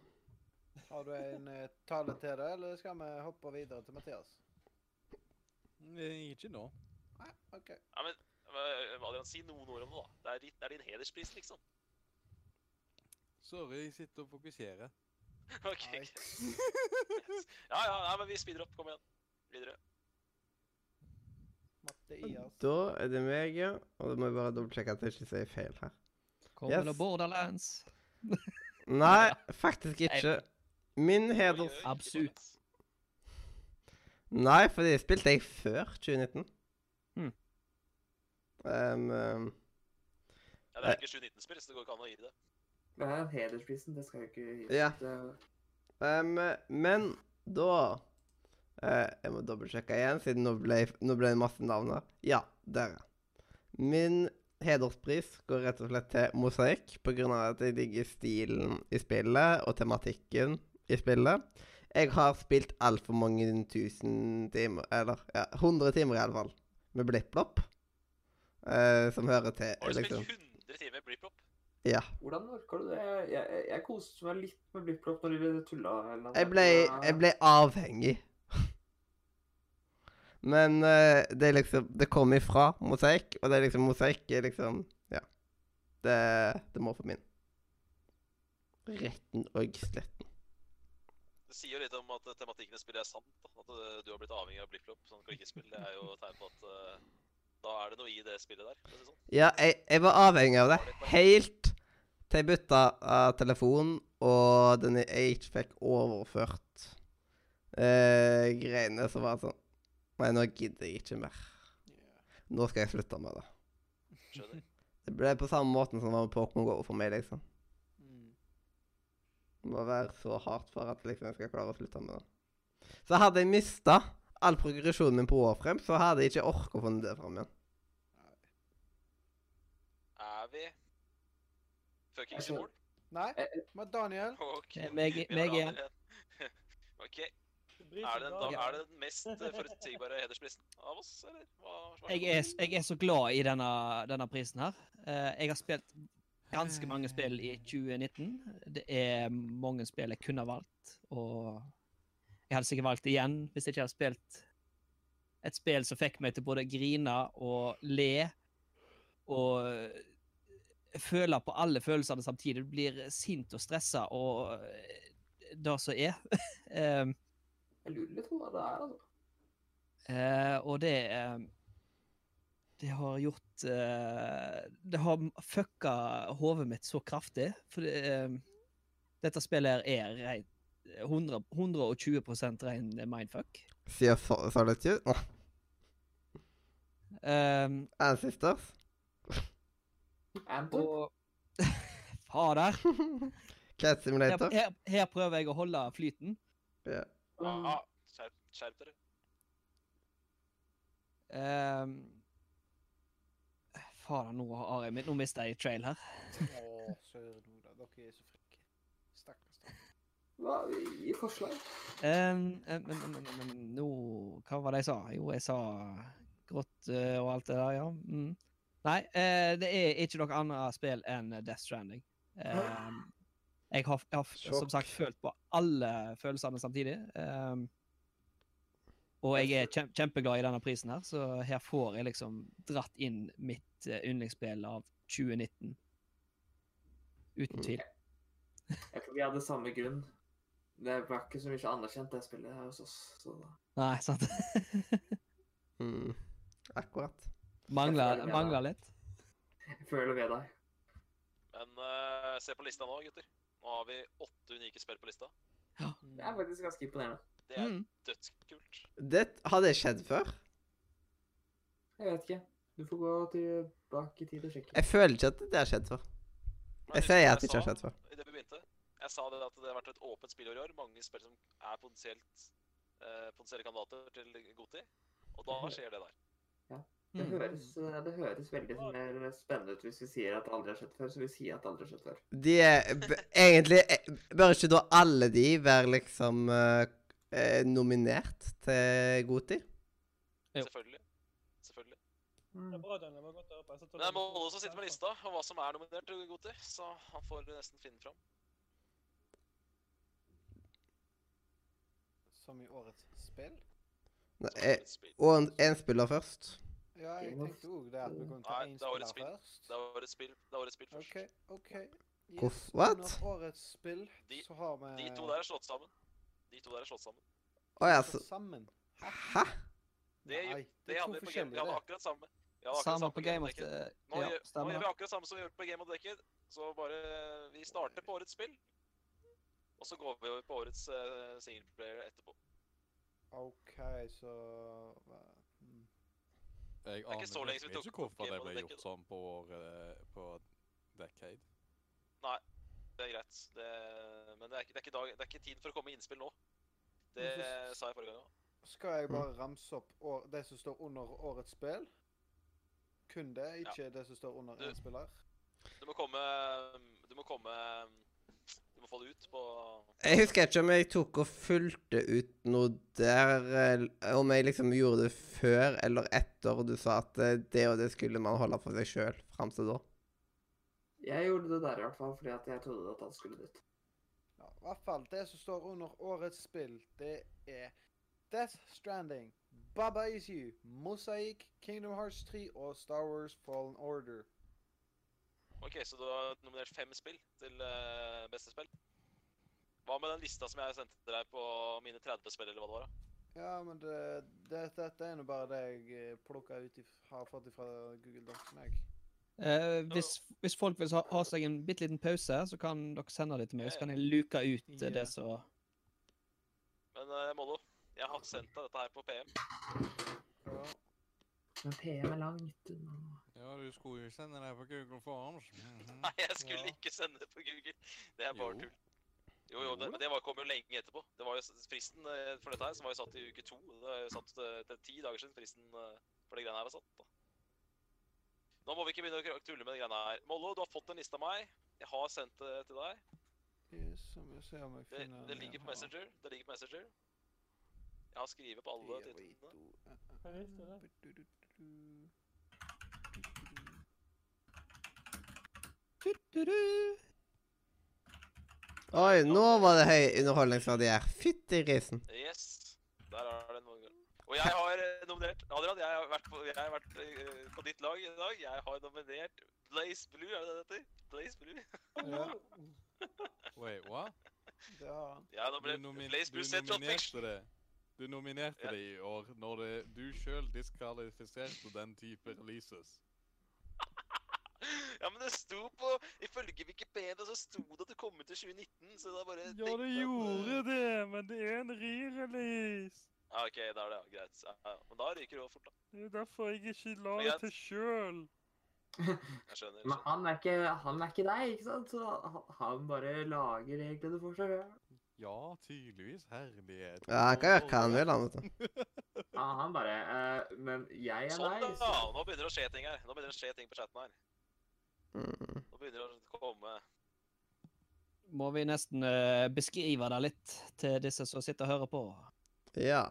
Har du en eh, tale til det, eller skal vi hoppe videre til Mathias?
Nei, Eh, Ikke nå.
Nei, OK.
Ja, men eh, Adrian, si noen ord om det, da. Det er, ditt, det er din hederspris, liksom. [LAUGHS]
Sorry, jeg sitter og fokuserer.
OK. [LAUGHS]
Nei.
greit. Ja, ja, nei, men vi speeder opp. Kom igjen. Videre.
Mathias.
Da er det meg, ja. Og da må jeg bare dobbeltsjekke at jeg ikke sier feil her.
Kommer
Yes.
det Borderlands?
Nei, faktisk ikke. Min
Oi, oi,
heders...
ikke
Absu.
bare-
Nei, for det spilte jeg før 2019.
Hmm.
Um, um,
Ja, det er ikke 719-spill, så det går ikke an å gi det.
Det er hedersprisen, det skal jeg ikke gi.
Ja.
Det-
um, men da eh, Jeg må dobbeltsjekke igjen, siden nå ble, nå ble det masse navn her. Ja, der, ja. Min hederspris går rett og slett til mosaikk, på grunn av at jeg digger stilen i spillet og tematikken i spillet. Jeg har spilt altfor mange tusen timer, eller ja, 100 timer iallfall, med BlippBlopp. Uh, som hører til
Har du
liksom.
spilt 100 timer Blippop?
Ja.
Hvordan orker du det? Jeg, jeg, jeg koste meg litt med Blipplopp når de tulla. eller noe.
Jeg ble, jeg ble avhengig. Men eh, det er liksom Det kommer ifra mosaikk, og det er liksom mosaikk er liksom Ja. Det, det må få min. Retten og sletten.
Det sier jo litt om at eh, tematikken i spillet er sant. Da. At eh, du har blitt avhengig av blipplopp. Sånn klikkespill. Det er jo et tegn på at eh, da er det noe i det spillet der. for å si det Sånn.
Ja, jeg, jeg var avhengig av det helt til jeg bytta av telefon, og den jeg ikke fikk overført eh, greiene som var sånn Nei, nå gidder jeg ikke mer. Nå skal jeg slutte med det.
Skjønner.
Det ble på samme måten som det var med Pokémon GO for meg, liksom. Det må være så hardt for at liksom, jeg skal klare å slutte med det. Så hadde jeg mista all progresjonen min på år frem, så hadde jeg ikke orka å få det fram igjen.
Er vi fuckings i
Altså-
mål?
Nei,
Eh,
men Daniel
[LAUGHS] Ok.
Eh, meg-
Vi
meg
drar
igjen.
ned igjen. [LAUGHS] OK.
Det bryr
Er
seg
det, den,
bra.
da, er det den mest eh, forutsigbare hedersprisen av oss, eller? Hva, hva
Jeg er, s- jeg er så glad i denne, denne prisen her. Eh, Jeg har spilt ganske mange spill i 2019. Det er mange spill jeg kunne ha valgt, og jeg hadde sikkert valgt igjen hvis jeg ikke hadde spilt et spill som fikk meg til både å grine og le og føle på alle følelsene samtidig. Du blir sint og stressa og eh, det som er. [LAUGHS] eh, Em,
eh, Jeg lurer litt på hva det er, altså.
Eh, og det eh, Det har gjort eh, Det har m- fucka hodet mitt så kraftig. For det, eh, dette spillet her er rein, 100, 120 rein mindfuck.
Sier so- Solitude Nå,
Eh,
Ancestors.
Anthem?
og [LAUGHS] Fader!
Cat
Her,
Simulator.
her, her prøver jeg å holde flyten.
Ja.
Aha, skjerp, skjerp dere.
Eh, Fader, nå har jeg Nå mister jeg trail her.
Å, søren Ola, dere er så frekke. Stakkars. dere.
Hva, gi forslag.
Eh.
Um, um, um, um, um, um, Nå Hva var det jeg sa? Jo, jeg sa grått eh, og alt det der, ja. Mm. Nei, eh, det er ikke noe annet spill enn Death Stranding. Um, jeg har, jeg har f- som
Sjokk.
sagt følt på alle følelsene samtidig. Um, og jeg er kjem, kjempeglad i denne prisen her, så her får jeg liksom dratt inn mitt eh, yndlingsspill av 2019.
Mm.
Uten tvil.
Jeg tror vi hadde samme grunn. Det var ikke så mye anerkjent, det spillet her hos oss. Så da.
Nei, sant? [LAUGHS]
Mm. Akkurat.
mangler,
føler med
mangler litt.
Jeg føler ved deg.
Men eh, se på lista nå, gutter. Nå har vi åtte unike spill på lista.
Det er faktisk ganske imponerende.
Det er
Mm.
dødskult.
Det har det skjedd før.
Jeg vet ikke. Du får gå tilbake i tid og sjekke.
Jeg føler ikke at det har skjedd før.
Men
Jeg
husker du
sier at
jeg
det ikke har
sa
skjedd før.
I det vi begynte, jeg sa det at det har vært et åpent spillår i år. Mange spill som er potensielt eh, potensielle kandidater til Goti. Og da skjer det der.
Det
Mm.
høres, eh, det høres veldig mer spennende ut hvis vi sier at det aldri har skjedd før, så vi sier at det aldri har skjedd før.
De er b egentlig eh, Bør ikke da alle de være liksom eh, eh, nominert til Goti?
Jo.
Selvfølgelig. Selvfølgelig.
Det er bra, Daniel. Det var godt å høre på. Jeg satt og
Men det er
tenkte på-
Molde som sitter med lista og hva som er nominert til Goti, så han får nesten finne fram.
Som i årets spill?
Nei,
Så
eh,
årets spill-
Og en- en spiller først.
Ja, jeg
Game of-
tenkte òg det at vi kom
Nei,
til én
det er årets
spiller først.
Det er årets spill, det er årets spill først.
OK, OK.
Hvorf- what?
Under årets spill
De-
så har vi
De to der er slått sammen. De to der er slått sammen.
Å ja, så
slått sammen.
Hæ?
Det er jo-
Nei,
Det
er to
hadde vi på Game, vi
forskjellige,
hadde
det.
akkurat samme. Vi hadde akkurat
Samme
samme
på
Game
Game
of
of
Decket.
the
Nå,
Ja,
gjør, nå
stemmer.
gjør vi akkurat samme som vi gjorde på Game of the Decade. Så bare Vi starter på årets spill. Og så går vi over på årets uh, singleplayer etterpå.
OK, så hva- mm.
Jeg
er ikke
aner
så lenge siden vi
liksom
tok
ikke hvorfor
Game
det
of the
ble
Decade.
gjort sånn på, eh, på Decade.
Det er greit. Det, men det er, ikke- det, er ikke dag, det er ikke tid for å komme med innspill nå. Det
Men så-
sa jeg forrige gang òg.
Skal jeg bare ramse opp år, det som står under årets spill? Kun det, ikke det som står under
Du-
én spiller?
Du må komme Du må komme Du må få det ut på
Jeg husker ikke om jeg tok og fulgte ut noe der eh, Om jeg liksom gjorde det før eller etter du sa at eh, det og det skulle man holde for seg sjøl fram til da.
Jeg gjorde det der i hvert fall fordi at jeg trodde at han skulle dit.
Ja, I hvert fall det som står under årets spill, det er Death Stranding, Baba Is You, Mosaic, Kingdom Hearts 3 og Star Wars Fallen Order.
OK, så du har nominert fem spill til eh, beste spill. Hva med den lista som jeg sendte til deg på mine 30 spill, eller hva det var? da?
Ja, men det, det, dette er nå bare det jeg eh, plukker ut if, har fått ifra Google Docsen, jeg.
Eh, hvis, hvis folk vil ha, ha seg en bitte liten pause, så kan dere sende det til meg, så kan jeg luke ut eh,
Ja.
det som
Men eh, Mollo, jeg har sendt deg dette her på PM.
Ja.
Men PM er langt unna.
Ja, du skulle jo sende deg på Google Forms. Mhm.
[LAUGHS] Nei, jeg skulle
Ja.
ikke sende det på Google. Det er bare
Jo.
tull. Jo, jo, det,
Jo
men det var, kom jo lenge etterpå. Det var jo s- Fristen eh, for dette her som var jo satt i uke to. Det er jo satt eh, til ti dager siden fristen eh, for de greiene her var satt. da. Nå må vi ikke begynne å kra- tulle med de greiene her. Mollo, du har fått en liste av meg. Jeg har sendt det til deg.
Yes, vi se om jeg
Det,
finner eh,
det ligger på Messenger. Det ligger på Messenger. Jeg har skrevet på alle titlene.
eh,
Kan jeg huske det?
Oi, nå var det høy underholdningsverdi her. Fytti grisen.
Yes. Der er den. mange ganger. Og jeg har eh, nominert Adrian, jeg har vært, på, jeg har vært eh, på ditt lag i dag. Jeg har nominert Blaze Blue, er det det heter? Blaze Blue.
Ja,
Wait, what?
det har han.
Jeg har
Du,
nominert
nomi
Blaze
du
Blue Central Fiction.
nominerte det. Du nominerte
Ja.
det i år når det, du sjøl diskvalifiserte den type releases.
Ja, men det sto på Ifølge Wikipedia så sto det at det kom ut i 2019, så da bare tenkte jeg at, eh,
det, men det er en re-release.
Ja, OK, da er det ja, greit. Ja, ja. Men da ryker det jo fort, da.
Det er derfor jeg ikke la
Men jeg-
det
Jeg
sjøl.
skjønner. jeg
Men
skjønner.
han er ikke, han er ikke deg, ikke sant? Så han, han bare lager reglene for seg selv.
Ja, tydeligvis. Herlighet.
Ja, han kan gjøre hva han vil, han, vet du.
[LAUGHS]
[LAUGHS]
Ja, han bare eh, Men jeg er
Sånn,
deg.
da!
så-
Nå begynner det å skje ting her. Nå begynner det å skje ting på chatten her.
Mm.
Nå begynner det å komme
Må vi nesten eh, beskrive det litt til disse som sitter og hører på.
Ja.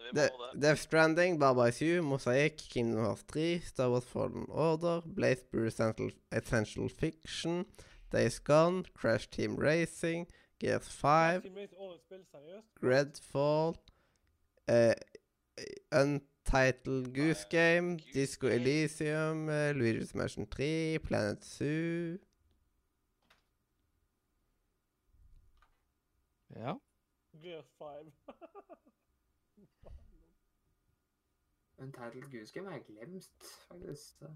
Vi må
De
det.
Death Stranding, Barbara 7, Mosaic, Kingdom Hearts 3, Star Wars Fallen Order, Blaze Brew Essential, Essential Fiction, Days Gone, Crash Team Racing, Gears 5,
Simulate årets spill, seriøst.
Redfall, eh, Untitled Goose Game,
Goose
Disco
Game.
Elysium, eh, Luigi's Mansion 3, Planet Zoo
Ja.
Gear [LAUGHS] 5.
Untitled Goose Game har jeg glemt, faktisk. så-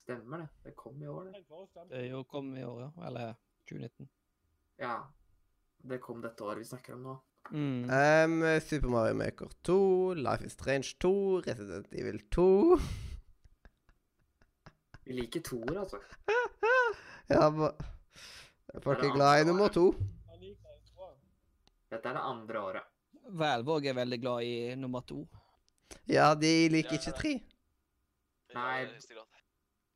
Stemmer det. Det kom i år, det.
Tenk på oss, dem.
Det er jo kom i år, ja. Eller 2019.
Ja. Det kom dette året vi snakker om nå.
Mm.
um, Super Mario Maker 2, Life is Strange 2, Resident Evil 2
Vi liker toer, altså.
Ja, hva Folk
Er det
er glad i
andre
nummer
året?
to.
Han liker det så bra.
Dette er det andre året.
Valve òg er veldig glad i nummer to.
Ja, de liker
Ja,
ikke
det-
tre.
Vi
Nei.
gjør det i høyeste grad.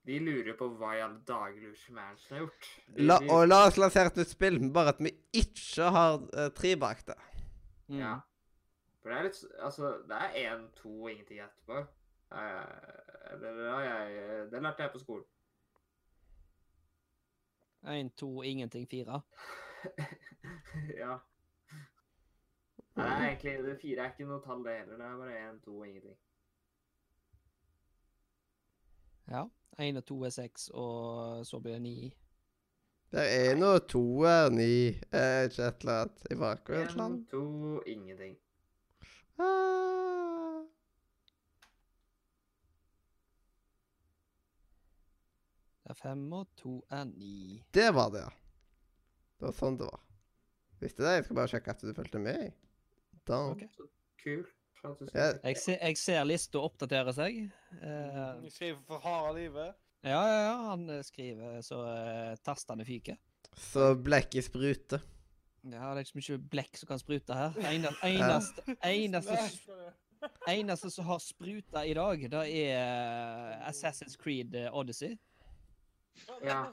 De lurer på hva i alle dager Lucy Mansion har gjort. De,
La,
de-
og la oss lansere et nytt spill, bare at vi ikke har eh, tre bak det.
Mm.
Ja. For det er litt s- Altså, det er én, to og ingenting etterpå. Eh, det, det, har jeg, det lærte jeg på skolen. [LAUGHS]
Én, to, ingenting, fire.
ja. Nei, det er egentlig, det fire er ikke noe tall, det heller. Det er bare én, to og ingenting.
Ja. Én og to er seks, og så blir det ni.
Det er nå toer, ni, eh, ikke et eller annet i bakgrunnen.
Én, to, ingenting.
Ah.
Det er fem og to er ni.
Det var det, ja. Det var sånn det var. Visste det? Jeg skal bare sjekke at du fulgte med. jeg. Da.
Ok.
Kult. for at du
Ja.
skal-
Jeg, se, jeg ser lista oppdatere seg.
Mm,
Eh,
Jeg skriver for harde livet.
ja, ja, ja, han eh, skriver så eh, tastene fyker.
Så blekket spruter.
Ja, det er liksom ikke så mye blekk som kan sprute her.
[LAUGHS]
Eneste, eneste, eneste,
Nei.
Skal det-
eneste som har spruta i dag, det er Assassin's Creed eh, Odyssey.
Ja.
Ja,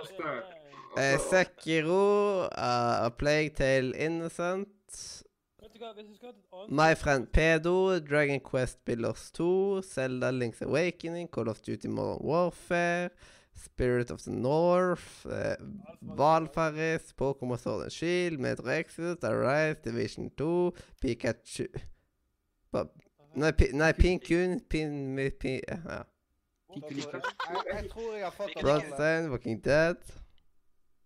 det-
Spør.
det-
[LAUGHS]
Eh, Sekiro, eh, A Plague Tale Innocent
Vet du hva, hvis du skulle hatt et annet
My Friend Pedo, Dragon Quest Builders 2, Zelda Link's Awakening, Call of Duty Modern Warfare, Spirit of the North, eh, Valfaris, Pokémon Sword and Shield, Metro Exodus, Arise, Division 2, Pikachu Ba- Nei, pi, nei Pinkun, Pin... mi- pin ja.
Jeg, jeg tror jeg har fått alle.
Bloodstained, Walking Dead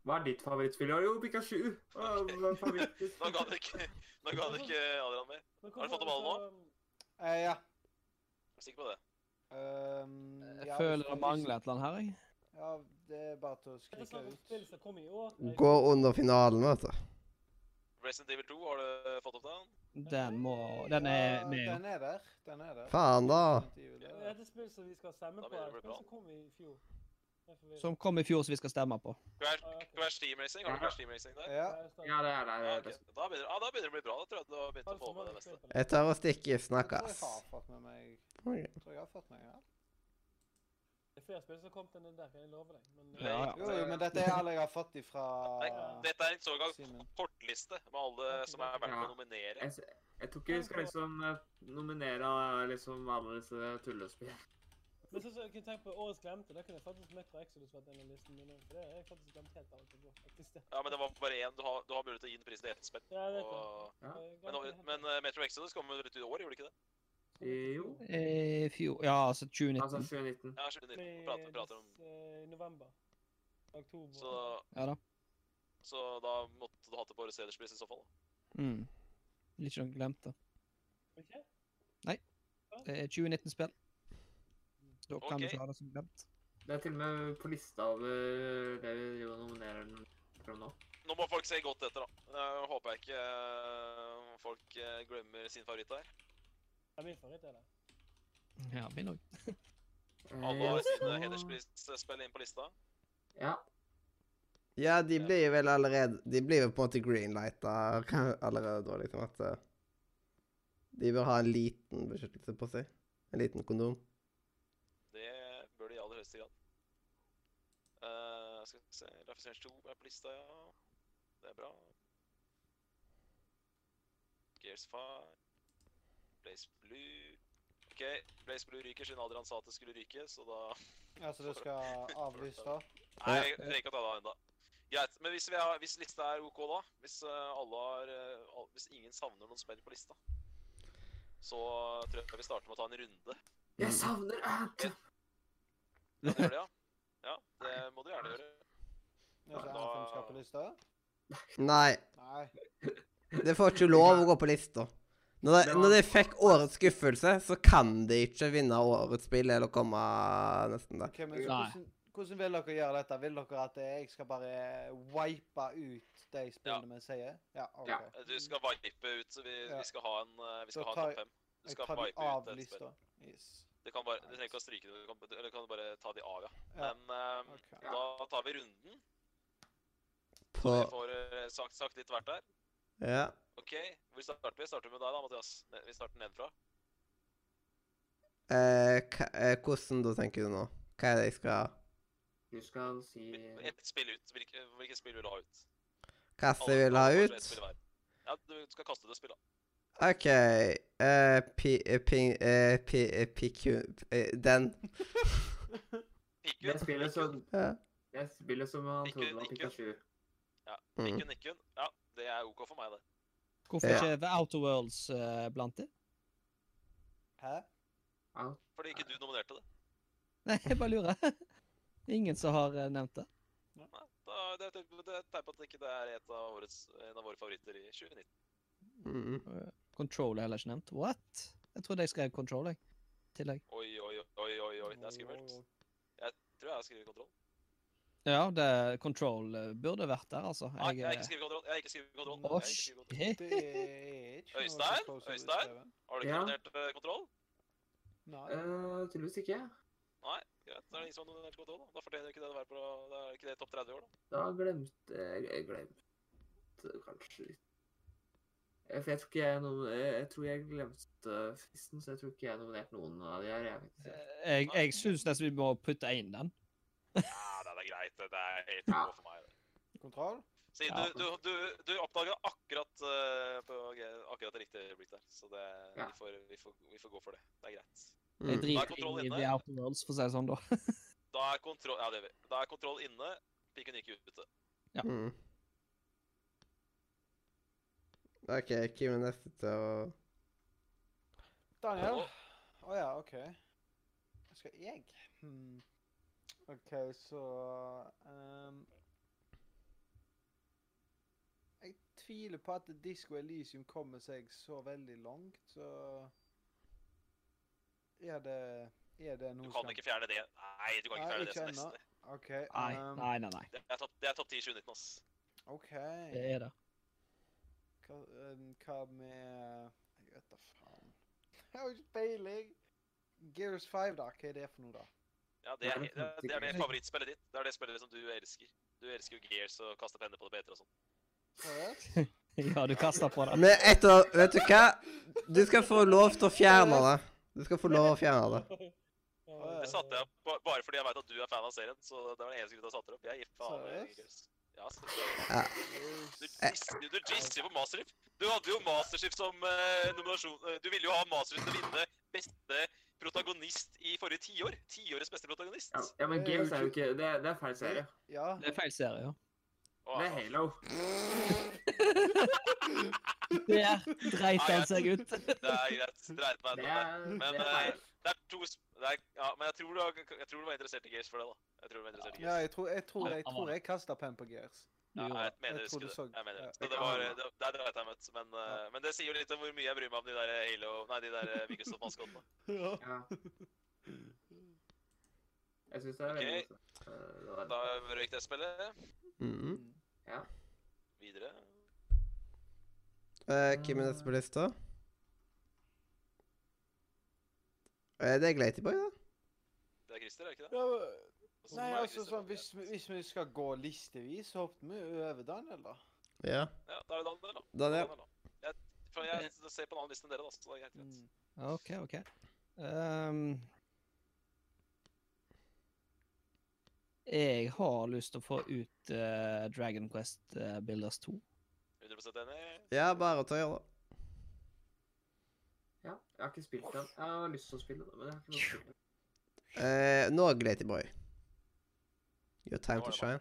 Hva er ditt favorittspill? Ja, Jo, Pikachu. Hva
Ok.
hva er favorittspill?
[LAUGHS] Nå ga det ikke, nå ga det ikke Adrian mer.
Men
Har du
hvorfor-
fått dem alle nå?
altså,
Eh, ja.
Jeg er sikker på det.
Um,
Jeg
ja,
føler
hvis
det
du-
mangler et eller annet her, jeg.
Ja, det er bare til å
Dette
skrike
snakker om
ut.
sånn spill som kom i år.
går under finalen, altså. vet du.
Resident Evil 2, har du fått opp den?
Den må Den er
Ja,
med.
Den er der. Den er der.
Faen, da.
Det er et spill som vi skal stemme
Da
på.
blir det
Et
vel
spill
bra.
som kom i fjor. Jeg er forvirret.
Som kom i fjor, som vi skal stemme på.
Crash,
Ah, ok.
Crash Team Racing? Har du
Ja.
Crash Team Racing der?
Ja.
Ja, jeg stemmer.
Ja, det er der.
Ja,
det er
ok.
best.
da, begynner, ah, da begynner det å bli bra. Da tror jeg du har begynt å
Alt
få
som
med
var
det meste.
spill på det.
Jeg tar og stikker.
Jeg tror jeg
Snakkes.
har fått med meg
Ok.
Jeg tror jeg har fått med meg alt.
Det er flere spill som kom til den der, jeg lover deg. Men, eh,
Ja, ja.
Jo, jo, men dette er alle jeg har fått ifra
Nei, dette er en såkalt
Simen.
kortliste med alle som er verdt å
Ja.
nominere.
Jeg, s- jeg tror ikke vi skal liksom eh, nominere eh, liksom alle disse tullespillene.
men så, så jeg kunne tenkt på Årets glemte. Da kunne jeg faktisk Metro Exodus vært en av listen mine. For det har jeg faktisk glemt helt av og til. nå, faktisk.
Ja, men det var bare én. Du har, du har mulighet til å gi den prisen til ett spill.
Ja, det er klart.
Og...
Ja.
Jeg
Men,
glemte det helt.
men eh, Metro Exodus kom vel ut i år, gjorde det ikke det?
Eh, Jo.
I fjor Ja, altså
Altså
2019.
2019.
Ja, skjønner
Kom
vi
i
prater, prater om.
des- eh, i november. Oktober.
Så,
Ja da.
så da måtte du hatt det på årets hederspris i så fall. da.
Mm. Litt noe glemt, da.
Ikke?
Det er 2019-spill. Da kan
Ok.
du ta det som glemt.
Det er til og med på lista over det vi driver og nominerer den fra nå.
Nå må folk se godt etter, da. Eh, håper jeg ikke eh, folk eh, glemmer sin favoritt der.
Ja, min favoritt er det.
Ja, min òg. Mm.
Eh,
Alle har
så-
sine hedersprisspill inn på lista.
Ja.
Ja, de blir jo vel allerede De blir jo på en måte greenlighta [LAUGHS] allerede da, liksom, at eh, De bør ha en liten beskyttelse på seg. En liten kondom.
Det bør de i aller høyeste grad. Eh, skal vi se Life is Strange 2 er på lista, ja. Det er bra. Gears 5. Blaze Blue. OK, Blaze Blue ryker siden Adrian sa at det skulle ryke, så da
Altså, det skal avlyse, da.
Nei, jeg trenger ikke å ta det av ennå. Greit. Men hvis, vi har, hvis lista er OK, da? Hvis, eh, alle har, eh, al- hvis ingen savner noen spill på lista? Så tror jeg vi starter med å ta en runde.
Jeg savner Anthem!
Ja, det gjør [LAUGHS] det, ja. ja, det må du gjerne gjøre.
Ja, så
Da-
Anthem skal på lista.
Nei.
Nei.
Det får ikke lov å gå på lista. Når de, når de fikk årets skuffelse, så kan de ikke vinne årets spill eller komme eh, nesten der.
Ok, men så
Nei.
hvordan, hvordan vil dere gjøre dette? Vil dere at jeg skal bare wipe ut de spillene vi sier? Ja, OK.
Ja.
Eh, Du skal vipe ut, så vi,
Ja.
vi skal ha en eh, Vi skal
Da
ha en
tar
topp fem. Du
Jeg
skal
tar de
vipe ut
av
et spill.
lista. Yes.
Du, kan bare, du trenger ikke å stryke det, du kan, eller kan du bare ta de av, ja.
Ja.
Men eh,
OK.
Ja.
da tar vi runden. Så
På
vi får eh, sagt, sagt litt hvert der.
Ja.
OK, hvor starter vi? Starter vi med deg da, Mathias? Ne- Vi starter nedenfra.
Eh, hva- eh, hvordan da, tenker du nå? Hva er det jeg skal
Du skal si
Ett spill ut. Hvilke, hvilke spill vil du ha ut?
Hva som
Alle-
jeg vil ha
alle får ett
ut?
spill hver. Ja, du skal kaste det spillet.
OK eh, pi, eh, ping, eh, pi, eh, PQ eh, Den. [LAUGHS]
Pikkun,
Det spillet som
Ja.
Det spillet som han
Ikke-
trodde var
ikke-
Pikachu.
Mm.
pikkun, nikkun. Ja, det er OK for meg, det.
Hvorfor
Ja.
ikke The Outer Worlds eh, blant de? [LAUGHS]
Hæ?
Out.
Fordi ikke du nominerte det.
Nei, jeg bare lurer. Ingen som har eh, nevnt det.
Nei, da, det er et tegn på det er et tegn på at det ikke er et av årets, en av våre favoritter i 2019.
Mm.
Control er heller ikke nevnt. What? Jeg trodde jeg skrev Control, jeg. I tillegg.
Oi, oi, oi, oi, oi, det er skummelt. Tror jeg har skrevet kontroll.
Ja, det, Control eh, burde vært der, altså.
Nei, jeg har
eh,
ikke skrevet kontroll. Jeg har ikke skrevet kontroll. Jeg
Å,
har ikke skrevet kontroll.
shit.
Det er ikke noe
Øystein?
som Kosovo
Øystein?
skrevet.
Har du ikke
Ja.
nominert eh, kontroll?
Nei.
Eh, tydeligvis ikke.
Nei, greit. Da er det ingen som har nominert kontroll. Da Da fortjener ikke det å være på Da er ikke det topp 30 i år, da.
Da glemte jeg jeg glemte kanskje litt. Eh, For jeg tror ikke jeg, nom eh, jeg, tror jeg glemte fristen, så jeg tror ikke jeg nominerte noen av de her. Jeg vet ikke.
Jeg, jeg syns nesten vi må putte inn den.
Mm.
Ja, det er greit. Det er helt OK for meg. det.
Kontroll?
Si,
Ja.
du, du, du, du oppdaga akkurat, eh, på, akkurat det riktige øyeblikk der, så det,
Ja.
vi, får, vi, får, vi får gå for det. Det er greit.
Jeg
Mm.
Da er
driter
Control
inn i
inne.
The Outer Worlds, for å si det sånn, da.
Da er kontroll, ja, det gjør vi. Da er kontroll inne, piken ikke ute.
Mm. OK, hvem er neste til å
Daniel?
Hallo?
Å ja, OK. Skal jeg hmm. OK, så ehm, Jeg tviler på at Disco Elysium kommer seg så veldig langt, så Er det Er det
Du
noe
kan ikke fjerne det. Nei, du kan ikke
Nei,
fjerne det
ikke
som
ennå.
neste.
OK.
Nei,
Um,
ehm,
nei, nei. nei.
Det er topp det er topp 10 i 2019, ass.
OK.
Det er det.
Hva, ehm, hva med Jeg vet da faen. [LAUGHS] Jeg har ikke peiling. Gears 5, da. Hva er det for noe, da?
Ja, det er, det er- det er det favorittspillet ditt. Det er det spillet som du elsker. Du elsker jo Gears og kaste penner på det bedre og sånn.
Seriøst?
Ja, du kaster på det. [LAUGHS]
Men etter Vet du hva? Du skal få lov til å fjerne det. Du skal få lov å
[LAUGHS]
fjerne det.
Ja,
Det satte jeg opp ba- bare fordi jeg vet at du er fan av serien, så det var den eneste grunnen jeg satte det opp. Jeg gir faen i
Seriøst?
Gears. Ja, seriøst.
Ja.
Du
Eh,
jizzer- Du jizzer på Masterchef. Du hadde jo Masterchef som eh, nominasjon eh, Du ville jo ha Masterchef til å vinne beste protagonist i forrige tiår. Tiårets beste protagonist.
Ja, ja, men
Det er jo
Gears er jo
ikke-
ikke Det, det er feil serie.
Ja.
Det er feil serie, ja.
Åh,
Det er Halo.
Der dreit han seg ut.
[LAUGHS] Det er greit. Dreit meg
Det
ut.
er, det
Men,
er feil.
Det er to sp... Det er, ja, men jeg tror, du, har- jeg tror du var interessert i Gears for det, da. Jeg tror du var interessert i
ja
Gears.
jeg tror jeg, tror, jeg,
Ja,
tror jeg kasta penn på Gears.
Ja,
Jo,
jeg mener
jeg
jeg
tror
husker
du
det.
så-
Jeg mener.
ja,
det. Så det var, det, det er dreit jeg møtt, men, eh, men det sier jo litt om hvor mye jeg bryr meg om de der Halo... Nei, de der eh, Microsoft-maskotene.
Ja.
eh,
Ja. Jeg syns det er veldig
Ok.
godt. Eh, det var-
Da røyk det spillet.
Mm.
Videre.
Eh, hvem er neste på lista? Eh, det er Glatyboy, da.
Det er Christer, er det ikke det?
Ja, men-
Og så
Nei,
er det
altså
Christer
sånn,
på Gears.
hvis, vi- hvis vi skal gå listevis, så hoppet vi jo over Daniel, da.
Ja.
Ja, da er det Daniel, da.
Daniel.
Daniel, da. Jeg, for jeg
Eh.
ser på en annen liste enn dere, da, så det er
Mm.
helt greit.
OK, OK. Ehm, jeg har lyst til å få ut eh, Dragon Quest eh, Builders 2.
100 enig.
Ja, bare ta og gjøre det.
Ja, jeg har ikke spilt den. Jeg har lyst til å spille den, men jeg har ikke lyst til å spille den.
Eh, nå, Glatyboy. Your time to shine.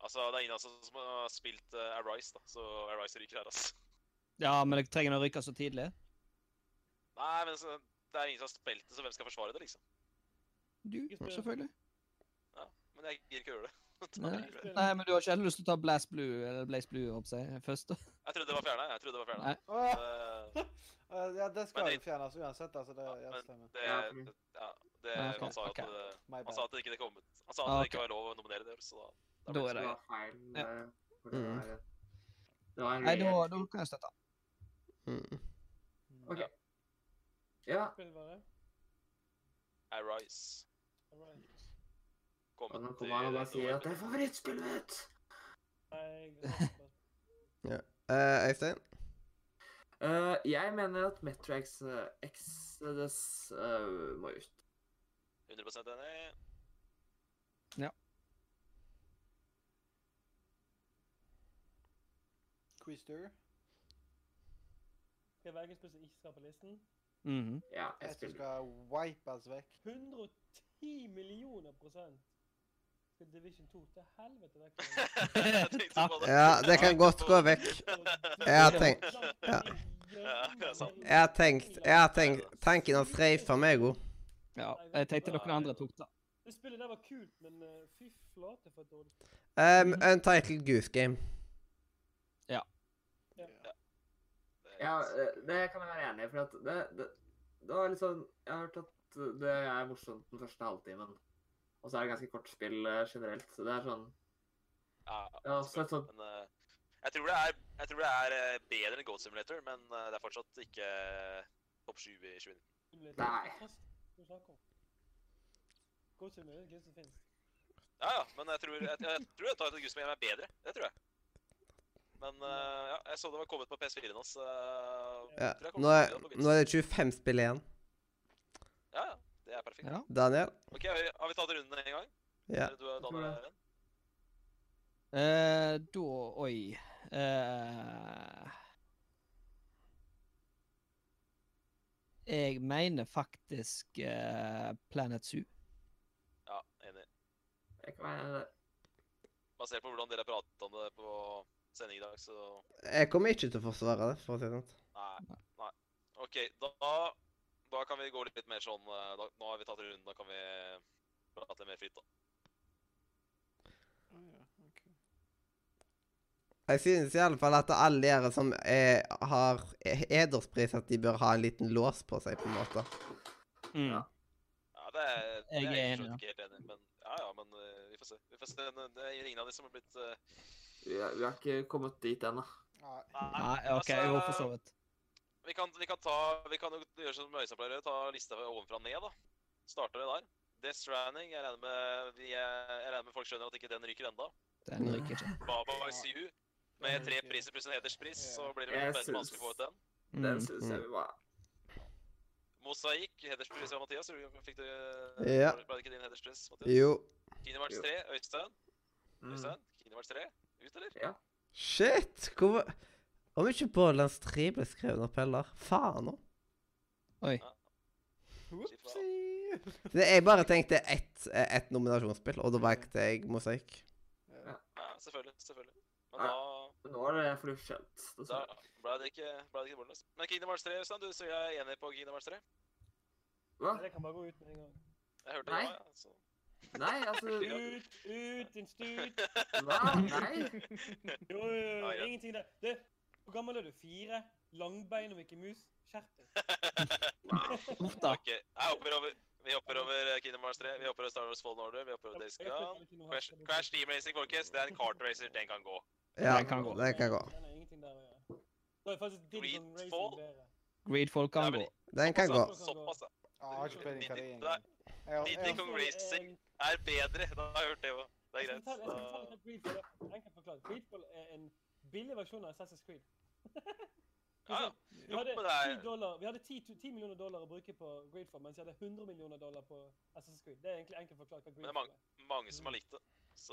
Altså, det er ingen av oss som har spilt eh, Arise, da, så Arise ryker her, altså. [LAUGHS]
Ja, men jeg trenger å rykke så tidlig.
Nei, men så, det er ingen som har spilt det, så hvem skal forsvare det, liksom?
Du, selvfølgelig.
Men jeg gir ikke å gjøre det. [LAUGHS] Da
Nei.
gjør jeg det.
Nei, men du har ikke heller lyst til å ta Blaze Blue, eller Blaze Blue, håper jeg, først? da?
Jeg trodde det var fjerna. Jeg trodde det var
Nei.
fjerna.
Åh,
Det,
eh, ja, det skal
Men
jo
det-
fjernes uansett, altså. Det
Ja,
ja,
men-
stemmer.
det,
Ja, fordi-
ja, det,
Nei, ok,
han sa jo at
ok.
det,
My
han sa
bad.
at det ikke kom ut. Han sa at
Ah,
det ikke var lov å nominere det, så
Da
da ble
er det
Det
greit.
var feil.
Ja.
eh, for det
Mm.
var- Det var en
Nei, da,
real-
da kan jeg støtte.
Mm.
OK. Ja,
Spill bare.
Arise.
Alright.
og
Kommet
nå kommer han og bare sier at det er favorittspillet mitt!
Nei, jeg-
Eh, Øystein?
Eh, jeg mener at Metrax uh, Exodus eh, må ut.
100 enig.
Quister.
Skal jeg velge et spill som ikke skal på listen?
Mhm.
Ja, jeg
Jeg som
spiller.
skal wipes vekk.
110 millioner prosent skal Division 2 til helvete vekk.
Jeg tenkte på
Ja, det kan godt gå vekk. Jeg har tenkt- ja. Jeg har tenkt Jeg har tenkt Tanken hans reifa meg god.
Ja, jeg tenkte noen andre tok det.
Det spillet der var kult, men eh, fy flate for et dårlig spill.
Um, Untitled Goose Game.
Ja, eh, det kan jeg være enig i, for at det, det, det var litt sånn Jeg har hørt at det er morsomt den første halvtimen. Og så er det ganske kort spill eh, generelt. Så det er sånn
Ja,
Ja, så er det
selvfølgelig,
sånn-
men, eh, jeg tror det er, jeg tror det er eh, bedre enn Goat Simulator, men eh, det er fortsatt ikke eh, topp 7 i 2019.
Det ble
Nei.
fantastisk. Hva snakker du om? Godt som mulig, gøy som finnes.
Ja, ja, men jeg tror, jeg, jeg tror jeg tar et guss med hjem er bedre. Det tror jeg. Men eh, ja, jeg så det var kommet på PS4-en hans.
Ja. Nå, er, nå er det 25 spill igjen.
Ja, ja. Det er perfekt.
Ja.
Daniel?
Ok, har vi, har vi tatt runden en gang?
Ja.
Du og
tror
Daniel
det.
er en?
Eh, da Oi. Eh, jeg mener faktisk eh, Planet Zoo.
Ja, enig.
Jeg kan være enig i det.
Basert på hvordan dere pratet om det på sending i dag, så
Jeg kommer ikke til å forsvare det, for å si det sånn.
Nei. nei. OK, da, da kan vi gå litt mer sånn eh, da, Nå har vi tatt runden, da kan vi prate mer fritt, da.
Jeg synes i alle fall at alle dere som er, har ederspris, at de bør ha en liten lås på seg, på en måte.
Mm.
Ja.
Ja, det er, det
Jeg
er
er
jeg
enig,
forstått ikke helt enig i, men ja ja, men eh, vi får se. Vi får se. Det er ingen av de som har blitt eh,
Vi, er- vi har ikke kommet dit ennå.
Nei.
Nei, OK, jo, for så vidt.
altså, Vi kan, vi kan ta, vi kan jo gjøre som Øystein pleier å gjøre, ta lista ovenfra og ned, da. Starter det der. Death Stranding, jeg regner med, vi, er- jeg regner med folk skjønner at ikke den ryker enda.
Mm.
Den ryker ikke.
Baba ICU, med tre
Ah,
priser pluss en hederspris, så blir det vel
Jeg
veldig
syns-
vanskelig å få ut den.
[LAUGHS]
Mm,
Den syns jeg vi må ha.
Mosaikk, hederspris av Mathias, tror du- fikk du,
Ja.
ble det ikke din hederspris, Mathias?
Jo.
Kinemarts
Jo.
3, Øystein,
Mm.
Øystein, Kinemarts 3, ut eller?
Shit! Hvorfor Om ikke Borderlands 3 ble skrevet opp heller. Faen òg.
Oi.
Whoopsie!
Jeg bare tenkte ett et nominasjonsspill, og da valgte jeg Mosaikk.
Ja, selvfølgelig, selvfølgelig.
Ja.
Men da...
Nå er det forskjønt,
Da
dessverre.
ble det ikke, ble det ikke Borderlands. Men Kingdom Hearts 3, Øystein, du sier jeg er enig på Kingdom Hearts 3?
Hva?
Nei, Det kan bare gå ut med en gang.
Jeg hørte
Nei.
det, ja. Så.
Nei, altså
Ut, ut, din stut.
Hva?
[LAUGHS]
Nei?
Jo, jo, jo,
Ja, ja.
ingenting der. Du, hvor gammel er du? Fire? Langbein og Mikke Mus? Skjerp deg.
Uff da.
[LAUGHS] Ok, jeg hopper over. Vi hopper over eh, Kingdom Hearts 3, vi hopper over Star Wars Fallen Order, vi hopper over Days
Jeg
Gone.
føler ikke noe
Crash,
hardt.
Crash Team Racing, folkens, det er en kartracer, den kan gå.
Ja,
Den kan gå.
Den kan gå.
Den har ingenting der å gjøre. Da er faktisk Didcon
Greedfall?
Racing bedre.
Mm. Greedfall
Ja,
kan
men
gå.
Den kan gå.
såpass, Såpass, da.
Ja, Jeg har ikke peiling hva det er.
Nei.
engang. Jeg har- jeg
Diddy
har-
Kong Racing Er bedre, da har jeg hørt det òg. Det er
Jeg skal
greit.
fortelle- jeg skal fortelle hva Greedfall er.
Da-
Enkelt forklart. Greedfall er en billig versjon av Assassin's Creed.
Ja, ja.
Vi hadde,
Jo, men det er-
10 dollar, vi hadde 10, tu- 10 millioner dollar å bruke på Greedfall, mens vi hadde 100 millioner dollar på Assassin's Creed. Det er egentlig enkelt forklart hva
det er
Greedfall er.
Mange som har likt det. Så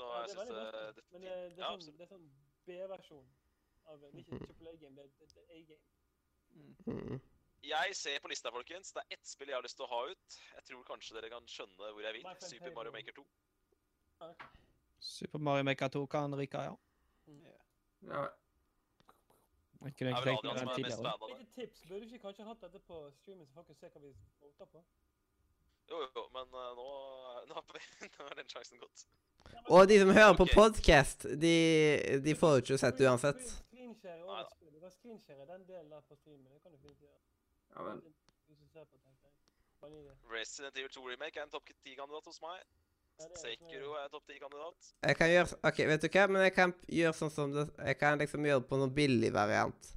sånn- Ja,
jeg
det er
syns
veldig
det
bra spill, Men eh, det
ja, altså,
er sånn,
absolutt.
det er sånn B-versjon. av- eh, Det er ikke et AAA-game, det er- det er et A-game.
Mm.
Jeg ser på lista, folkens. Det er ett spill jeg har lyst til å ha ut. Jeg tror kanskje dere kan skjønne hvor jeg vil.
My friend
Super Mario
Pedro.
Maker 2.
Super Mario Maker 2 kan ryke, ja.
Ja,
Jeg kunne
Det
ikke
er vel
tenkt
Adrian
meg
som
den
er mest
tidligere.
fan av det.
Lite tips. Burde vi ikke kanskje hatt dette på streamen, så folk kan se hva vi voter på?
Jo, jo, men eh, nå, [LAUGHS] nå, er vi- nå er den sjansen gått.
Og de som hører på
Ok.
podkast, de, de får jo ikke sett det uansett.
Screenshare
Nei da.
årets spill. Du kan screenshare den delen der på streamen. Det kan du fint gjøre.
ja, men
Hvis du ser på, tenker jeg. Bare gi det.
Resident Evil 2 Remake er en topp 10-kandidat hos meg.
Ja, det er det som er-
Sekiro er en topp 10-kandidat.
Jeg kan gjøre OK, vet du hva, men jeg kan gjøre sånn som det Jeg kan liksom gjøre det på noen billig variant.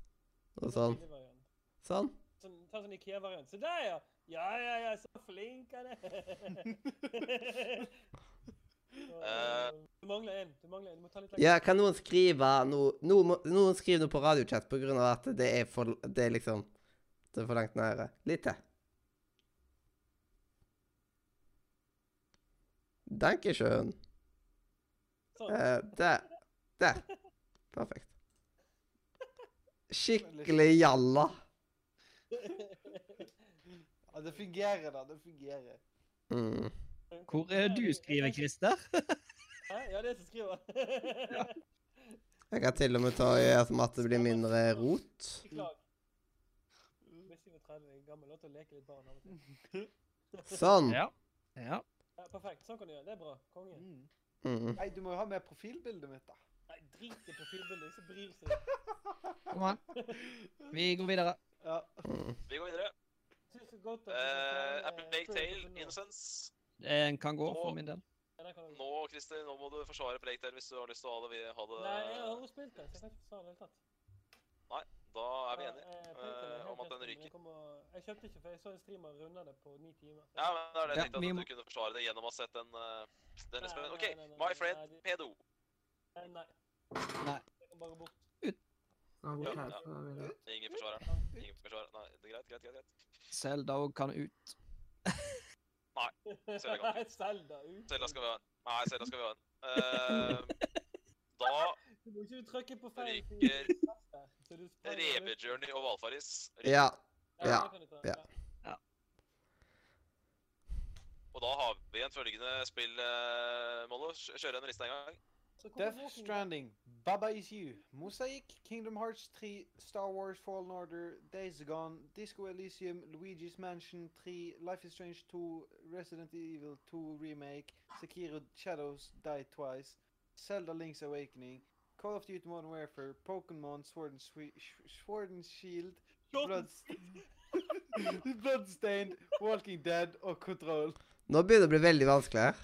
Og sånn.
Billig variant.
Sånn.
Sånn, ta sånn Ikea-variant. Se der, ja! Ja, ja, ja, så flink han er!
Eh.
Og, Du mangler en. Du mangler en. Du må ta litt
Ja, kan noen skrive noe Noen, må- noen skriver noe på radiochat på grunn av at det er for Det er liksom Det er for langt nære. Litt til. Dankeschön.
Sånn. [LAUGHS]
Eh, der. Der. Perfekt. Skikkelig jalla.
Ja, Ah, det fungerer, da. Det fungerer.
Mm.
Hvor er det du skriver, Christer?
Hæ? Ja, det er jeg som skriver.
Jeg kan til og med ta og gjøre som at det blir mindre rot.
[LAUGHS] Beklager. Med 37 er jeg gammel lov til å leke litt barn av og til.
Sånn.
Ja. ja.
Ja, perfekt. Sånn kan du gjøre. Det er bra. Konge.
Mm.
Mm.
Nei, du må jo ha med profilbildet mitt, da.
Nei, drit i profilbildet. Ikke bryr seg.
Kom an. Vi går videre.
Ja.
Mm.
Vi går videre.
Synes det er godt at
Uh,
du
Apple
skal
Bake
være
Tale,
entreprenør.
Innocence.
Den kan gå, for min del.
Ja, det kan du.
Nå, Christer, nå må du forsvare Plague Tale hvis du har lyst til å ha det. Vi ha
Nei, jeg har
det.
aldri spilt det, så jeg kan ikke forsvare det i det hele tatt.
Da er vi enige.
Ja, eh, Playtale er
eh, om
helt
at
rett,
den
men
ryker.
Jeg, kommer- jeg kjøpte ikke, for jeg så en streamer runde det på ni timer.
Ja, men det er det jeg
Ja,
tenkte,
vi
at
må-
du kunne forsvare det gjennom å ha sett den. eh, den
Nei,
spillen.
nei,
OK,
nei, nei,
My
nei, nei,
Friend
det-
Pedo.
Eh, Nei.
Nei.
Jeg kan bare bort.
nå går
Ja,
jeg
ja.
her for å ville-
Ingen forsvarer. Ingen forsvarer. Nei, det er greit, greit, greit. greit.
Selda òg kan ut.
Zelda kan
[LAUGHS] Nei, Zelda ut.
Selda skal vi ha en. Nei, Selda skal vi ha en. Eh, da
Du må ikke trykke på feil
Ryker.
side. Så du sprenger luften.
Revejourney og Valfaris.
Ja.
Ja,
Ja,
det kan du ta,
ja.
Og da har vi en følgende spill, uh, Mollo. Kj- Kjøre en liste en gang.
Så hvorfor
Death
Walking
Stranding, Baba Is You, Mosaic, Kingdom Hearts 3, Star Wars Fallen Order, Days Gone, Disco Elysium, Luigi's Mansion 3, Life is Strange 2, Resident Evil 2 Remake, Sekiro Shadows Die Twice, Zelda Link's Awakening, Call of Duty Modern Warfare, Pokemon Sword and, Swe- Sh- Sword and Shield,
Sword
Blood- [LAUGHS] Bloodstained, Walking Dead og Control.
Nå begynner det å bli veldig vanskelig her.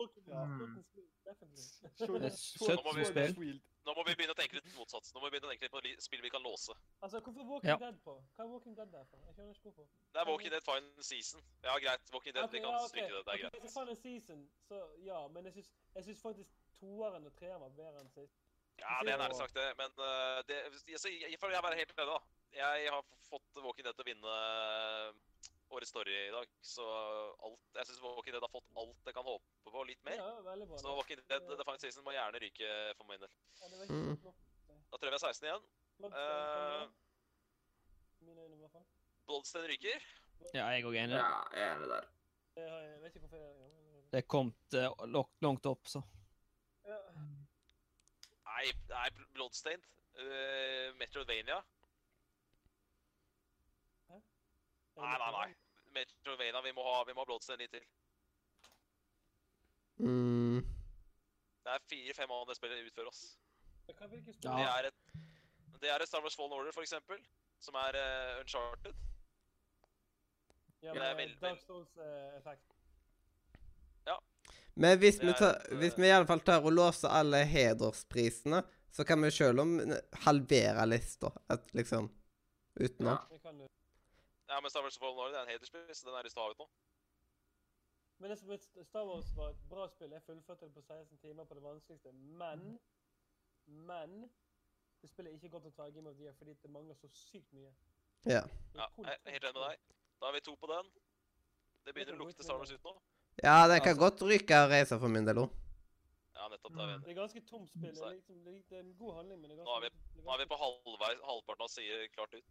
Walking-
Ja.
Walking Dead, definitely.
Sword-
Det er
Sword-
17
Sword and
spill.
Shield.
Nå må vi begynne å tenke litt motsatt. Nå må vi begynne å tenke litt på li- spill vi kan låse.
Altså, hvorfor er Walking
Ja.
Dead på? Hva er Walking Dead der for? Jeg skjønner ikke hvorfor.
Det er Walking Dead Fine Season. Ja, greit. Walking Dead, vi kan stryke det. Det er
Hvis
greit.
jeg fant en season, så ja. Men jeg syns, jeg syns faktisk toeren og treeren var bedre enn sist.
Ja, det er nærmest sagt, det. Men eh, det, jeg, så jeg, for å være helt ærlig, da. Jeg har fått Walking Dead til å vinne eh, årets story i dag. Så alt Jeg syns Walking Dead har fått alt det kan håpe på, og litt mer.
Ja, veldig bra.
Så Walking Dead The Fine Season må gjerne ryke for min del.
Ja, det var ikke
Mm.
godt nok.
Da tror jeg vi er 16 igjen.
Bloodstained kom
Eh.
nå. Mine øyne, i hvert fall.
Bloodstein ryker.
Ja, jeg er også enig.
Ja, jeg er enig der.
Det har jeg, jeg vet ikke hvorfor jeg
Det er kommet eh, lo- langt opp, så.
ja.
Nei, nei Bloodstained. Eh, Metroidvania. Nei, nei, nei. Metroidvania, vi må ha, vi må ha Bloodstained litt til.
Mm.
Det er fire-fem av det spillet utfører oss.
Men hva- hvilke
Ja.
spill?
Det, er et, det er et Star Wars Fallen Order, for eksempel, som er eh, uncharted.
Ja,
det er
men,
veldig-
Dark eh, Souls-effekt.
Men hvis
Det
vi,
er
tar,
et,
hvis
eh,
vi iallfall tar og låser alle hedersprisene, så kan vi selv om halvere lista, at liksom Utenom.
Det kan du.
Ja, men Star Wars Fallen Order det er en hederspill, så den er lyst til å ha ut nå.
Men det som er- Star Wars var et bra spill. Jeg fullførte det på 16 timer på det vanskeligste. Men Men det spillet er ikke godt å ta Game of the Year fordi det mangler så sykt mye. Det
Ja.
er
Ja,
kun
jeg er helt enig med deg. Da har vi to på den. Det begynner å lukte Star Wars ut nå.
Ja, det kan
Altså-
godt ryke og reise for min del òg.
Ja, nettopp. Da er vi
Det
enige.
er ganske tomt spill. Det
Så-
er, liksom, det er, det er en god handling, men det er
Nå er
ganske det
Nå er vi
ganske-
på halvveis, halvparten av sider klart ut.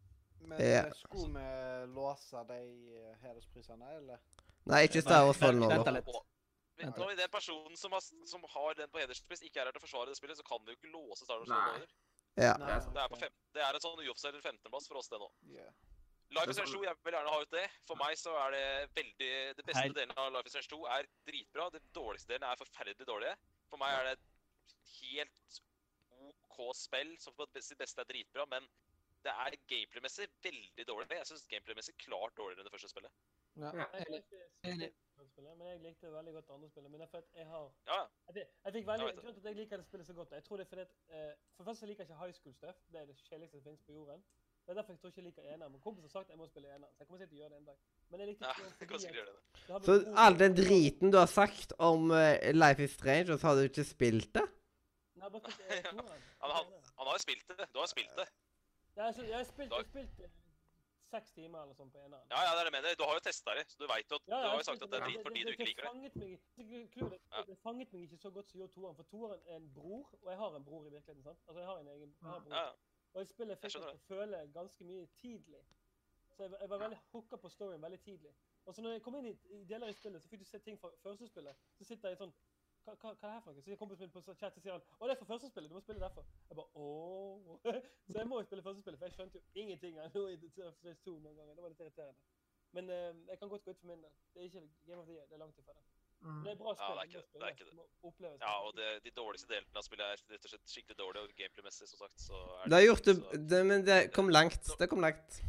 Men
Ja.
eh, skulle vi låse de eh, hedersprisene, eller?
Nei, ikke Star Wars Fallen
Vent
Order.
da litt.
Og- men
Vent
Når den personen som har, som har den på hederspris, ikke er her til å forsvare det spillet, så kan vi jo ikke låse Star Wars Fallen
Nei.
Order.
Ja.
Nei,
det er sant.
Det er, på
ok.
fem, det er en sånn uoffisiell 15.-plass for oss, det nå.
Ja.
Life
Det
is
er
Strange 2, jeg vil gjerne ha ut det. For meg så er det veldig Det beste
Hei.
delen av Life is Strange 2 er dritbra. Det dårligste delen er forferdelig dårlige. For meg er det et helt OK spill som på sitt beste er dritbra, men det er gameplay-messig veldig dårlig. Jeg syns gameplay-messig klart dårligere enn det første spillet.
Ja.
Jeg
Enig.
likte spillet, men jeg likte veldig godt det andre spillet. Men det er fordi at jeg har
Ja, ja.
Jeg, fikk- jeg fikk veldig,
Jeg vet det.
grunnen til at jeg liker det spillet så godt, jeg tror det er fordi at eh, For det første så liker jeg ikke high school stuff. Det er det kjedeligste som finnes på jorden. Det er derfor jeg tror ikke jeg liker ener. Men kompisen har sagt jeg må spille ener, så jeg kommer sikkert til å gjøre det en dag. Men jeg likte
ja
ikke
[LAUGHS] jeg kan sikkert gjøre det.
Så all den driten du har sagt om eh, Life is Strange, og så har du ikke spilt det?
Nei, bare spilt
[LAUGHS]
eh, toeren.
Ja, men Han har jo spilt det. Du har jo spilt det.
Nei, så altså, Jeg har spilt, jeg har spilt eh, seks timer eller sånn på eneren.
Ja, ja, det er det jeg mener. Du har jo testa det, så du veit jo at Du
Ja, ja,
har jo
jeg
sagt
synes
at det er drit fordi du ikke liker det.
fanget meg, det- clouet er-
Ja.
det fanget meg ikke så godt som gjorde toeren, for toeren er en bror, og jeg har en bror i virkeligheten. sant? Altså, jeg har en egen jeg har bror.
Ja, ja.
Og jeg spiller
Jeg
fikk
skjønner
meg til å føle ganske mye tidlig. Så jeg, var- jeg var veldig hooka på storyen veldig tidlig. Og så når jeg kom inn i, i deler i spillet, så fikk du se ting fra første spillet. Så sitter jeg sånn hva, hva, hva er det her for noe? Så jeg kompisen min på chat så sier han Å, det er fra første spillet, du må spille derfor. Jeg bare ååå. [LAUGHS] Så jeg må jo spille første spillet, for jeg skjønte jo ingenting av noe i Trace 2 noen ganger. Det var litt irriterende. Men eh, jeg kan godt gå ut for min del. Det er ikke Game of the Year. Det er langt ifra det.
Mm.
Men Det er bra spill.
det
du må
er ikke- det er
spille,
ikke det.
du må oppleve
Ja,
spillet.
og det, de dårligste delene av spillet er rett og slett skikkelig dårlig, og gameplay-messig, som sagt, så er
Det har gjort det,
Altså-
så-
det Men det kom langt. Det kom langt.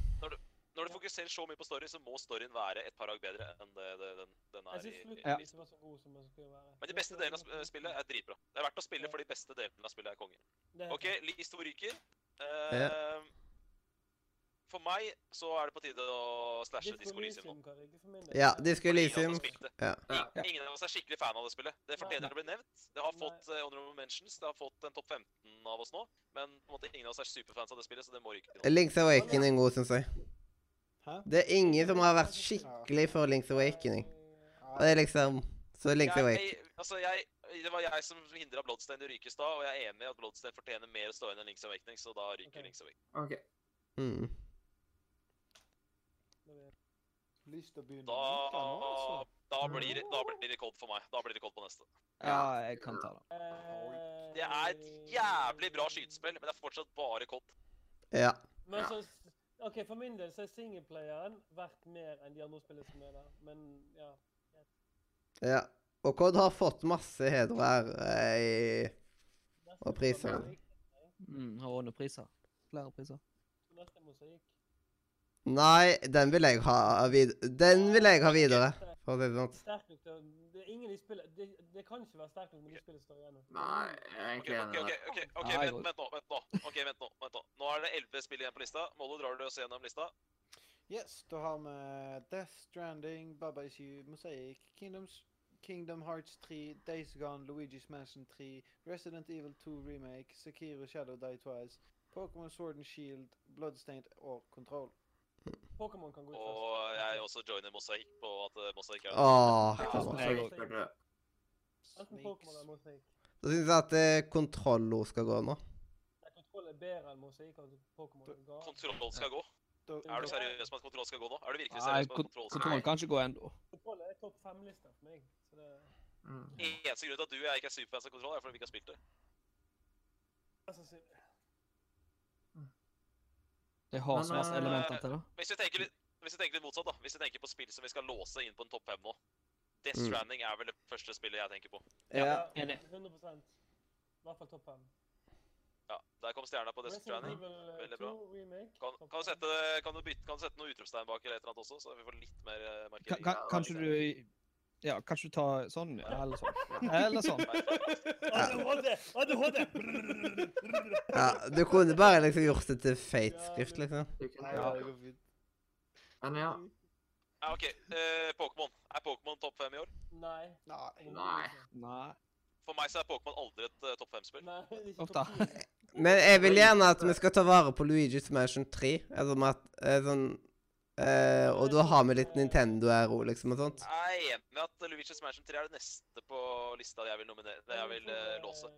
Når du fokuserer så mye på story, så må storyen være et par lag bedre enn det, det, den, den
Jeg
er i,
synes
i,
slutten
Ja.
ikke var så god som den skulle være.
Men de beste delene av sp- eh, spillet er dritbra. Det er verdt å spille, for de beste delene av spillet er konger.
Det er helt
OK, Lis to ryker. Eh, For meg så er det på tide å slashe Disco Elysium nå.
Kari, ikke for min del.
Ja, Disco
Fordi ingen av
Elysium.
oss spilte.
Ja.
I- Ingen av oss er skikkelig fan av det spillet. Det fortjener
Nei.
å bli nevnt. Det har
Nei.
fått eh, honorable mentions, det har fått en topp 15 av oss nå, men på en måte ingen av oss er superfans av det spillet, så det må ryke. nå.
Links Awakening er god, syns jeg.
Hæ?
Det er ingen som har vært skikkelig for Links Awakening. Og det er liksom Så Links
jeg,
Awakening
jeg, altså jeg, det var jeg som hindra Bloodstein i å ryke i stad, og jeg er enig i at Bloodstein fortjener mer stående enn Links Awakening, så da ryker
Ok.
Links Awakening.
OK.
mm.
Lyst til å begynne
Da,
å like nå, altså.
da, blir, det- da blir det kold for meg. Da blir det kold på neste.
Ja, jeg kan ta det.
Eh,
Det er et jævlig bra skytespill, men det er fortsatt bare kold.
Ja.
Men så, ok, For min del så er singleplayeren verdt mer enn de andre spillene som er der. Men ja.
ja. Og Cod har fått masse heder og ære i
Neste
Og priser.
var mosaikk.
Mm, har vunnet priser. Flere priser.
Neste er mosaikk.
Nei, den vil jeg ha videre. Den vil jeg ha videre, for å si det sånn.
Sterk nok til å Det er ingen i spillet Det, det kan ikke være sterk nok når du spiller står igjennom.
Nei,
Ok,
jeg er egentlig
ok,
enig i
ok,
det.
ok, ok,
Nei,
vent,
godt.
vent nå. vent Nå Ok, vent nå, vent nå. Nå er det elleve spill igjen på lista. Mollo, drar du oss gjennom lista?
Yes, da har vi Death Stranding, Baba Is You, Mosaic, Kingdoms, Kingdom Hearts 3, Days Gone, Luigi's Mansion 3, Resident Evil 2 Remake, Sekiro Shadow Die Twice, Pokémon Sword and Shield, Bloodstained og Control.
Pokémon kan gå ut først.
Og jeg også joiner Mosaikk på at eh, Mosaikk er
Åh.
Ja,
Da
så godt gjør det.
Enten Pokémon eller Mosaic.
syns jeg at eh, Controllo skal gå nå.
Nei, Kontroll er bedre enn Mosaic og Pokémon. er gal.
Kontroll skal gå.
Da,
Er du seriøs med at kontroll skal gå nå? Er du virkelig
Nei,
seriøs med at kontroll skal gå?
kontrollen kan ikke gå ennå.
Kontroll er topp fem-lista for meg. Så det er
Mm.
Eneste grunn til at du og jeg ikke er superfans av kontroll, er fordi vi ikke har spilt det.
mest sannsynlig.
Det har
Men,
svært
eh,
elementer til det.
Hvis vi tenker litt, hvis vi tenker litt motsatt, da. Hvis vi tenker på spill som vi skal låse inn på en topp fem nå. Death
Mm.
Stranding er vel det første spillet jeg tenker på.
Ja.
enig.
100 I hvert fall topp fem.
Ja, Der kom stjerna på Death
Resident
Stranding.
Evil eh,
Veldig
2
bra.
remake.
Kan,
topp
kan,
fem.
du
[LAUGHS]
sette, kan, du bytte, kan du sette noe utropstegn bak eller et eller annet også, så vi får litt mer eh,
Kan,
markering?
kan,
Ja,
kanskje
litt
du
mer.
Ja, kanskje du tar sånn, ja, eller sånn. Eller sånn.
ADHD! ADHD!
ja. Du kunne bare liksom gjort det til feit skrift, liksom.
Du kan-
Ja, det går fint.
Men ja.
Ja, OK. eh, Pokémon. Er Pokémon topp fem i år?
Nei.
Nei.
Nei.
Nei.
For meg så er Pokémon aldri et eh, topp fem-spill.
Nei, det er ikke
Uff
topp
da.
[LAUGHS]
ti.
Men jeg vil gjerne at vi skal ta vare på Luigi's Mansion 3. Altså med at eh, sånn eh, Og da har vi litt Nintendo-ero, liksom, og sånt.
Jeg er enig i at Luigi's Mansion 3 er det neste på lista jeg vil nominere. Det jeg vil eh, låse.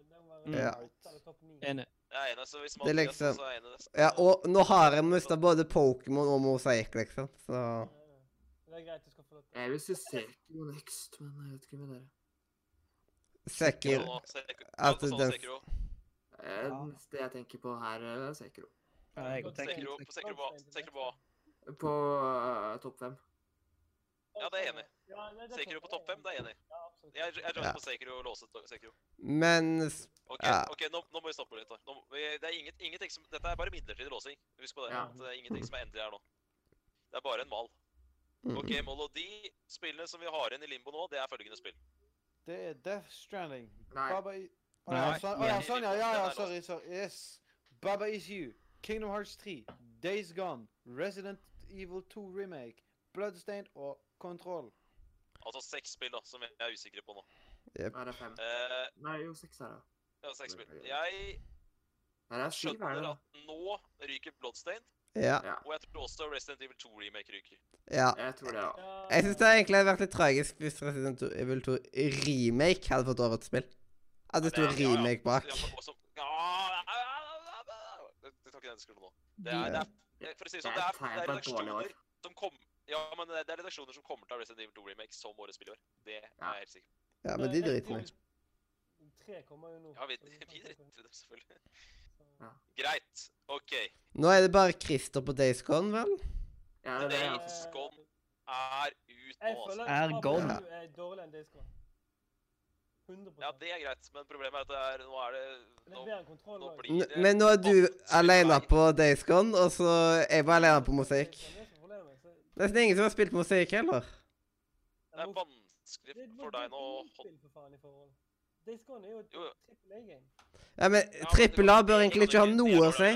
Ja.
Enig.
Jeg er enig, så hvis
Det
man
er
sier
liksom-
så er jeg enig i det.
Ja, og nå har jeg mista både Pokémon og Mosaikk, liksom, så
Det er greit, du skal få lov til
Jeg vil si Sekiro next, men jeg vet ikke med dere.
Sikker
Nå, Sekiro.
at
Nå,
den-
Sekiro.
Eh,
Ja.
Det neste jeg tenker på her, eh, er Sekiro.
Ja, jeg
Godt
tenker-
Sekiro, på Sekiro hva? Sekiro hva?
På eh, topp fem.
Ja, det er jeg enig.
Ja, nei, det er
Sekiro på topp fem, det er jeg enig i.
Ja, absolutt.
Jeg, jeg joiner
Ja.
på Sekiro og låser to- Sekiro.
Men s-
Ok,
Ja.
ok, nå, nå må vi stoppe litt. da. Nå, må- vi, det er inget, ingenting som, dette er bare midlertidig låsing. Husk på det.
Ja.
at Det er ingenting som er endelig her nå. Det er bare en mal.
Mm.
Ok, Molo, de spillene som vi har igjen i limbo nå, det er følgende spill.
Det er Death Stranding.
Nei.
Baba I... Å ja,
Nei.
sånn, å ja,
Nei.
sånn, ja, ja, ja,
Den er
sorry, sorry. Yes. Baba Is You, Kingdom Hearts 3, Days Gone, Resident Evil 2 Remake, Bloodstained og Control.
Altså seks spill da, som vi er usikre på nå.
Nei, det er fem.
Eh,
Nei, jo, seks er det.
ja, seks spill. Jeg
Nei, det er syv, er det
skjønner
da?
at nå ryker Bloodstained,
ja,
og jeg tror også Resident Evil 2 remake ryker.
ja.
Jeg tror det, ja.
Ja,
Jeg syns det egentlig hadde vært litt tragisk hvis Resident Evil 2 Remake hadde fått årets spill. At det sto
Ja, ja, ja.
remake bak.
Ja, for- også- Ja, ja, ja, ja, ja, ja. Det det tar ikke den diskusjonen nå. Det er, det er, det er, for å si det
Det
sånn,
er
det
et
er, det
tegn
er
på et dårlig
redaksjoner
år.
som kom, ja, men det er- det er redaksjoner som kommer til å ha Resident Evil 2 Remake som årets spill i år. Det er
Ja.
jeg helt sikker på.
Ja, men de driter meg.
Tre kommer jo nå.
Ja, vi,
så
[LAUGHS]
kan
vi
ikke-
driter i det, selvfølgelig.
Ja.
Greit. OK.
Nå er det bare Christer på Days Gone, vel?
Ja, det er det, ja.
Eh,
Days Gone er ut
Jeg
nå,
føler
altså.
at
Er
Pablo
gone.
Lulu er dårligere enn Days Gone. 100
Ja, det er greit, men problemet er at det er Nå er det
Det er
Nå,
bedre enn kontroll.
nå
også.
blir
N
det
men nå er du alene
Nei.
på Days Gone, og så er jeg bare alene på Mosaikk.
Det er det som er problemet, så-
Nesten ingen som har spilt Mosaikk heller.
Det er vanskelig
Det-
for
det- det er
deg nå å holde
spill, for faen, i forhold. Days Gone er jo et
Jo, jo.
trippel A-game.
Ja, men Trippel A bør egentlig ikke ha noe å si.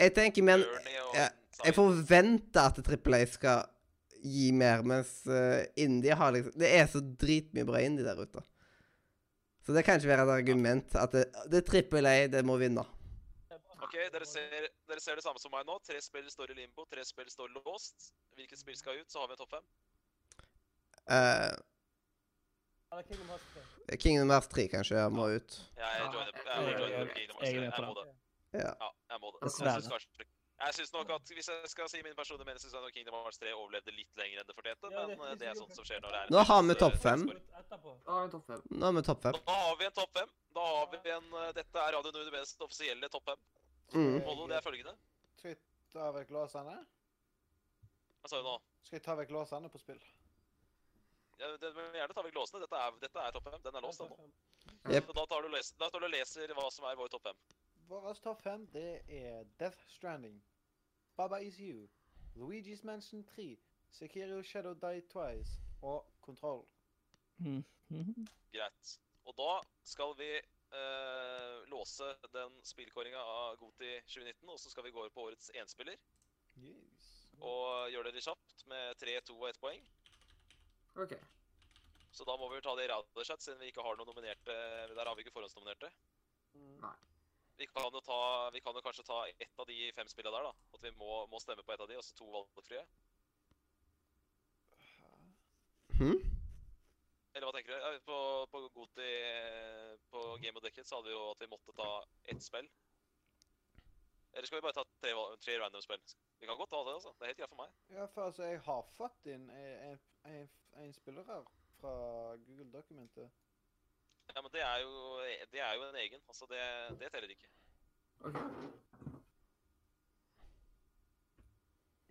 Jeg tenker, men ja, jeg forventer at Trippel A skal gi mer, mens eh, Indie har liksom Det er så dritmye bra Indie der ute. Så det kan ikke være et argument at det, det er Trippel A, det må vinne.
Det er bra.
OK, dere ser, dere ser det samme som meg nå. Tre spill står i limbo, tre spill står låst. Hvilket spill skal ut? Så har vi en topp fem.
Eh,
Eller Kingdom Hearts 3.
Kingdom Hearts 3 kanskje må ut.
Jeg
Ja,
joiner
jeg-
jeg
jeg-
joiner
jeg-
Kingdom
jeg
Hearts.
er med
Jeg
på
må
det.
det. Ja, jeg må det.
Dessverre.
Jeg synes kanskje- Jeg synes nok at Hvis jeg skal si min personlige mening, syns jeg nok Kingdom Hearts 3 overlevde litt lenger enn det fortjente.
Ja, det-
Men eh, det er sånt som skjer når det er
Nå har vi
eh,
topp fem.
sport.
Etterpå.
Da har vi topp fem.
Nå er vi topp fem.
Da har vi en topp fem. Da har vi en eh, Dette er Radio Nordvest offisielle topp fem.
Mm.
Mollo, det er følgende.
Skal jeg ta vekk låsene?
Hva sa du nå?
Skal jeg ta vekk låsene på spill?
Ja, det, men gjerne ta vekk låsene. Dette er, dette er topp fem. Den er låst, den nå.
Jep.
Så Da, tar du og leser, da står du og leser hva som er vår topp fem.
Vår topp fem det er Death Stranding, Baba Is You, Luigi's Mansion 3, Sekiro Shadow Die Twice og Kontroll.
Greit. Og da skal vi eh, låse den spillkåringa av Goti 2019, og så skal vi gå over på årets enspiller. Og gjøre det litt kjapt med 3, 2 og 1 poeng.
OK.
Så da må vi vel ta det i radarchat, siden vi ikke har noen nominerte. Der har vi ikke forhåndsnominerte.
Mm.
Nei.
Vi kan, jo ta, vi kan jo kanskje ta ett av de fem spillene der, da. At vi må, må stemme på ett av de, og så to valgfrie.
Hm?
Eller hva tenker du? Ja, På, på Goti eh, på Game of Decade så hadde vi jo at vi måtte ta ett spill. Eller skal vi bare ta tre, val- tre random spill? Vi kan godt ta det, altså. Det er helt greit for meg.
Ja, for altså, jeg har fått inn en, en, en spiller her fra Google-dokumentet.
Ja, men det er jo, det er jo en egen. Altså, det, det teller ikke.
ok.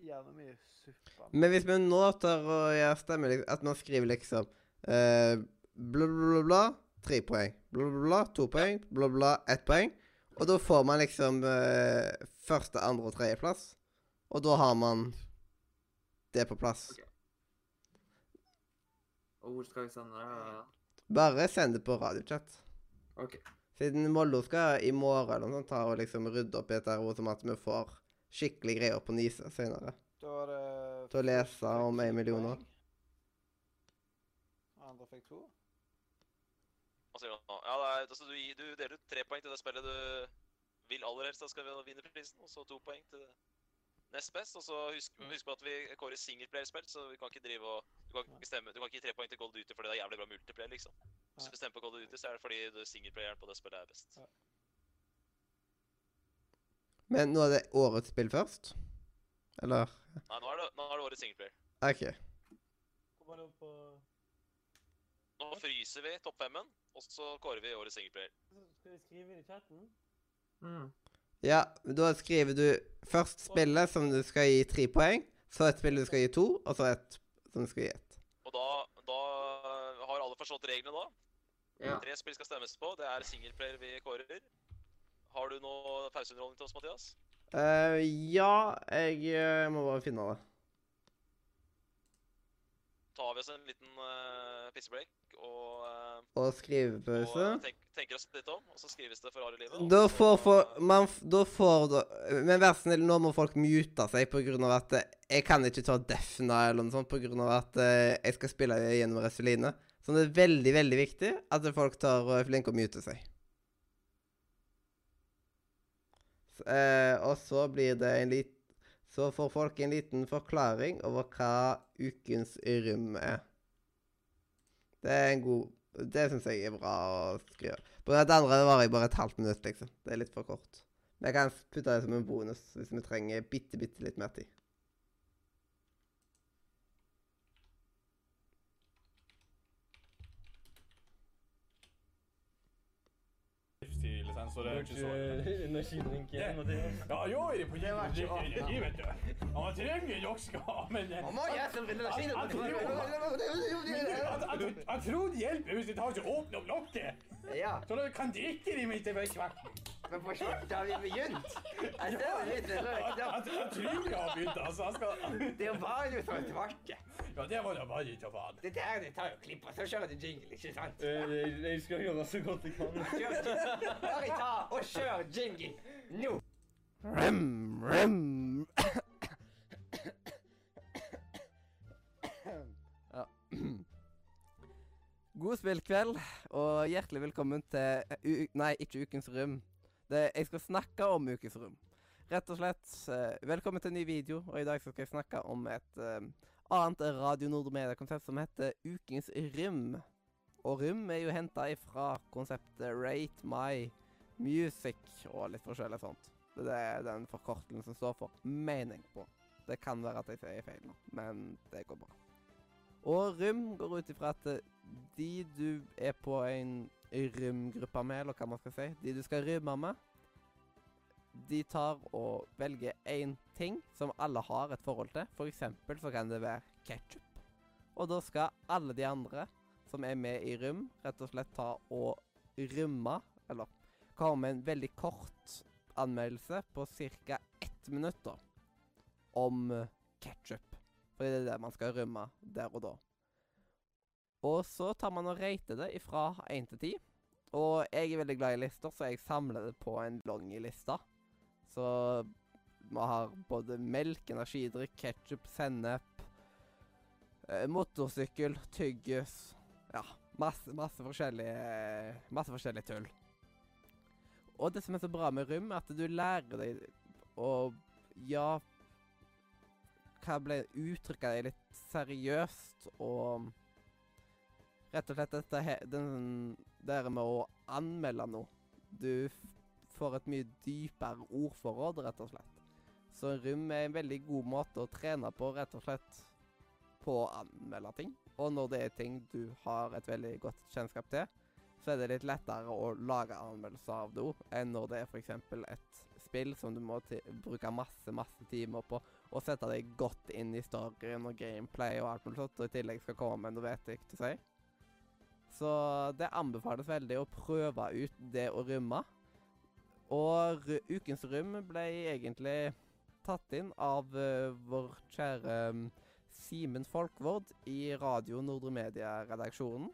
Gjerne mye suppe.
Men hvis vi nå tar og gjør stemmer liksom, At man skriver liksom eh, bla, bla, bla, bla, tre poeng. Bla, bla, bla, to poeng. Bla, bla, ett poeng. Og da får man liksom eh, første, andre og tredjeplass. Og da har man det på plass.
Ok. Og hvor skal vi sende det?
Bare send det på radiochat.
OK.
Siden Mollo skal i morgen eller noe sånt, ta og liksom rydde opp i dette, her, sånn at vi får skikkelig greier på Nise senere.
Da er det
Til å lese om en million år.
Andre fikk to.
Hva sier du nå? Ja, det er, altså, du, gir- du deler ut tre poeng til det spillet du vil aller helst da skal vi vinne prisen, og så to poeng til det nest best. Og så husk, husk på at vi kårer singleplayerspill, så vi kan ikke drive og Du kan ikke, stemme, du kan ikke gi tre poeng til Gold Duty fordi det er jævlig bra multiplayer, liksom. Hvis du stemmer på Gold Duty, så er det fordi du- singleplayeren på det spillet er best.
Men nå er det årets spill først? Eller
Nei, nå er det, nå er det årets singleplayer.
OK.
Hvor var det opp på
Nå fryser vi topp femmen, og så kårer vi årets singleplayer.
Skal vi skrive inn i chatten?
Mm.
Ja, da skriver du først spillet som du skal gi tre poeng, så et spill du skal gi to, og så et som du skal gi ett.
Og da, da har alle forstått reglene da.
Ja.
Tre spill skal stemmes på. Det er singleplayer vi kårer. Har du noe pauseunderholdning til oss, Mathias?
Eh, ja, jeg eh, må bare finne det.
tar vi oss en liten uh, pissebreak og, eh,
Og
og
skrivepause.
eh, tenk, tenker oss litt om, og så skrives det for harde livet. altså. og
Da
så-
får for, man f- Da får da Men vær snill, nå må folk mute seg på grunn av at eh, jeg kan ikke ta Defna eller noe sånt på grunn av at eh, jeg skal spille gjennom Resuline. Så det er veldig, veldig viktig at folk tar eh, og er flinke å mute seg. S- Eh, og så blir det en lit... Så får folk en liten forklaring over hva ukens rym er. Det er en god Det syns jeg er bra å skrive. På det andre varer jeg bare et halvt minutt, liksom. Det er litt for kort. Men jeg kan putte det som en bonus hvis vi trenger bitte, bitte litt mer tid.
Giftig-lisens, og det er ikke så
Energidrinken og det.
Ja, jo, er det på jævlig energi, vet du. Ja, man trenger nok skal, men eh, jeg jeg- jeg- jeg tror det hjelper hvis de tar seg og åpner opp lokket,
Ja,
så du kan drikke dem etter hvert. Jeg,
men for kjapt har vi begynt. Jeg ser jo litt
jeg, jeg tror jeg har begynt, altså. Jeg skal...
Det var jo sånn svarte.
Ja, det var da bare ikke faen.
Det der det tar jo klipp, og så kjører du jingle, ikke sant?
Jeg skal gjøre så godt jeg kan.
Kjør jingle. Bare ta og kjør jingle nå. Rem, rem. Ja. God spillkveld, og hjertelig velkommen til u Nei, ikke Ukens rom. Det, jeg skal snakke om Ukens rom. Rett og slett, eh, velkommen til en ny video, og i dag så skal jeg snakke om et eh, annet Radio Nordmedia-konsept som heter Ukens rom. Og rom er jo henta ifra konseptet Rate My Music og litt forskjellig sånt. Det er den forkortelsen står for mening på. Det kan være at jeg sier feil nå, men det går bra. Og rym går ut ifra at eh, de du er på en rymgruppe med, eller hva man skal si, de du skal rymme med, de tar og velger én ting som alle har et forhold til. For eksempel så kan det være ketsjup. Og da skal alle de andre som er med i rym, rett og slett ta og rymme, eller komme med en veldig kort anmeldelse på ca. ett minutt da, om ketsjup. Fordi eh, det er det man skal rømme der og da. Og så tar man og rater det ifra 1 til 10. Og jeg er veldig glad i lister, så jeg samler det på en lang liste. Så vi har både melk, energidrikk, ketsjup, sennep, eh, motorsykkel, tyggis Ja, masse, masse forskjellige Masse forskjellig tull. Og det som er så bra med rum, er at du lærer deg å Ja, hva ble uttrykke deg litt seriøst og Rett og slett dette he- den der med å anmelde noe. Du f- får et mye dypere ordforråd, rett og slett. Så rum er en veldig god måte å trene på, rett og slett på å anmelde ting. Og når det er ting du har et veldig godt kjennskap til, så er det litt lettere å lage anmeldelser av det òg, enn når det er f.eks. et spill som du må ti- bruke masse, masse timer på å sette deg godt inn i storyen og gameplay og alt mulig sånt, og i tillegg skal komme med noe vettig til seg. Så det anbefales veldig å prøve ut det å rømme. Og ru- ukens rom ble egentlig tatt inn av eh, vår kjære mm, Simen Folkvord i Radio Nordre Media-redaksjonen.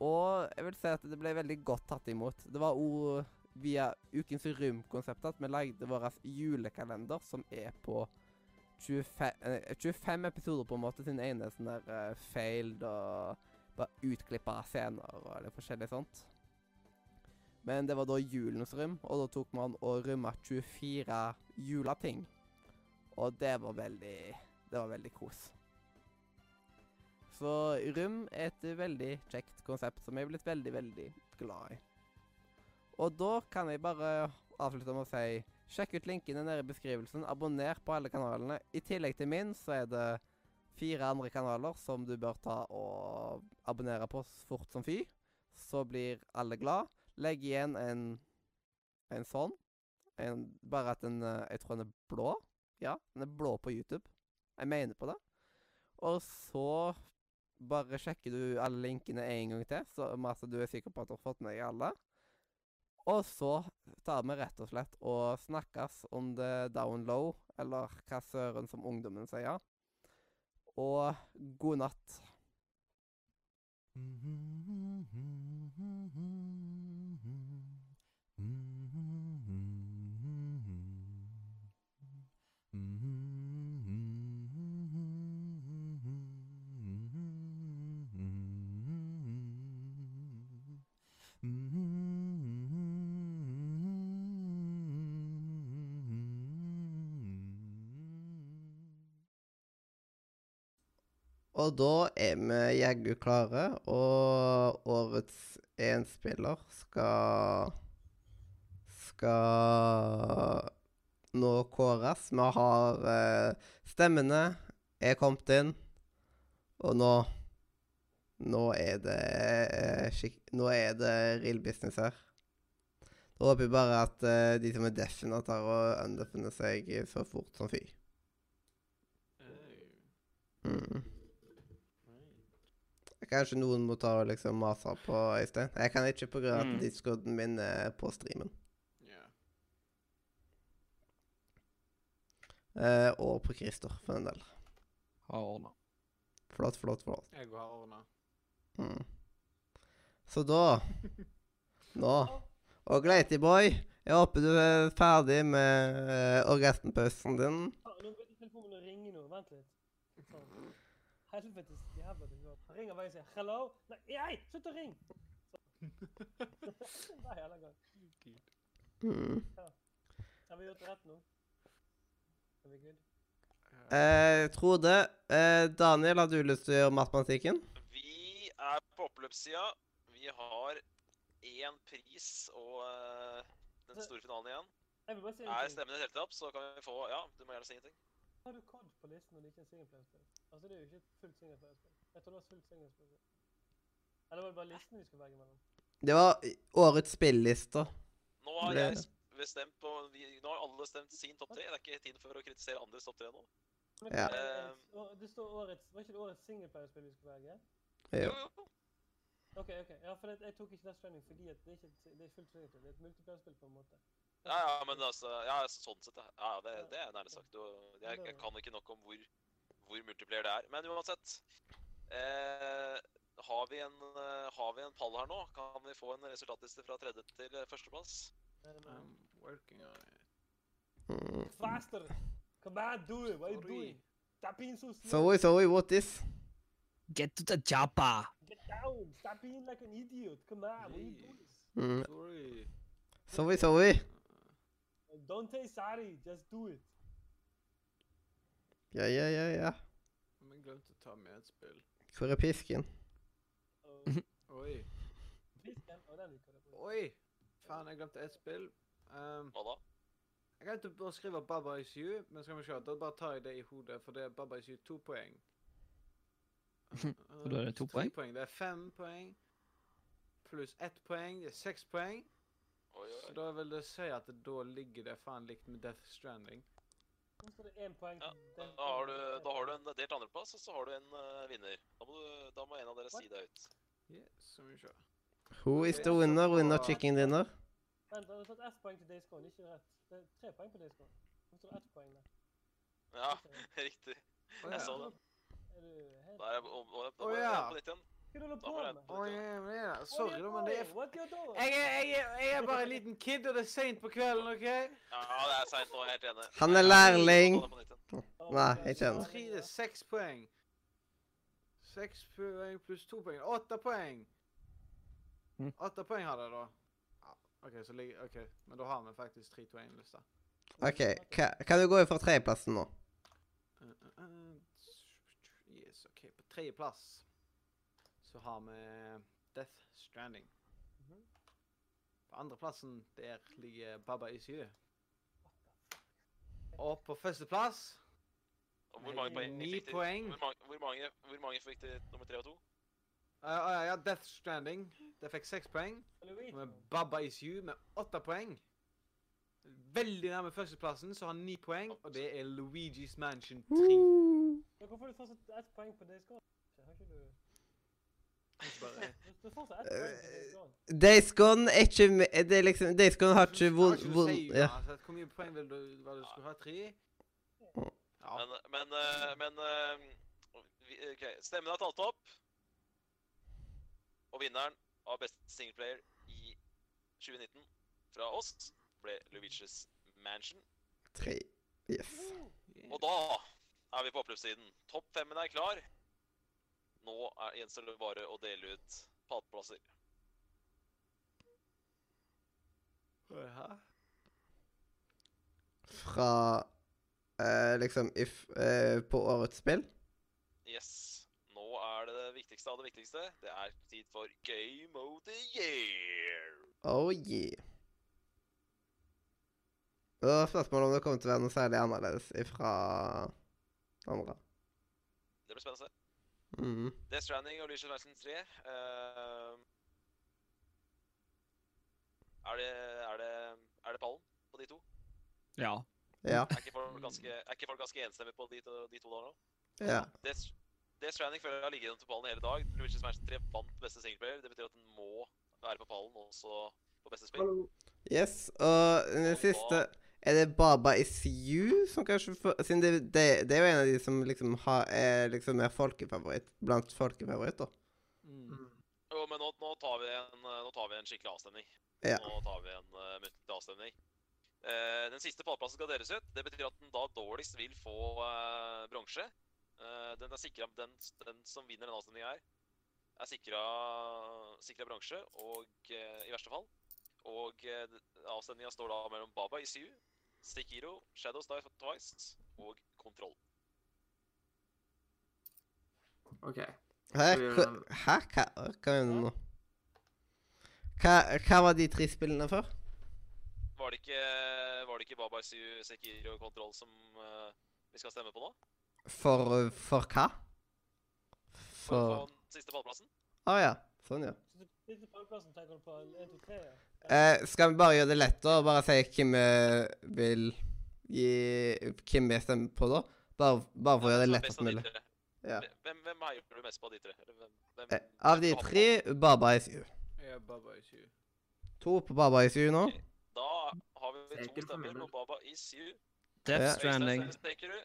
Og jeg vil si at det ble veldig godt tatt imot. Det var òg via Ukens Rom-konseptet at vi lagde vår julekalender, som er på 25, eh, 25 episoder, på en måte, sin ene sånn der eh, failed og bare utklippa scener og det forskjellige sånt. Men det var da julens rom, og da tok man og rømma 24 juleting. Og det var veldig Det var veldig kos. Så rom er et veldig kjekt konsept som jeg er blitt veldig, veldig glad i. Og da kan jeg bare avslutte med å si sjekk ut linkene nede i beskrivelsen. Abonner på alle kanalene. I tillegg til min så er det fire andre kanaler som du bør ta og abonnere på så fort som fy. Så blir alle glad. Legg igjen en en sånn. En, bare at den eh, Jeg tror den er blå. Ja, den er blå på YouTube. Jeg mener på det. Og så bare sjekker du alle linkene en gang til, så med at du er sikker på at du har fått med deg alle. Og så tar vi rett og slett og snakkes om det down low, eller hva søren som ungdommen sier. Og god natt. Og da er vi jaggu klare, og årets én spiller skal Skal nå kåres. Vi har eh, stemmene er kommet inn, og nå Nå er det eh, skikk... Nå er det real business her. Da håper jeg bare at eh, de som er defina, tar og undefinerer seg så fort som fy. Mm. Kanskje noen må ta og liksom mase på Øystein. Jeg kan ikke på grunn av at discorden min er på streamen. Eh, og på Christer, for en del.
Har ordna.
Flott, flott, flott.
Jeg har ordna.
Mm. Så da Nå. Og Gleitiboy, jeg håper du er ferdig med eh, orgasmpausen din.
Ah, nå begynte telefonen å ringe nå. Vent litt. Sånn. Helvetes jævla telefonen. Han ringer hver gang jeg sier 'hello'. Nei, ei, slutt å ringe! Sånn. Hver jævla gang.
Mm.
Har vi gjort det rett nå? Er vi good?
Eh, Frode, eh, Daniel, har du lyst til å gjøre matematikken?
Vi er på oppløpssida. Vi har én pris og eh, den store finalen igjen.
Jeg vil bare si
Er
en ting.
stemmene helt opp, så kan vi få Ja, du må gjerne si ingenting.
Har Ah, du COD på listen når det ikke er singelplayerspill? Altså, det er jo ikke et fullt singelplayerspill. Jeg tror det var fullt singelplayerspill. Eller var det bare listen vi skulle velge mellom?
Det var årets spillelister.
Nå har
Det-
jeg s- bestemt på vi, Nå har alle stemt sin topp tre. Det er ikke tid for å kritisere andres topp tre nå.
Men
Ja.
det er årets- å, Det står årets Var ikke det årets singelplayerspill vi skulle velge?
Jo.
OK, ok. Ja, for det, jeg tok ikke Death Stranding fordi at det er ikke et- det er fullt singelspill. Det er et multiplayerspill på en måte.
Ja, ja, men altså Ja, sånn sett, ja. ja det, det er nærmest sagt. Og jeg, jeg kan ikke nok om hvor hvor multiplayer det er. Men uansett eh, har, vi en, eh, har vi en pall her nå? Kan vi få en resultatliste fra tredje til eh, førsteplass?
I'm working on it.
Eh,
Mm.
Faster! Come on, do it! What are you
Sorry.
doing? Stop being so slow!
Sorry, sorry, what this?
Get to the jabba!
Get down! Stop being like an idiot! Come on, what are you doing?
Mm.
Sorry.
Sorry, sorry.
Like, don't say sorry, just do it.
Ja, ja, ja, ja.
Men jeg glemte å ta med et spill.
Hvor er pisken?
Og
Oi.
Oh, please, den- og den liker jeg på.
Oi! Faen, jeg glemte et spill. Ehm,
Hva da?
jeg glemte å skrive Baba is you, men skal vi se, da bare tar jeg det i hodet, for det er Baba is you
[LAUGHS]
to poeng.
da er det to
Eh, tre
poeng?
Det er fem poeng. Pluss ett poeng, det er seks poeng.
Oi,
Så
oi.
da vil det si at da ligger det faen likt med Death Stranding.
Nå står det én poeng.
Ja,
til
Da
den.
har du, da har du en delt andreplass, og så har du en eh, vinner. Da må, du, da må en av dere si deg ut.
Yes, skal vi se.
Who is the winner? Winner chicken dinner?
Vent, han har tatt ett poeng til Days Gone, ikke rett. Det er tre poeng på Days Gone. Nå står det ett poeng der.
Ja, [LAUGHS] riktig.
Å
Jeg
ja.
så det.
Er du helt
Da er jeg om- om- da
Å,
må jeg
ja.
på nytt igjen.
Hva er det du holder
Da
på
var det
med?
på
Å,
nytt igjen.
ja, men ja. Sorry, da, men det er
What you doing?
jeg er, jeg, er, jeg er bare en liten kid, og det er seint på kvelden, OK?
Ja, det er seint nå. Jeg er helt enig.
Han er lærling.
Da var det på nytt igjen.
Oh,
Nei,
okay.
jeg kjenner.
Tre, det er seks poeng. Seks poeng pluss to poeng. Åtte poeng!
Mm.
Åtte poeng har de, da. Ja, OK, så ligger OK. Men da har vi faktisk tre poenglister.
OK, ka, kan du gå fra tredjeplassen nå?
Eh, eh, eh, Yes, OK. På tredjeplass så har vi Death Stranding. På andreplassen, der ligger Baba Isu. Og på førsteplass
Og Hvor mange poeng
Ni
fikk de-
poeng.
Hvor mange, hvor mange, hvor mange fikk de nummer tre og to?
eh, eh, Ja, Death Stranding. Det fikk seks poeng.
Louis,
Med Baba Is You med åtte poeng. Veldig nærme førsteplassen, så har han ni poeng, og det er Luigi's Mansion 3.
men Hvorfor har du fortsatt ett poeng på Days Gone? Har ikke du
Bare,
Du- Du får seg ett poeng på Days Gone.
Days Gone er ikke med Det er liksom Days Gone har ikke
Kan
vond
ikke du
vond-
si
Ja.
uansett Hvor mye poeng ville du, hva du skulle ha? Tre? Ja.
Men, men, eh, men eh, vi- ok, Stemmen er talt opp. Og vinneren av beste singleplayer i 2019 fra oss ble Luigi's Mansion.
Tre. Yes.
Og da er vi på oppløpssiden. Topp femmen er klar. Nå er gjenstår det bare å dele ut pateplasser.
Hæ?
Fra eh, liksom if, eh, På årets spill.
Yes. Nå er det det viktigste av det viktigste. Det er tid for Game of the Year.
Oh yeah. Det var spørsmålet om det kommer til å være noe særlig annerledes ifra andre.
Det blir spennende.
Mm.
Death Stranding og Lucius Mansion 3. eh, er, det, er, det, er det pallen på de to?
Ja.
Ja.
Er ikke folk ganske, er ikke folk ganske enstemmige på de to, de to der nå?
ja.
Death, Death Stranding føler jeg har ligget under pallen hele dag. Lucius Mansion 3 vant beste singleplayer. Det betyr at den må være på pallen også på beste spill.
Yes, og den siste Er det Baba Is You som kanskje får Siden det, det, det er jo en av de som liksom har, er liksom mer folkefavoritt blant folkefavoritter.
Jo, men nå, nå, tar vi en, eh, nå tar vi en skikkelig avstemning.
Ja.
Nå tar vi en eh, muntlig avstemning. Eh, den siste pallplassen skal deles ut. Det betyr at den da dårligst vil få eh, bronse. Eh, den er sikra den, den som vinner denne avstemninga her, er sikra, sikra bronse, og eh, i verste fall. Og eh, avstemninga står da mellom Baba i Siu, Sekiro, Shadows Die Twice og Kontroll.
OK.
Hæ?
Så gjør
Hva,
den-
hæ? Hva, hva er det nå? Hva, hva var de tre spillene for?
Var det ikke, var det ikke Baba i Siu, Sekiro og Kontroll som eh, vi skal stemme på nå?
For For hva?
For
For
å få den siste pallplassen?
Å ja. Sånn, ja.
Så du- Siste pallplassen tenker du på en, en, to, tre? ja?
Eh, skal vi bare gjøre det lettere og bare si hvem vi vil gi Hvem vi stemmer på, da? Bare, bare for å gjøre det
Hvem er best
lettest
av de
mulig.
tre?
Ja.
Hvem, hvem heier du mest på av de tre? Eller hvem, hvem,
Eh, Av de
hvem skal ha
tre, Baba Is You.
Jeg er Baba Is You.
To på Baba Is You nå.
den? Da har vi to
Taker for min
stemmer på
del.
Baba Is You.
Death
Ja.
Stranding.
Øystein Taker,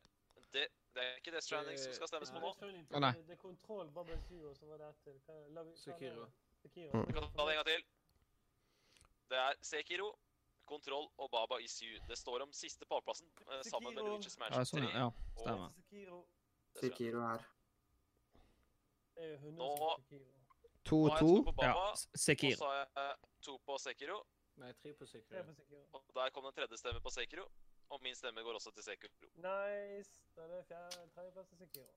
det, Det er ikke Death Stranding som skal stemmes på nå.
Å, nei.
Det er kontroll, Baba Suo, som var der til. Hva- la vi-
Sekiro.
Sekiro.
Mm.
Vi kan ta det en gang til. Det er Sekiro, Kontroll og Baba Is You. Det står om siste pallplassen eh, sammen med
Sekiro.
Luigi's
Ja,
Mansion 3.
sånn, ja. Stemmer.
Sekiro
og Death Stranding.
Sekiro her.
er jo 100
Nå-
som Sekiro.
Nå har jeg to
2-2.
på Baba,
Ja, S- Sekiro.
og så har jeg eh, to på Sekiro.
Nei, tre på
Tre
sikkerhet.
på Sekiro.
Og der kom den tredje stemme på Sekiro. Og min stemme går også til Sekiro.
Nice. Da er det fjerde, tredjeplass til Sekiro.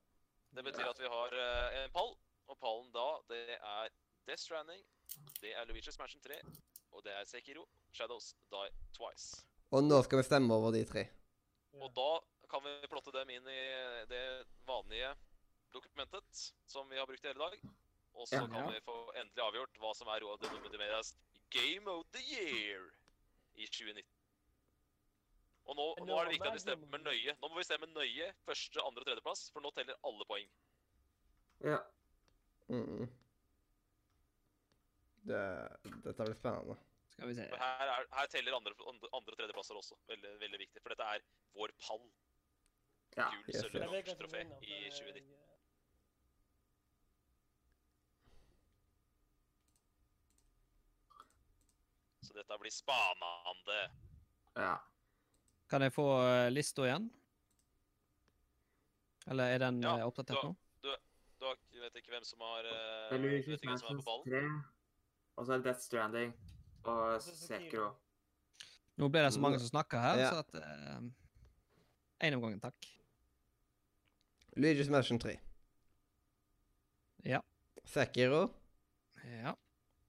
Det betyr at vi har eh, en pall, og pallen da, det er Death Stranding, det er Luigi's Mansion 3, og det er Sekiro, Shadows Die Twice.
Og nå skal vi stemme over de tre.
Ja.
Og da kan vi plotte dem inn i eh, det vanlige dokumentet som vi har brukt i hele dag. Og så
Ja.
kan vi få endelig avgjort hva som er Roald Dunham Medias Game of the Year i 2019. Og nå,
Men
nå er det
hva er
viktig at vi
Game of
stemmer
the
nøye. Nå må vi stemme nøye første, andre og tredjeplass, for nå teller alle poeng.
Ja.
Mm. Det, dette blir spennende.
Skal vi se.
For her, er, her teller andre, andre, andre og tredjeplasser også. Veldig, veldig viktig. For dette er vår pall.
Ja.
Gull,
Yes,
sølv
yes.
og
Jeg vet
bronse
hvem som
trofé
vinner,
i
for,
2019.
eh,
Så dette blir spanende.
ja.
Kan jeg få eh, lista igjen? Eller er den
Ja,
eh, oppdatert
da-
nå?
Du har, du vet ikke hvem som har eh,
Det er
Du vet
Luigi's
ikke hvem som er
Mansion
på ballen? [LAUGHS]
3, og så er det Death Stranding og
så
Sekiro.
Nå ble det så mange som snakka her,
Ja.
så at eh, En om gangen, takk.
Luigi's Mansion 3.
Ja.
Sekiro
Ja.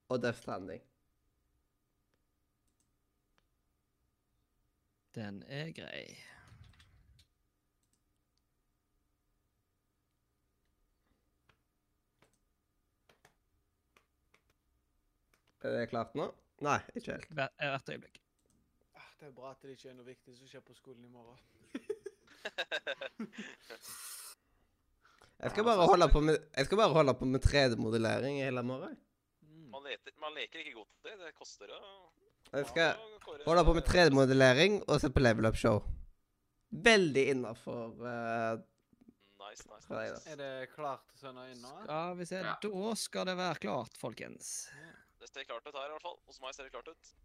og Death Stranding.
Den er grei.
Er det klart nå? Nei, ikke helt.
Hver- eh, Hvert øyeblikk.
Ah, det er bra at det ikke er noe viktig som skjer på skolen i morgen.
Jeg skal bare
altså-
holde på med, jeg skal bare holde på med 3D-modellering i hele morgen.
Mm.
Man, leter, man leker ikke godt det. Det koster å
Jeg skal
å kåre-
holde på med 3D-modellering og se på Level Up Show. Veldig innafor eh,
Nice, nice.
Nei da.
nice.
Er det klart til søndag inn nå? eh?
Skal vi se.
Ja.
Da skal det være klart, folkens.
Det ser klart ut her, i hvert fall. Hos meg ser det klart ut.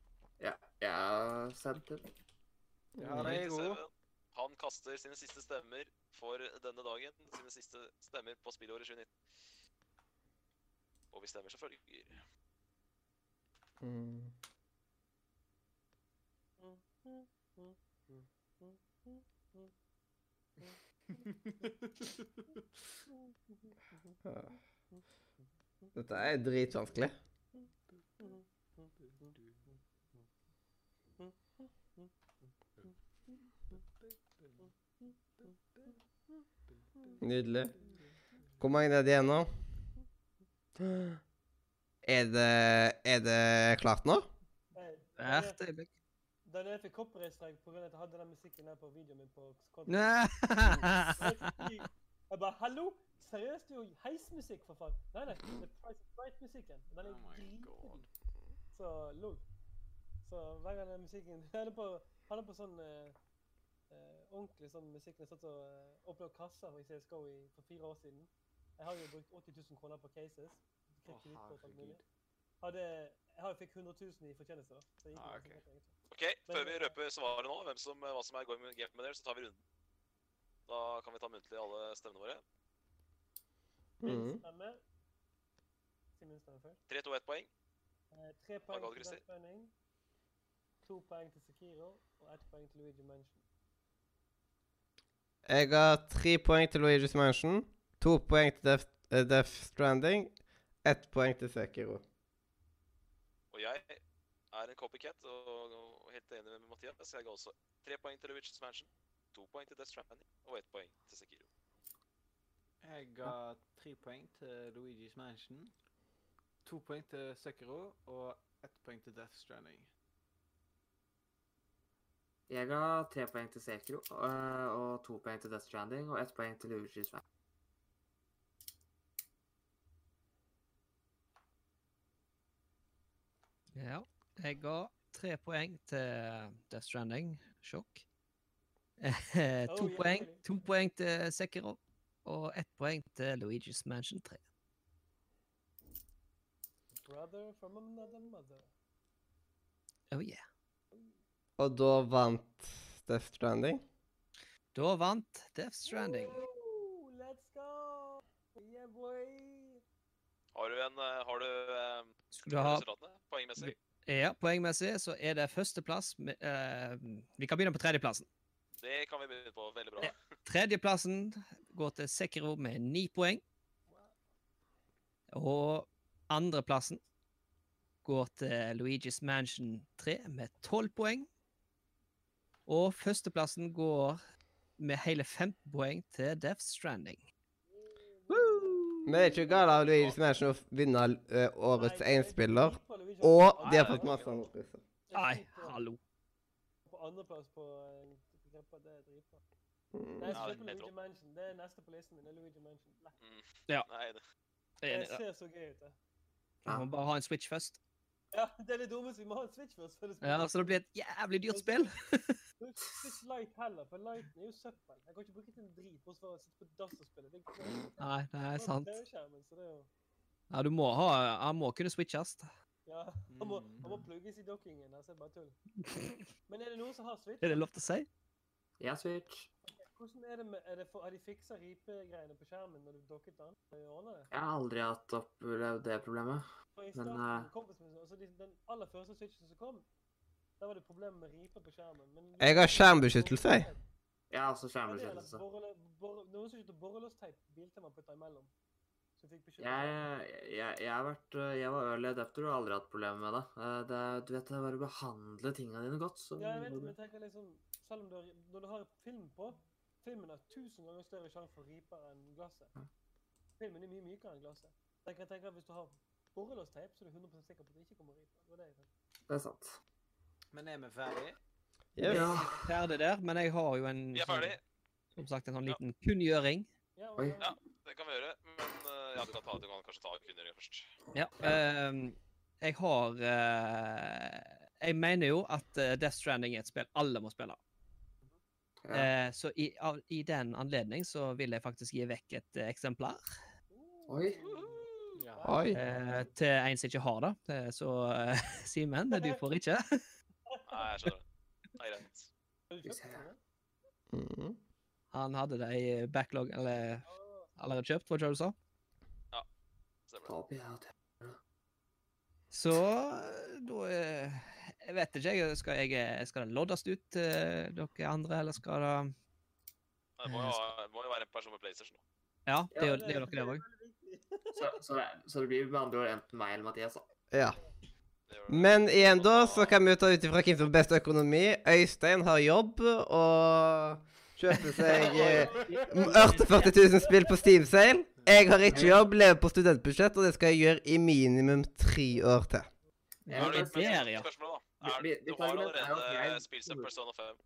Jeg har sett det.
Ja, det er god.
Han kaster sine siste stemmer for denne dagen. Sine siste stemmer på spillåret 2019. Og vi stemmer som følger.
mm. [LAUGHS] Ja. Dette er dritvanskelig. Nydelig. Hvor mange er det igjen nå? Er det, er det klart nå?
Hey,
Hvert øyeblikk.
Daniel fikk copyright-streik på grunn av at jeg hadde den musikken her på videoen min på Skype.
Nei.
Jeg bare Hallo! Seriøst, det er jo heismusikk, for faen. Nei, nei. Det er Price is Right-musikken. Den er
Oh my
dritfin.
god.
Så lol. Så hver gang den musikken [LAUGHS] Jeg hadde på, hadde på sånn eh, eh, ordentlig sånn musikk når jeg satt og eh, åpna kasser i CSGO i, for fire år siden. Jeg har jo brukt 80 000 kroner på cases.
Å,
Fikk kredittkort og alt mulig.
herregud.
Hadde, jeg har- fikk 100 000 i fortjenester. Så jeg gikk
Ah,
med
ok.
masse penger, egentlig.
OK, før vi røper svaret nå, hvem som, eh, hva som er going game med dere, så tar vi runden. Da kan vi ta muntlig alle stemmene våre.
Mhm.
Min stemme Si min stemme først.
3, 2, 1 poeng.
Eh, tre poeng
Agathe
til
Christie.
Death Stranding, To poeng til Sekiro og ett poeng til Luigi Mansion.
Jeg har tre poeng til Luigi's Mansion, to poeng til Death, eh, Death Stranding, ett poeng til Sekiro.
Og jeg er en copycat og og helt enig med Mathias. Jeg ga også tre poeng til Luigi's Mansion, to poeng til Death Stranding og ett poeng til Sekiro.
Jeg ga tre poeng til Luigi's Mansion. To poeng til Sekiro og ett poeng til Death Stranding.
Jeg ga tre poeng til Sekiro øh, og to poeng til Death Stranding og ett poeng til Luigi's Mansion.
Ja. Jeg ga tre poeng til Death Stranding, sjokk. Eh, to,
Oh, ja,
poeng,
selvfølgelig.
to poeng til Sekiro og ett poeng til Luigi's Mansion 3.
Brother from another mother.
Oh yeah.
Og da vant Death Stranding.
Da vant Death Stranding.
Woo, let's go! Yeah, boy!
Har du en eh, Har du eh,
Skulle du ha
resultatene poengmessig?
Ja, poengmessig så er det førsteplass med, eh, Vi kan begynne på tredjeplassen.
Det kan vi begynne på. Veldig bra.
Ja. Tredjeplassen går til Sekiro med ni poeng. Og andreplassen går til Luigi's Mansion 3 med tolv poeng. Og førsteplassen går med hele 15 poeng til Death Stranding.
Men det er ikke galt av Luigi Mansion å vinne eh, årets
Nei, jeg
enspiller.
driter på Luigi.
Og
Nei,
de har
nei,
fått masse andre priser.
Jeg
Nei,
driter
hallo.
På andreplass på eh, gruppa, det er dritbra. Nei,
Mm.
jeg
Ja,
skal kjøpe
jeg tror-
Luigi Mansion. Det er neste på listen min. det er Luigi Mansion. Nei,
Nei, det-
Jeg er enig
Det
i det.
ser så gøy ut, det.
Vi må bare ha en Switch først.
Ja, det er det dummeste. Vi må ha en Switch først. før det spilles.
Ja, Så det blir et jævlig dyrt spill.
Bruk Switch Lite heller, for Lighten er jo søppel. Jeg kan ikke bruke det til en drit, bortsett fra å sitte på dass og spille. Det er ikke
Nei, det er sant.
TV-skjermen, så det er jo...
Ja, du må ha Han må kunne [LAUGHS] switches.
Ja, [LAUGHS] han må, han må plugges i dockingen, altså det er bare tull. Men er det noen som har Switch?
Er det lov til å si?
Ja, Switch.
Hvordan er det med, er det for, har de fikset ripegreiene på skjermen når du dokket den? Har de ordnet det?
Jeg har aldri hatt opplevd det problemet.
For i
Men,
starten,
eh,
kompisen min, altså de, den aller første Switchen som kom, der var det problemer med riper på skjermen. Men
Jeg har skjermbeskyttelse, jeg.
Jeg har også altså.
Ja, det er det.
skjermbeskyttelse.
Borrelø- borre- Noen som kjøpte borrelåsteip, bilte man putta imellom. Så fikk beskyttelse.
Jeg, jeg, jeg, har vært, øh, jeg var early adapter og har aldri hatt problemer med det. Eh, det. er- Du vet, det er bare å behandle tingene dine godt. Så
Ja, jeg vet, men jeg tenker liksom, selv om du har, når du har film på, filmen har tusen ganger større sjanse for riper enn glasset. Filmen er mye mykere enn glasset. Jeg kan tenke at hvis du har borrelåsteip, så er du 100 sikker på at det ikke kommer riper. Det var det jeg tenkte.
Det er sant.
Men er vi ferdige?
Yes.
Ja.
Ferdig der, men jeg har jo en,
Vi er
sånn-
ferdig.
som sagt, en sånn
Ja.
liten kunngjøring.
Ja, og
Oi.
da-
Ja. Det kan vi gjøre. Men eh, ja, du kan, ta, du kan kanskje ta kunngjøringen først.
Ja. ehm, jeg har eh, Jeg mener jo at eh, Death Stranding er et spill alle må spille.
Ja.
Eh, så i, av, i den anledning så vil jeg faktisk gi vekk et eh, eksemplar
Uh.
Oi.
Oi.
eh, til en som ikke har det. Eh, så eh, [LAUGHS] Simen, du får ikke.
Nei, jeg skjønner det. Det er greit.
Har du
Hvis
kjøpt
jeg-
den, eller?
Mm.
Han hadde det i backlog, eller allerede kjøpt, var det ikke det du sa?
Stemmer det.
Da blir jeg at-
Så da eh, Jeg vet ikke, jeg. Skal, jeg, skal det loddes ut til dere andre, eller skal det
Det må jo, ha- må jo være en person med PlayStation. da.
Ja, det er jo
Ja,
det er jo dere der òg.
Så, så, det, så det blir med andre ord enten meg eller Mathias. da.
Ja.
Det gjør det.
Men igjen, da, så kan vi ta ut ifra hvem som har best økonomi. Øystein har jobb og kjøper seg
[LAUGHS]
eh, m- 48 000 spill på Steam-sale. Jeg har ikke jobb, lever på studentbudsjett, og det skal jeg gjøre i minimum tre år til.
Jeg,
Ja,
Da er
men-
det
jeg,
litt mer
der, ja.
spørsmål, da. Er,
Vi- vi-
du
vi
har
tar jo det-
allerede
det er jo-
eh, spilt som Persona 5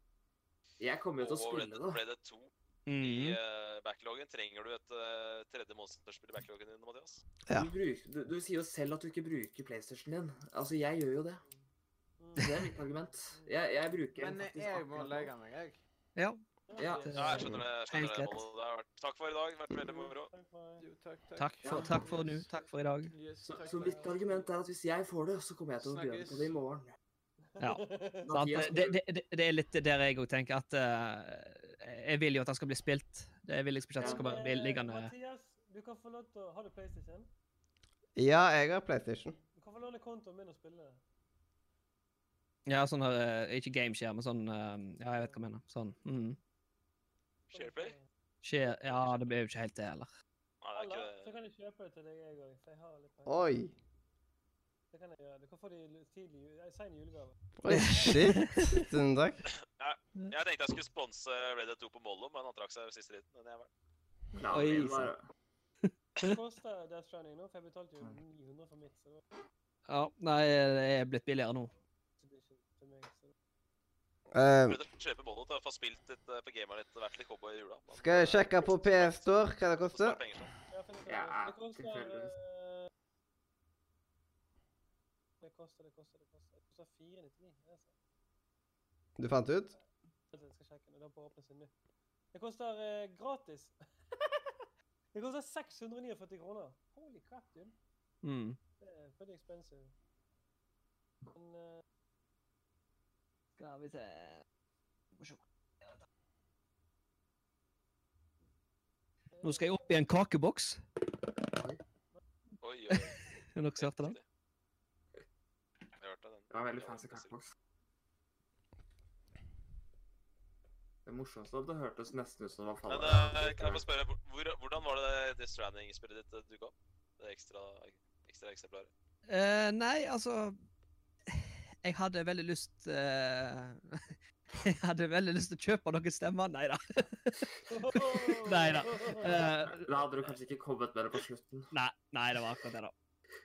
jeg kommer jo til å
og Red
spille
Dead
det.
Red Dead 2 i
Mhm.
eh, backloggen. Trenger du et eh, tredje monsterspill i backloggen din, Mathias?
Ja.
Du, bruker, du, du sier jo selv at du ikke bruker PlayStation din. Altså, jeg gjør jo det.
Mm.
Altså, Det er mitt argument. Jeg, jeg bruker den
Men eh,
faktisk
jeg må
akkurat nå.
legge meg, jeg.
Ja.
Ja.
det-
Ja, jeg skjønner det. Jeg skjønner
Helt
det,
greit.
Mollo. det har vært, takk for i dag. Det har vært veldig moro.
Takk for-
Jo, takk, takk.
Takk for, takk for nå. Takk for i dag.
Yes,
Så,
takk
så
for
mitt
det.
argument er at hvis jeg får det, så kommer jeg til å begynne
Snakkes.
på det i morgen.
Ja.
[LAUGHS]
Sant?
Mathias,
Det, det, det- det er litt der jeg òg tenker at eh, Jeg vil jo at han skal bli spilt. Jeg vil liksom ikke at det skal bare bli
Eh,
liggende
Mathias, du kan få lov til å Har du PlayStation?
Ja, jeg har PlayStation.
Du kan få låne kontoen min og spille det.
Ja, sånn her eh, Ikke gameskjerm, men sånn eh, Ja, jeg vet hva jeg mener. Sånn. mhm.
Shareplay?
Skjer Ja, det blir jo ikke helt det heller.
Nei, det er
Eller så
ikke det.
kan jeg kjøpe det til deg, jeg òg. For jeg har litt penger.
Oi.
Det kan jeg gjøre. Du kan få det i lu- tidlig ju- eh, sen julegave.
Oi, [LAUGHS] shit. Tusen takk.
Jeg tenkte jeg skulle sponse Red Dead 2 på Mollo, men han trakk seg ved siste liten. Men jeg var...
planen
Oi,
min sånn, var-
Det koster Death Stranding nå, for jeg betalte
Mm.
jo 900 for mitt. Så det var
Ja, nei, eh, det er blitt billigere nå.
Exhibition til meg. Så.
Eh,
Prøvde å kjøpe Mollo til å få spilt litt eh, på gamet litt, vært litt cowboy i jula. men,
skal
eh,
jeg sjekke på PS Store hva
så
det
spar
koster?
penger sånn.
Ja, for det kan
Ja,
jeg gjøre. det koster
tilfeldigvis.
eh, Det koster, det koster, det koster. Det koster 499. det er sant.
Du fant ut?
Vent litt, Jeg skal sjekke den. Den bare åpnes inn nå. Det koster eh, gratis. det koster 649 kroner. Holy crap, dude.
Mm.
Det er pretty expensive. Men eh, [LAUGHS]
Skal vi se Nå skal jeg opp i en kakeboks.
Oi, oi, oi.
Er det noen som hørte den?
Jeg hørte den.
Det var en veldig fancy kakeboks. Det morsomste var at det hørtes nesten ut som det var
Men
fallet.
eh, kan jeg få spørre, hvor, hvordan var det det Stranding-spillet ditt eh, dukket opp? Det ekstra, ekstra eksemplaret.
Eh, nei, altså Jeg hadde veldig lyst eh, [LAUGHS] Jeg hadde veldig lyst til å kjøpe noen stemmer. Nei da. Neida. Eh,
Da hadde du kanskje ikke kommet med det på slutten.
Nei, nei, det var akkurat det, da.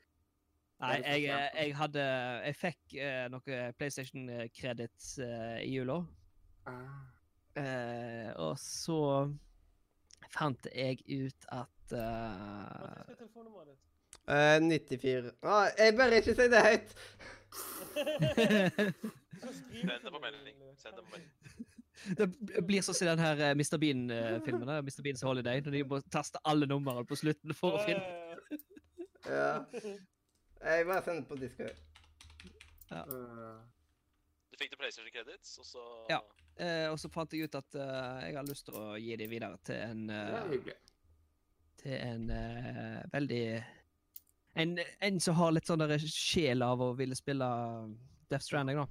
Nei, jeg,
Det er litt
eh,
fortjent.
jeg hadde Jeg fikk eh, noe PlayStation-kreditt eh, i jula.
Ah.
Eh, og så fant jeg ut at
hva
eh,
er telefonnummeret
[LAUGHS]
ditt?
Eh, 94 Å, jeg bør ikke si det høyt.
Du skal skrive
Send det
til
på
meg,
melding.
Leo.
Send det på melding.
Det b- blir sånn som i den her eh, Mr. Bean-filmen. eh, Mr. Beans Holiday. Når de må taste alle numrene på slutten for å
Ja,
finne
ja, ja.
Ja. Jeg bare sender på disko.
Øh,
Du fikk det PlayStation Credits, og så
Ja. Eh, Og så fant jeg ut at eh, jeg har lyst til å gi dem videre til en,
det er
eh,
hyggelig.
til en eh, veldig en, en som har litt sånn der sjel av å ville spille eh, Death Stranding, da.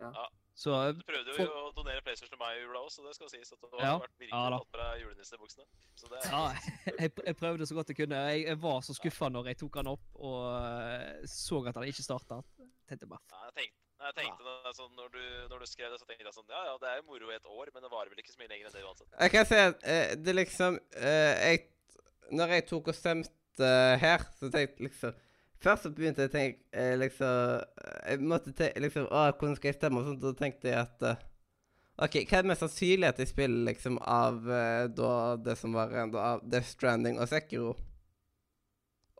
Ja.
Ja.
Så eh,
Du prøvde jo å donere PlayStation til meg i jula også, så det skal sies at det har
Ja.
vært virkelig
Ja da.
tatt på deg julenissebuksene. Så det er
ja, jeg, jeg prøvde så godt jeg kunne. Jeg, jeg var så skuffa når jeg tok han opp og eh, så at han ikke starta. Tenkte bare
Nei, jeg tenkte, nei, jeg tenkte da, sånn, når, du, når du skrev det, så tenkte jeg sånn Ja ja, det er jo moro i et år, men det varer vel ikke så mye lenger enn det uansett.
Jeg kan si at eh, det liksom eh, jeg, Når jeg tok og stemte her, så tenkte jeg liksom Først så begynte jeg å tenke eh, liksom Jeg måtte tenke liksom Å, hvordan skal jeg stemme? Og sånt, og da tenkte jeg at eh, OK, hva er det mest sannsynlig at jeg spiller liksom av eh, da det som var igjen da, av Death Stranding og Sekiro?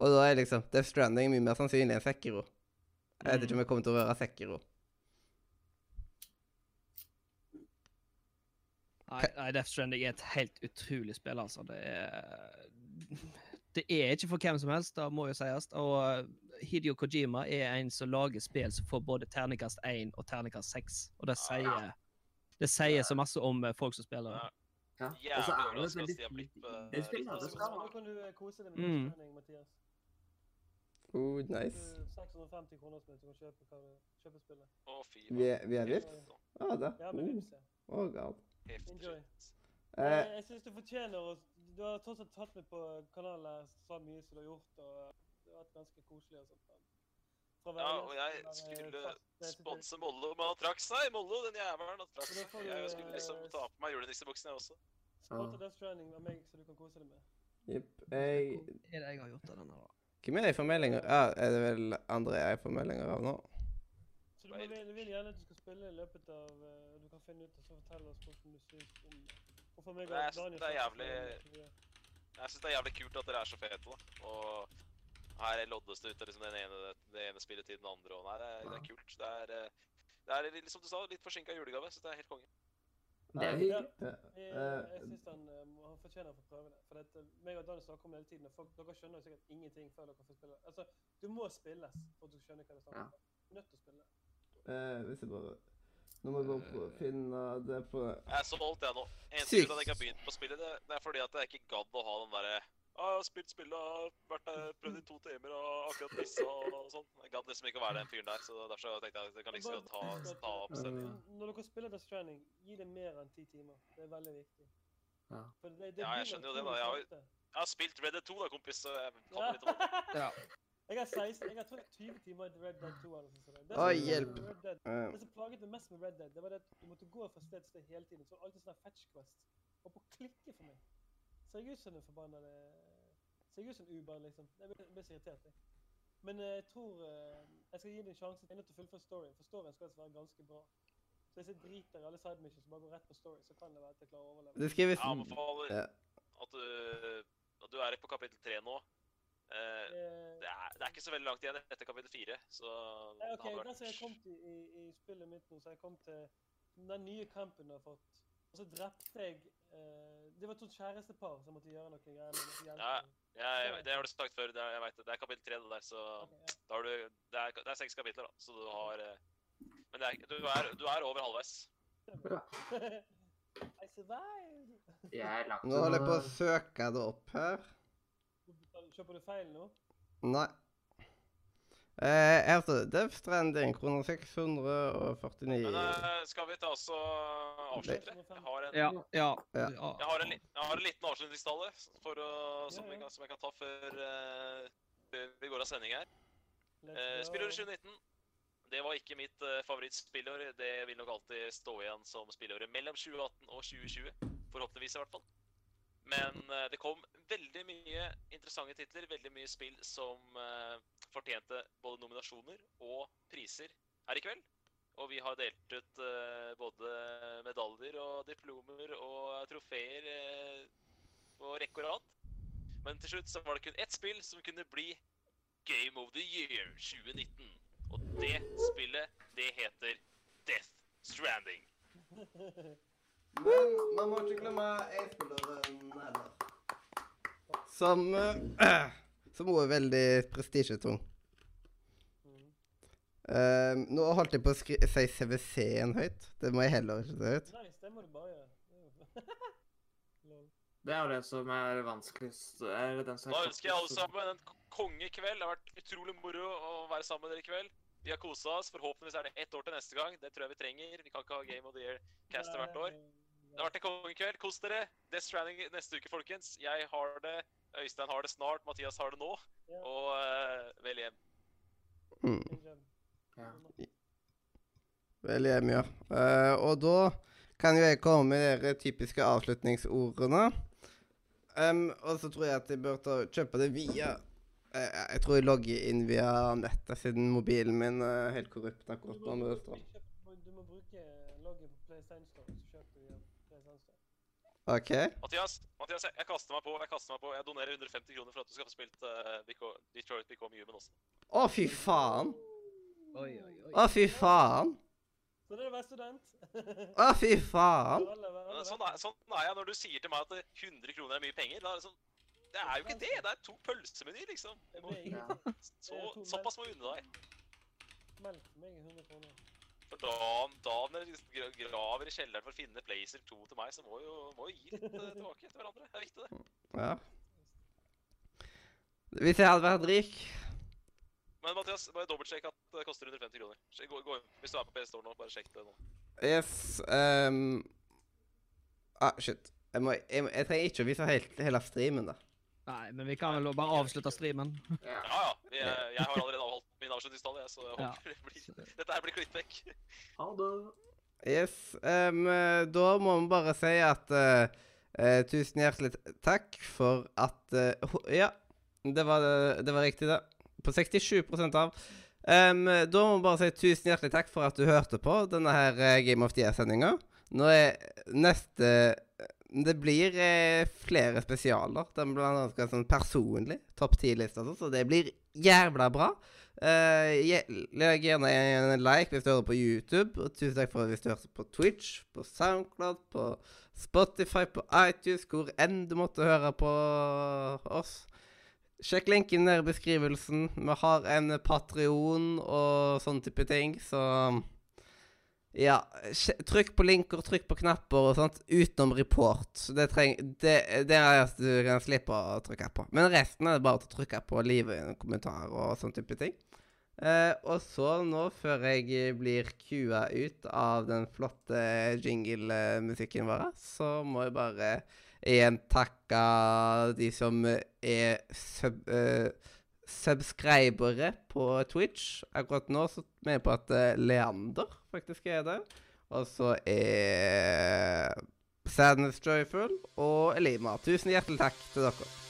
Og da er liksom Death Stranding mye mer sannsynlig enn Sekiro. Jeg vet ikke om jeg kommer til å røre Sekiro.
Nei, nei, Death Stranding er et helt utrolig spill, altså. Det er Det er ikke for hvem som helst, det må jo sies. Og Hidio Kojima er en som lager spill som får både terningkast 1 og terningkast 6. Og det sier Det sier så masse om eh, folk som spiller. det.
Ja.
Jævlig
Og så er
overraskende at
det et veldig
de har blitt,
fint
eh,
innspill. da.
Ja, så
Det skal
Nå
man.
kan du eh, kose deg med
Mm.
mm. Mathias.
Oh,
Det er
nice.
650 kroner som du kan kjøpe, hva du- kjøpe spillet.
Å, fy
Vi er, vi er vips?
Heftig, da.
Ja da.
Ja, med
Oh,
vips, ja.
oh god.
Heftig
Enjoy.
shit.
Eh,
Jeg- Jeg syns du fortjener å Du har tross alt tatt meg på kanalen her så mye som du har gjort, og det har vært ganske koselig og sånt. Fra å være
Ja,
gjest
og
til
jeg
å være
skulle
fast- det er-
Sponse Mollo, men han trakk seg! Mollo, den jævelen, han trakk
Men da
seg.
får du,
Jeg skulle liksom
eh,
ta på meg julenissebuksen, jeg også.
Sponsor Death Stranding av meg, så du kan kose deg med.
Jepp. Jeg
Det er det jeg har gjort av denne, da.
Hvem er det jeg får meldinger Ja, er det vel andre jeg får meldinger av nå?
Så du må, vil, vil gjerne at du skal spille i løpet av eh, Du kan finne ut og så fortelle oss hvordan du syns om det. Og for meg
Det er-
og Daniel
det
snakker
er
vi
jævlig-
om det, så vi-
Jeg syns det er jævlig kult at dere er så fete, da. Og her loddes det ut av liksom den ene, det ene spillet til den andre, og nei, det er, det er kult. Det er, eh, det er litt- som du sa, litt forsinka julegave, så det er helt konge.
Det er hyggelig.
Jeg, Eh, jeg syns han, eh, må- han fortjener å få prøve det. For dette, meg og Daniel snakker om det hele tiden, og folk, dere skjønner jo sikkert ingenting før dere får spille. Altså, du må spilles for at du skjønner hva det snakker
Ja.
om. Du er nødt til å spille.
eh, hvis jeg bare Nå må jeg bare prøve å finne det på
Jeg er solgt, jeg nå. Eneste
Sykt.
grunn til at jeg ikke har begynt på spillet, det, det er fordi at jeg ikke gadd å ha den derre «Ah, jeg har spilt spillet, har vært der, prøvd i to timer og akkurat missa og, og sånn. Jeg gadd liksom ikke å være den fyren der, så derfor så tenkte jeg at jeg kan liksom godt ta, ta opp stemningen.
Når dere spiller Death Stranding, gi det mer enn ti timer. Det er veldig viktig.
Ja.
For det, det
Ja, jeg
begynner
skjønner jo det, da.
utrolig
Jeg har jo-
sakte.
Jeg har spilt Red Dead 2 da, kompis, så jeg kan
Ja.
litt om det.
[LAUGHS]
Ja.
Jeg har 16, jeg har trodd 20 timer i Red Dead 2. eller noe sånt. Det som
Oi,
plaget meg
hjelp.
med Red Dead-
Eh,
Det som plaget meg mest med Red Dead, det var det at du måtte gå fra sted til sted hele tiden. Så var det alltid sånn her fetch quest. Og på klikke for meg. Ser jeg ut som en forbannede Ser jeg ut som en Uber, liksom? Jeg ble, ble så irritert, jeg. Men eh, jeg tror eh, Jeg skal gi det en sjanse. Jeg er nødt til å fullføre storyen, for storyen skal altså være ganske bra. Så hvis jeg driter i alle side missions og bare går rett på story, så kan det være at jeg klarer å overleve.
Det skrives
Jeg anbefaler
Ja.
at du, at du er på kapittel 3 nå. Eh,
Eh,
det er, det er ikke så veldig langt igjen etter kapittel fire, så
Nei,
det
ok,
hadde
da som jeg
vært
kom til i, i spillet mitt nå, så jeg kom til den nye kampen du har fått. Og så drepte jeg eh, Det var to kjærestepar som måtte gjøre noe greier. med noen jenter.
Ja. Jeg, det har du sagt før, det er, jeg vet det. Det er kapittel tre, det der, så
Ok, ja. [LAUGHS]
da har du Det er, det er seks kapitler, da, så du har eh, Men det er, du, er, du er over halvveis.
I survived!
Jeg er langt
Nå holder jeg på å søke det opp her.
Kjøper du feil nå?
Nei. Eh, her står det Death Stranding, kroner 649.
Men eh, skal vi ta oss og avslutte? Jeg har en,
Ja, ja.
Ja.
ja.
jeg har en, li- jeg har en liten avslutningstale for å, som,
Ja,
jeg,
ja.
kan- som jeg kan ta før, eh, før vi går av sending her.
Let's
Uh,
go.
spillåret 2019. Det var ikke mitt eh, favorittspillår. Det vil nok alltid stå igjen som spillåret mellom 2018 og 2020. Forhåpentligvis, i hvert fall. Men eh, det kom veldig mye interessante titler, veldig mye spill som eh, fortjente både nominasjoner og priser her i kveld. Og vi har delt ut eh, både medaljer og diplomer og trofeer eh, på rekke og rad. Men til slutt så var det kun ett spill som kunne bli Game of the Year 2019. Og det spillet, det heter Death Stranding.
Men man må ikke glemme Eiffeldøren heller. Som eh, [CLEARS THROAT] Som også er veldig prestisjetung.
Mhm.
Eh, nå holdt jeg på å skri si CWC-en høyt. Det må jeg heller ikke si høyt.
Nei, det må du bare [LAUGHS] gjøre. Det er jo- Lol.
Det er jo den som er vanskeligst. Er den som er
Da ønsker jeg alle
kortest.
sammen en kongekveld. Det har vært utrolig moro å være sammen med dere i kveld. Vi har kosa oss. Forhåpentligvis er det ett år til neste gang. Det tror jeg vi trenger. Vi kan ikke ha Game of the Year-caster hvert
Eh,
år. Det har vært en kongekveld. Kos dere. Death Stranding neste uke, folkens. Jeg har det. Øystein har det snart. Mathias har det nå.
Ja.
Og eh, vel hjem.
Mm.
Ja.
Vel hjem, ja. Eh, og da kan jo jeg komme med de typiske avslutningsordene. Em, og så tror jeg at jeg bør ta, kjøpe det via eh, Jeg tror jeg logger inn via nettet, siden mobilen min er helt korrupt akkurat nå. med strøm.
Du må bruke loggen på PlayStation Store, så kjøper du igjen PlayStation Store.
OK.
Mathias, Mathias, jeg, jeg kaster meg på. Jeg kaster meg på. Jeg donerer 150 kroner for at du skal få spilt eh, Beco- Detroit Become Human også.
Å, fy faen.
Oi, oi, oi.
Å, fy faen.
Så det er å være student. [LAUGHS]
Å, fy faen.
Alle- alle
Men
vet
Sånn er, sånn er jeg når du sier til meg at eh, 100 kroner er mye penger. Da er det sånn Det er jo ikke det! Det er to pølsemenyer, liksom.
det blir
Ja.
ingenting.
Så, såpass må jeg unne deg.
Melk for meg er 100 kroner.
For da da dere liksom gra- graver i kjelleren for å finne Placer 2 til meg, så må jo, må jo gi litt eh, tilbake til hverandre. Det er viktig, det.
Ja. Hvis jeg hadde vært rik
Men Mathias, bare dobbeltsjekk at det koster 150 kroner. Sjekk- Gå, gå inn. Hvis du er på PS Store nå, bare sjekk det nå.
Yes. ehm... ah, shit. Jeg, må, jeg, må- jeg trenger ikke å vise helt, hele streamen, da.
Nei, men vi kan vel bare avslutte streamen.
Ja.
Ja ja. vi er- Jeg har allerede avholdt min avslutningstale, jeg, så jeg
Ja.
håper det blir, dette her blir klippet vekk.
Ha det.
Yes. ehm, eh, da må vi bare si at eh, eh, Tusen hjertelig t- takk for at eh, ho- Ja, det var, det var riktig, det. På 67 av. Ehm, da må vi bare si tusen hjertelig takk for at du hørte på denne her eh, Game of the Year-sendinga. Nå er neste Det blir eh, flere spesialer. Den blant annet skal sånn personlig. Topp 10-liste og sånn, så det blir jævla bra. Eh, gje- Legg gjerne en like hvis du hører på YouTube. Og tusen takk for hvis du hørte på Twitch, på SoundCloud, på Spotify, på iTunes, hvor enn du måtte høre på oss. Sjekk linken nede i beskrivelsen. Vi har en Patrion og sånn type ting, så Ja. sj- Trykk på linker, trykk på knapper og sånt utenom report. Det, treng, det, det er det du kan slippe å trykke på. Men resten er det bare til å trykke på live kommentarer og sånn type ting. Eh, og så nå, før jeg blir kua ut av den flotte jinglemusikken vår, så må jeg bare igjen takke de som er sub, eh, subscribere på Twitch. Akkurat nå så er vi på at eh, Leander faktisk er det. Og så er Sadness Joyful og Elima. Tusen hjertelig takk til dere.